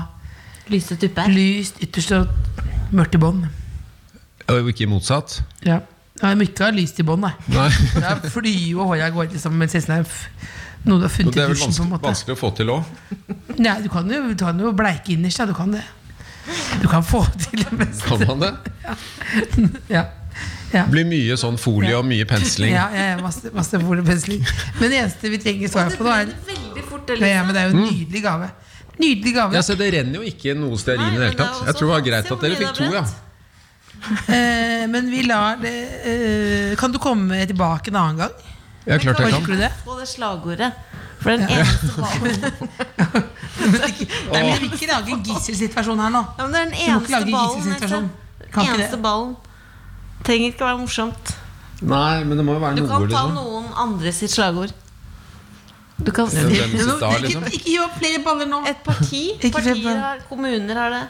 S4: Lyse tuppe.
S3: lyst ytterst og mørkt i bånn.
S5: Og ikke motsatt?
S3: Ja. Nei, Jeg må ikke ha lyst i bånn, nei. <laughs>
S5: Nei.
S3: Da flyr jo håret av gårde liksom, mens resten er f- noe du har
S5: Og
S3: funnet
S5: det
S3: i
S5: er vel
S3: dusjen. sånn, på en måte
S5: vanskelig, vanskelig å få til òg.
S3: Nei, du kan jo, du kan jo bleike innerst, ja. Du kan det. Du kan få <laughs> til det meste.
S5: Kan man det?
S3: Ja. Ja.
S5: Blir mye sånn folie og mye pensling.
S3: Ja, ja, ja, masse, masse boligpensling. Men det eneste vi trenger svar på, nå er
S4: Veldig fort, det
S3: Nei, ja, men
S4: lyset.
S3: det er jo en
S5: Mm.
S3: nydelig gave. Nydelig
S5: Ja,
S3: gave.
S5: se, Det renner jo ikke noe stearin i det
S4: Nei, men
S5: hele
S4: det
S5: tatt.
S4: er sånn
S5: Jeg tror det var
S4: også- se
S5: greit at
S4: hvor
S5: dere
S4: mye
S5: fikk
S4: det
S5: to,
S4: er
S5: ja.
S4: brent.
S3: Eh, men vi lar det eh, Kan du komme tilbake en annen
S5: <laughs>
S3: gang?
S5: Ja, klart jeg
S3: Orker
S5: kan.
S3: du det?
S4: Få det slagordet. For den eneste ballen
S3: Nei, men Vi vil ikke lage en gisselsituasjon her nå.
S4: ja, men Det er den
S3: Du må ikke
S4: eneste
S3: lage en
S4: ballen.
S3: gisselsituasjon.
S4: Else.
S3: Kan ikke
S4: Eneste
S3: det?
S4: ballen. Trenger ikke være morsomt.
S5: Nei, men det må jo være
S4: Du
S5: noe,
S4: kan ta
S5: liksom.
S4: noen andre sitt slagord. Du kan si
S5: Hvem sitt da, liksom?
S3: Ikke, ikke gi opp flere baller nå.
S4: et parti.
S3: <laughs> Ikke
S4: Partier
S3: se på-
S4: har, kommuner har det.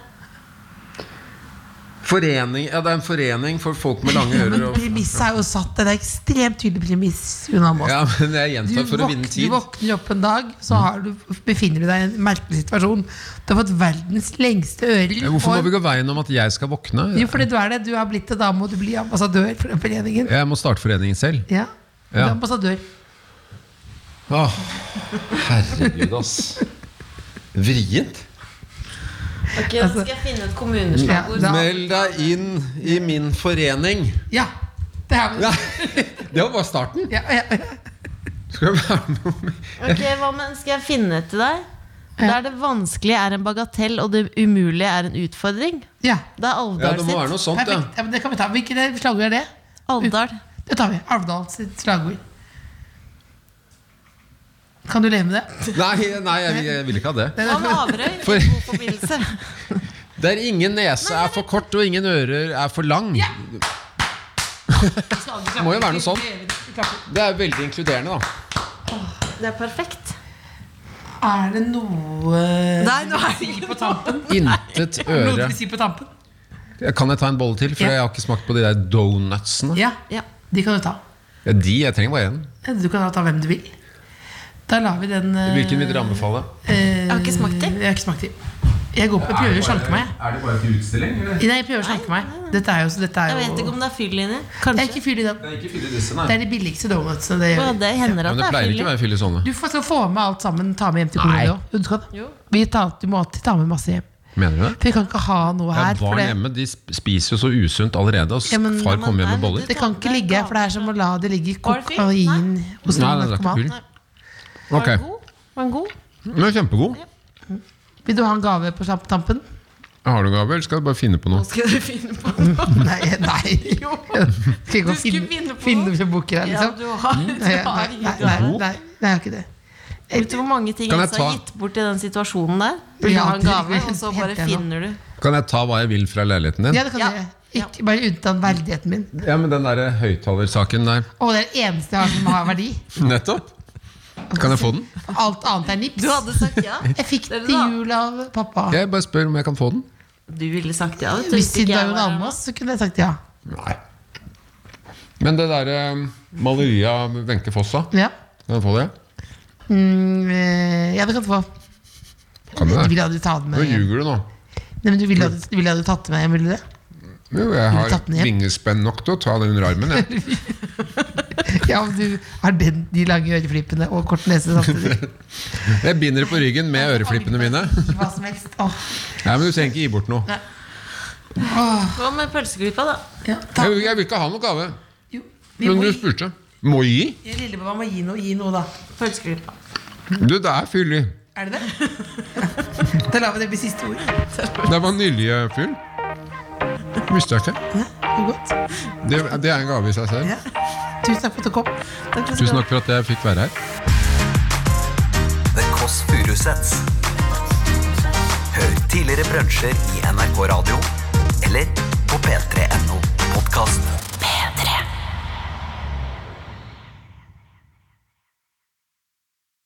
S5: Forening, ja, det er en forening for folk med lange ører.
S3: Men
S5: Og,
S3: premisset er jo satt. Det er ekstremt tydelig premiss. Una Moss.
S5: ja, men jeg
S3: Du,
S5: gjentar for å
S3: våk-
S5: vinne
S3: du
S5: tid.
S3: våkner opp en dag, så har du, befinner du deg i en merkelig situasjon. Du har fått verdens lengste ører.
S5: Ja, Hvorfor må
S3: og-
S5: vi gå veien om at jeg skal våkne?
S3: Jo, fordi du er det. Du har blitt det. Da må du bli ambassadør for den foreningen.
S5: Jeg må starte foreningen selv.
S3: Ja. Du er
S5: Ja.
S3: ambassadør.
S5: Åh, herregud, ass. Vrient.
S4: Ok, da skal jeg finne et kommuneslagord.
S3: altså- Ja, da-
S5: Meld deg inn i min forening.
S3: Ja. Det er vi.
S5: Nei, det var bare starten.
S3: Ja, ja, ja.
S5: Skal jeg være med om
S4: Ok, hva med, Skal jeg finne et til deg? Der det vanskelige er en bagatell, og det umulige er en utfordring.
S3: ja.
S4: Det er
S5: Ja,
S4: Alvdal
S5: det må være noe
S4: sitt.
S5: sånt, ja.
S3: Perfekt. Ja, men det kan vi ta. Hvilke slagord er det?
S4: Alvdal.
S3: Det tar vi. Alvdal sitt slagord. Kan du leve med det?
S5: Nei, nei jeg, jeg vil ikke ha det.
S4: Og Haverøy. i
S5: For-
S4: God forbindelse.
S5: Der ingen nese er for kort og ingen ører er for lang.
S3: Det
S5: Må jo være noe sånt. Det er veldig inkluderende, da.
S4: Det er
S3: <laughs>
S4: perfekt.
S3: Er det noe
S4: Nei, nå er det ikke
S3: på tampen?
S5: Intet
S3: Noe du
S5: øre.
S3: vil si på tampen?
S5: Kan jeg ta en bolle til? For
S3: Ja.
S5: jeg har ikke smakt på de der donutsene.
S3: Ja.
S4: Ja.
S3: De kan du ta.
S5: Ja, de, jeg trenger bare én.
S3: Du kan ta hvem du vil. Da lar vi den eh,
S5: Hvilken vil dere anbefale?
S3: Jeg
S4: har ikke smakt de.
S3: Jeg har ikke smakt de. Jeg går på, jeg prøver å slanke meg.
S7: Er det bare til utstilling, eller?
S3: Nei, jeg prøver å slanke meg. Dette er jo, dette er
S4: Jeg
S3: jo
S4: vet ikke om det er fyll inni.
S3: Jeg er
S4: Kanskje.
S3: ikke fyll i den.
S7: Det er ikke fire disse, nei.
S3: Det er de billigste donutsene. Det
S4: Ja,
S3: gjør. vi.
S4: det hender at
S5: Men det
S4: det er
S5: pleier ikke
S4: fyll
S5: å
S4: i.
S5: være fylle sånne.
S3: Du får skal få med alt sammen. Ta med hjem til kommunen også. Jo, du skal det.
S4: Jo.
S3: Vi tar, du må alltid ta med masse hjem.
S5: Mener du det?
S3: For vi kan ikke ha noe
S5: Ja,
S3: her. for
S5: barn
S3: det-
S5: hjemme de sp- spiser jo så usunt allerede. Og s-
S3: Ja, men-
S5: far
S4: men
S5: kommer hjem med
S4: nei,
S5: boller.
S4: men
S3: Det kan ikke ligge her, for det er som å la det ligge
S4: Var det fylt?
S3: kokain hos en
S5: Nei, nei, det er ikke
S3: narkoman.
S5: fyll.
S4: Var
S5: Ok,
S4: den god? Var den god?
S5: men Kjempegod.
S3: Vil du ha en gave på tamp-
S5: <laughs>
S3: tampen?
S5: Har du gave, eller skal du bare finne på noe?
S4: Skal dere finne på noe?
S3: Nei, nei.
S4: Jo.
S3: Skal ikke
S4: Du skulle finne
S3: finne,
S4: på
S3: finne
S4: noe.
S3: på bukker her,
S4: Ja,
S3: liksom.
S4: du har,
S3: <laughs>
S4: du
S3: Nei,
S4: har
S3: nei,
S4: ingen
S3: nei, nei,
S4: gave.
S3: nei, nei, jeg har ikke det.
S4: Vet du hvor mange ting
S5: Kan jeg
S4: Elsa har
S5: ta-
S4: gitt bort i den situasjonen der? Vil du
S3: Ja,
S4: ha en
S3: det-
S4: gave, og så bare
S3: henter jeg nå.
S4: finner du.
S5: Kan jeg ta hva jeg vil fra leiligheten din?
S3: Ja, det kan
S4: Ja.
S3: du gjøre. Ikke bare unntatt verdigheten min.
S5: Ja, men den
S7: eh,
S5: der høyttalersaken
S7: <laughs>
S5: der.
S3: Og det er det eneste jeg har som har verdi.
S5: Nettopp. Kan jeg få den?
S3: Alt annet er nips.
S4: Du hadde sagt ja.
S3: Jeg fikk
S4: Det er
S3: det
S4: det da.
S3: til jul av pappa.
S5: Jeg bare spør om jeg kan få den.
S4: Du ville sagt ja. vet du,
S3: Hvis
S4: hvis
S3: det
S4: ikke
S3: var
S4: jeg
S3: Jon
S4: var her nå.
S3: Almaas, så kunne jeg sagt ja.
S5: Nei. Men det derre maleriet av Wenche Foss, da?
S3: Ja,
S5: Kan jeg få det?
S3: mm, eh, ja det kan du få.
S5: Kan
S3: Du
S5: du det?
S3: ville aldri ta den
S5: Nå
S3: med hjem.
S5: ljuger du nå.
S3: Nei, men du ville aldri, du ville aldri tatt den med hjem, ville du det? <laughs>
S5: Jo, jeg
S3: Ville
S5: har
S3: tatt den hjem?
S5: vingespenn nok til å ta den under armen. Jeg.
S3: Ja, men du har den, de lange øreflippene og kort nese
S5: <laughs>
S3: samtidig.
S5: jeg binder det på ryggen med øreflippene mine.
S3: Hva som helst. Åh.
S5: Nei, men Du trenger ikke gi bort noe.
S4: Hva med pølseklippa, da?
S3: Ja, ta.
S5: Jeg, jeg vil ikke ha noe gave.
S3: Jo, vi
S5: Men
S3: må
S5: du
S3: gi,
S5: spurte. Må jeg gi?
S3: Lillebabba må gi noe, gi noe, da.
S4: Pølseklippa.
S5: Du, det er fyll i.
S3: Er det det? Da lar vi det <laughs> bli siste ord.
S5: Det var nyljefyll. Visste jeg ikke.
S3: Det er godt.
S5: Det, det er en gave i seg selv.
S3: Ja. Tusen takk for at du kom.
S5: Tusen takk for at jeg fikk være her.
S2: The Kåss Furuseths. Hør tidligere brunsjer i NRK Radio eller på p3.no podkast.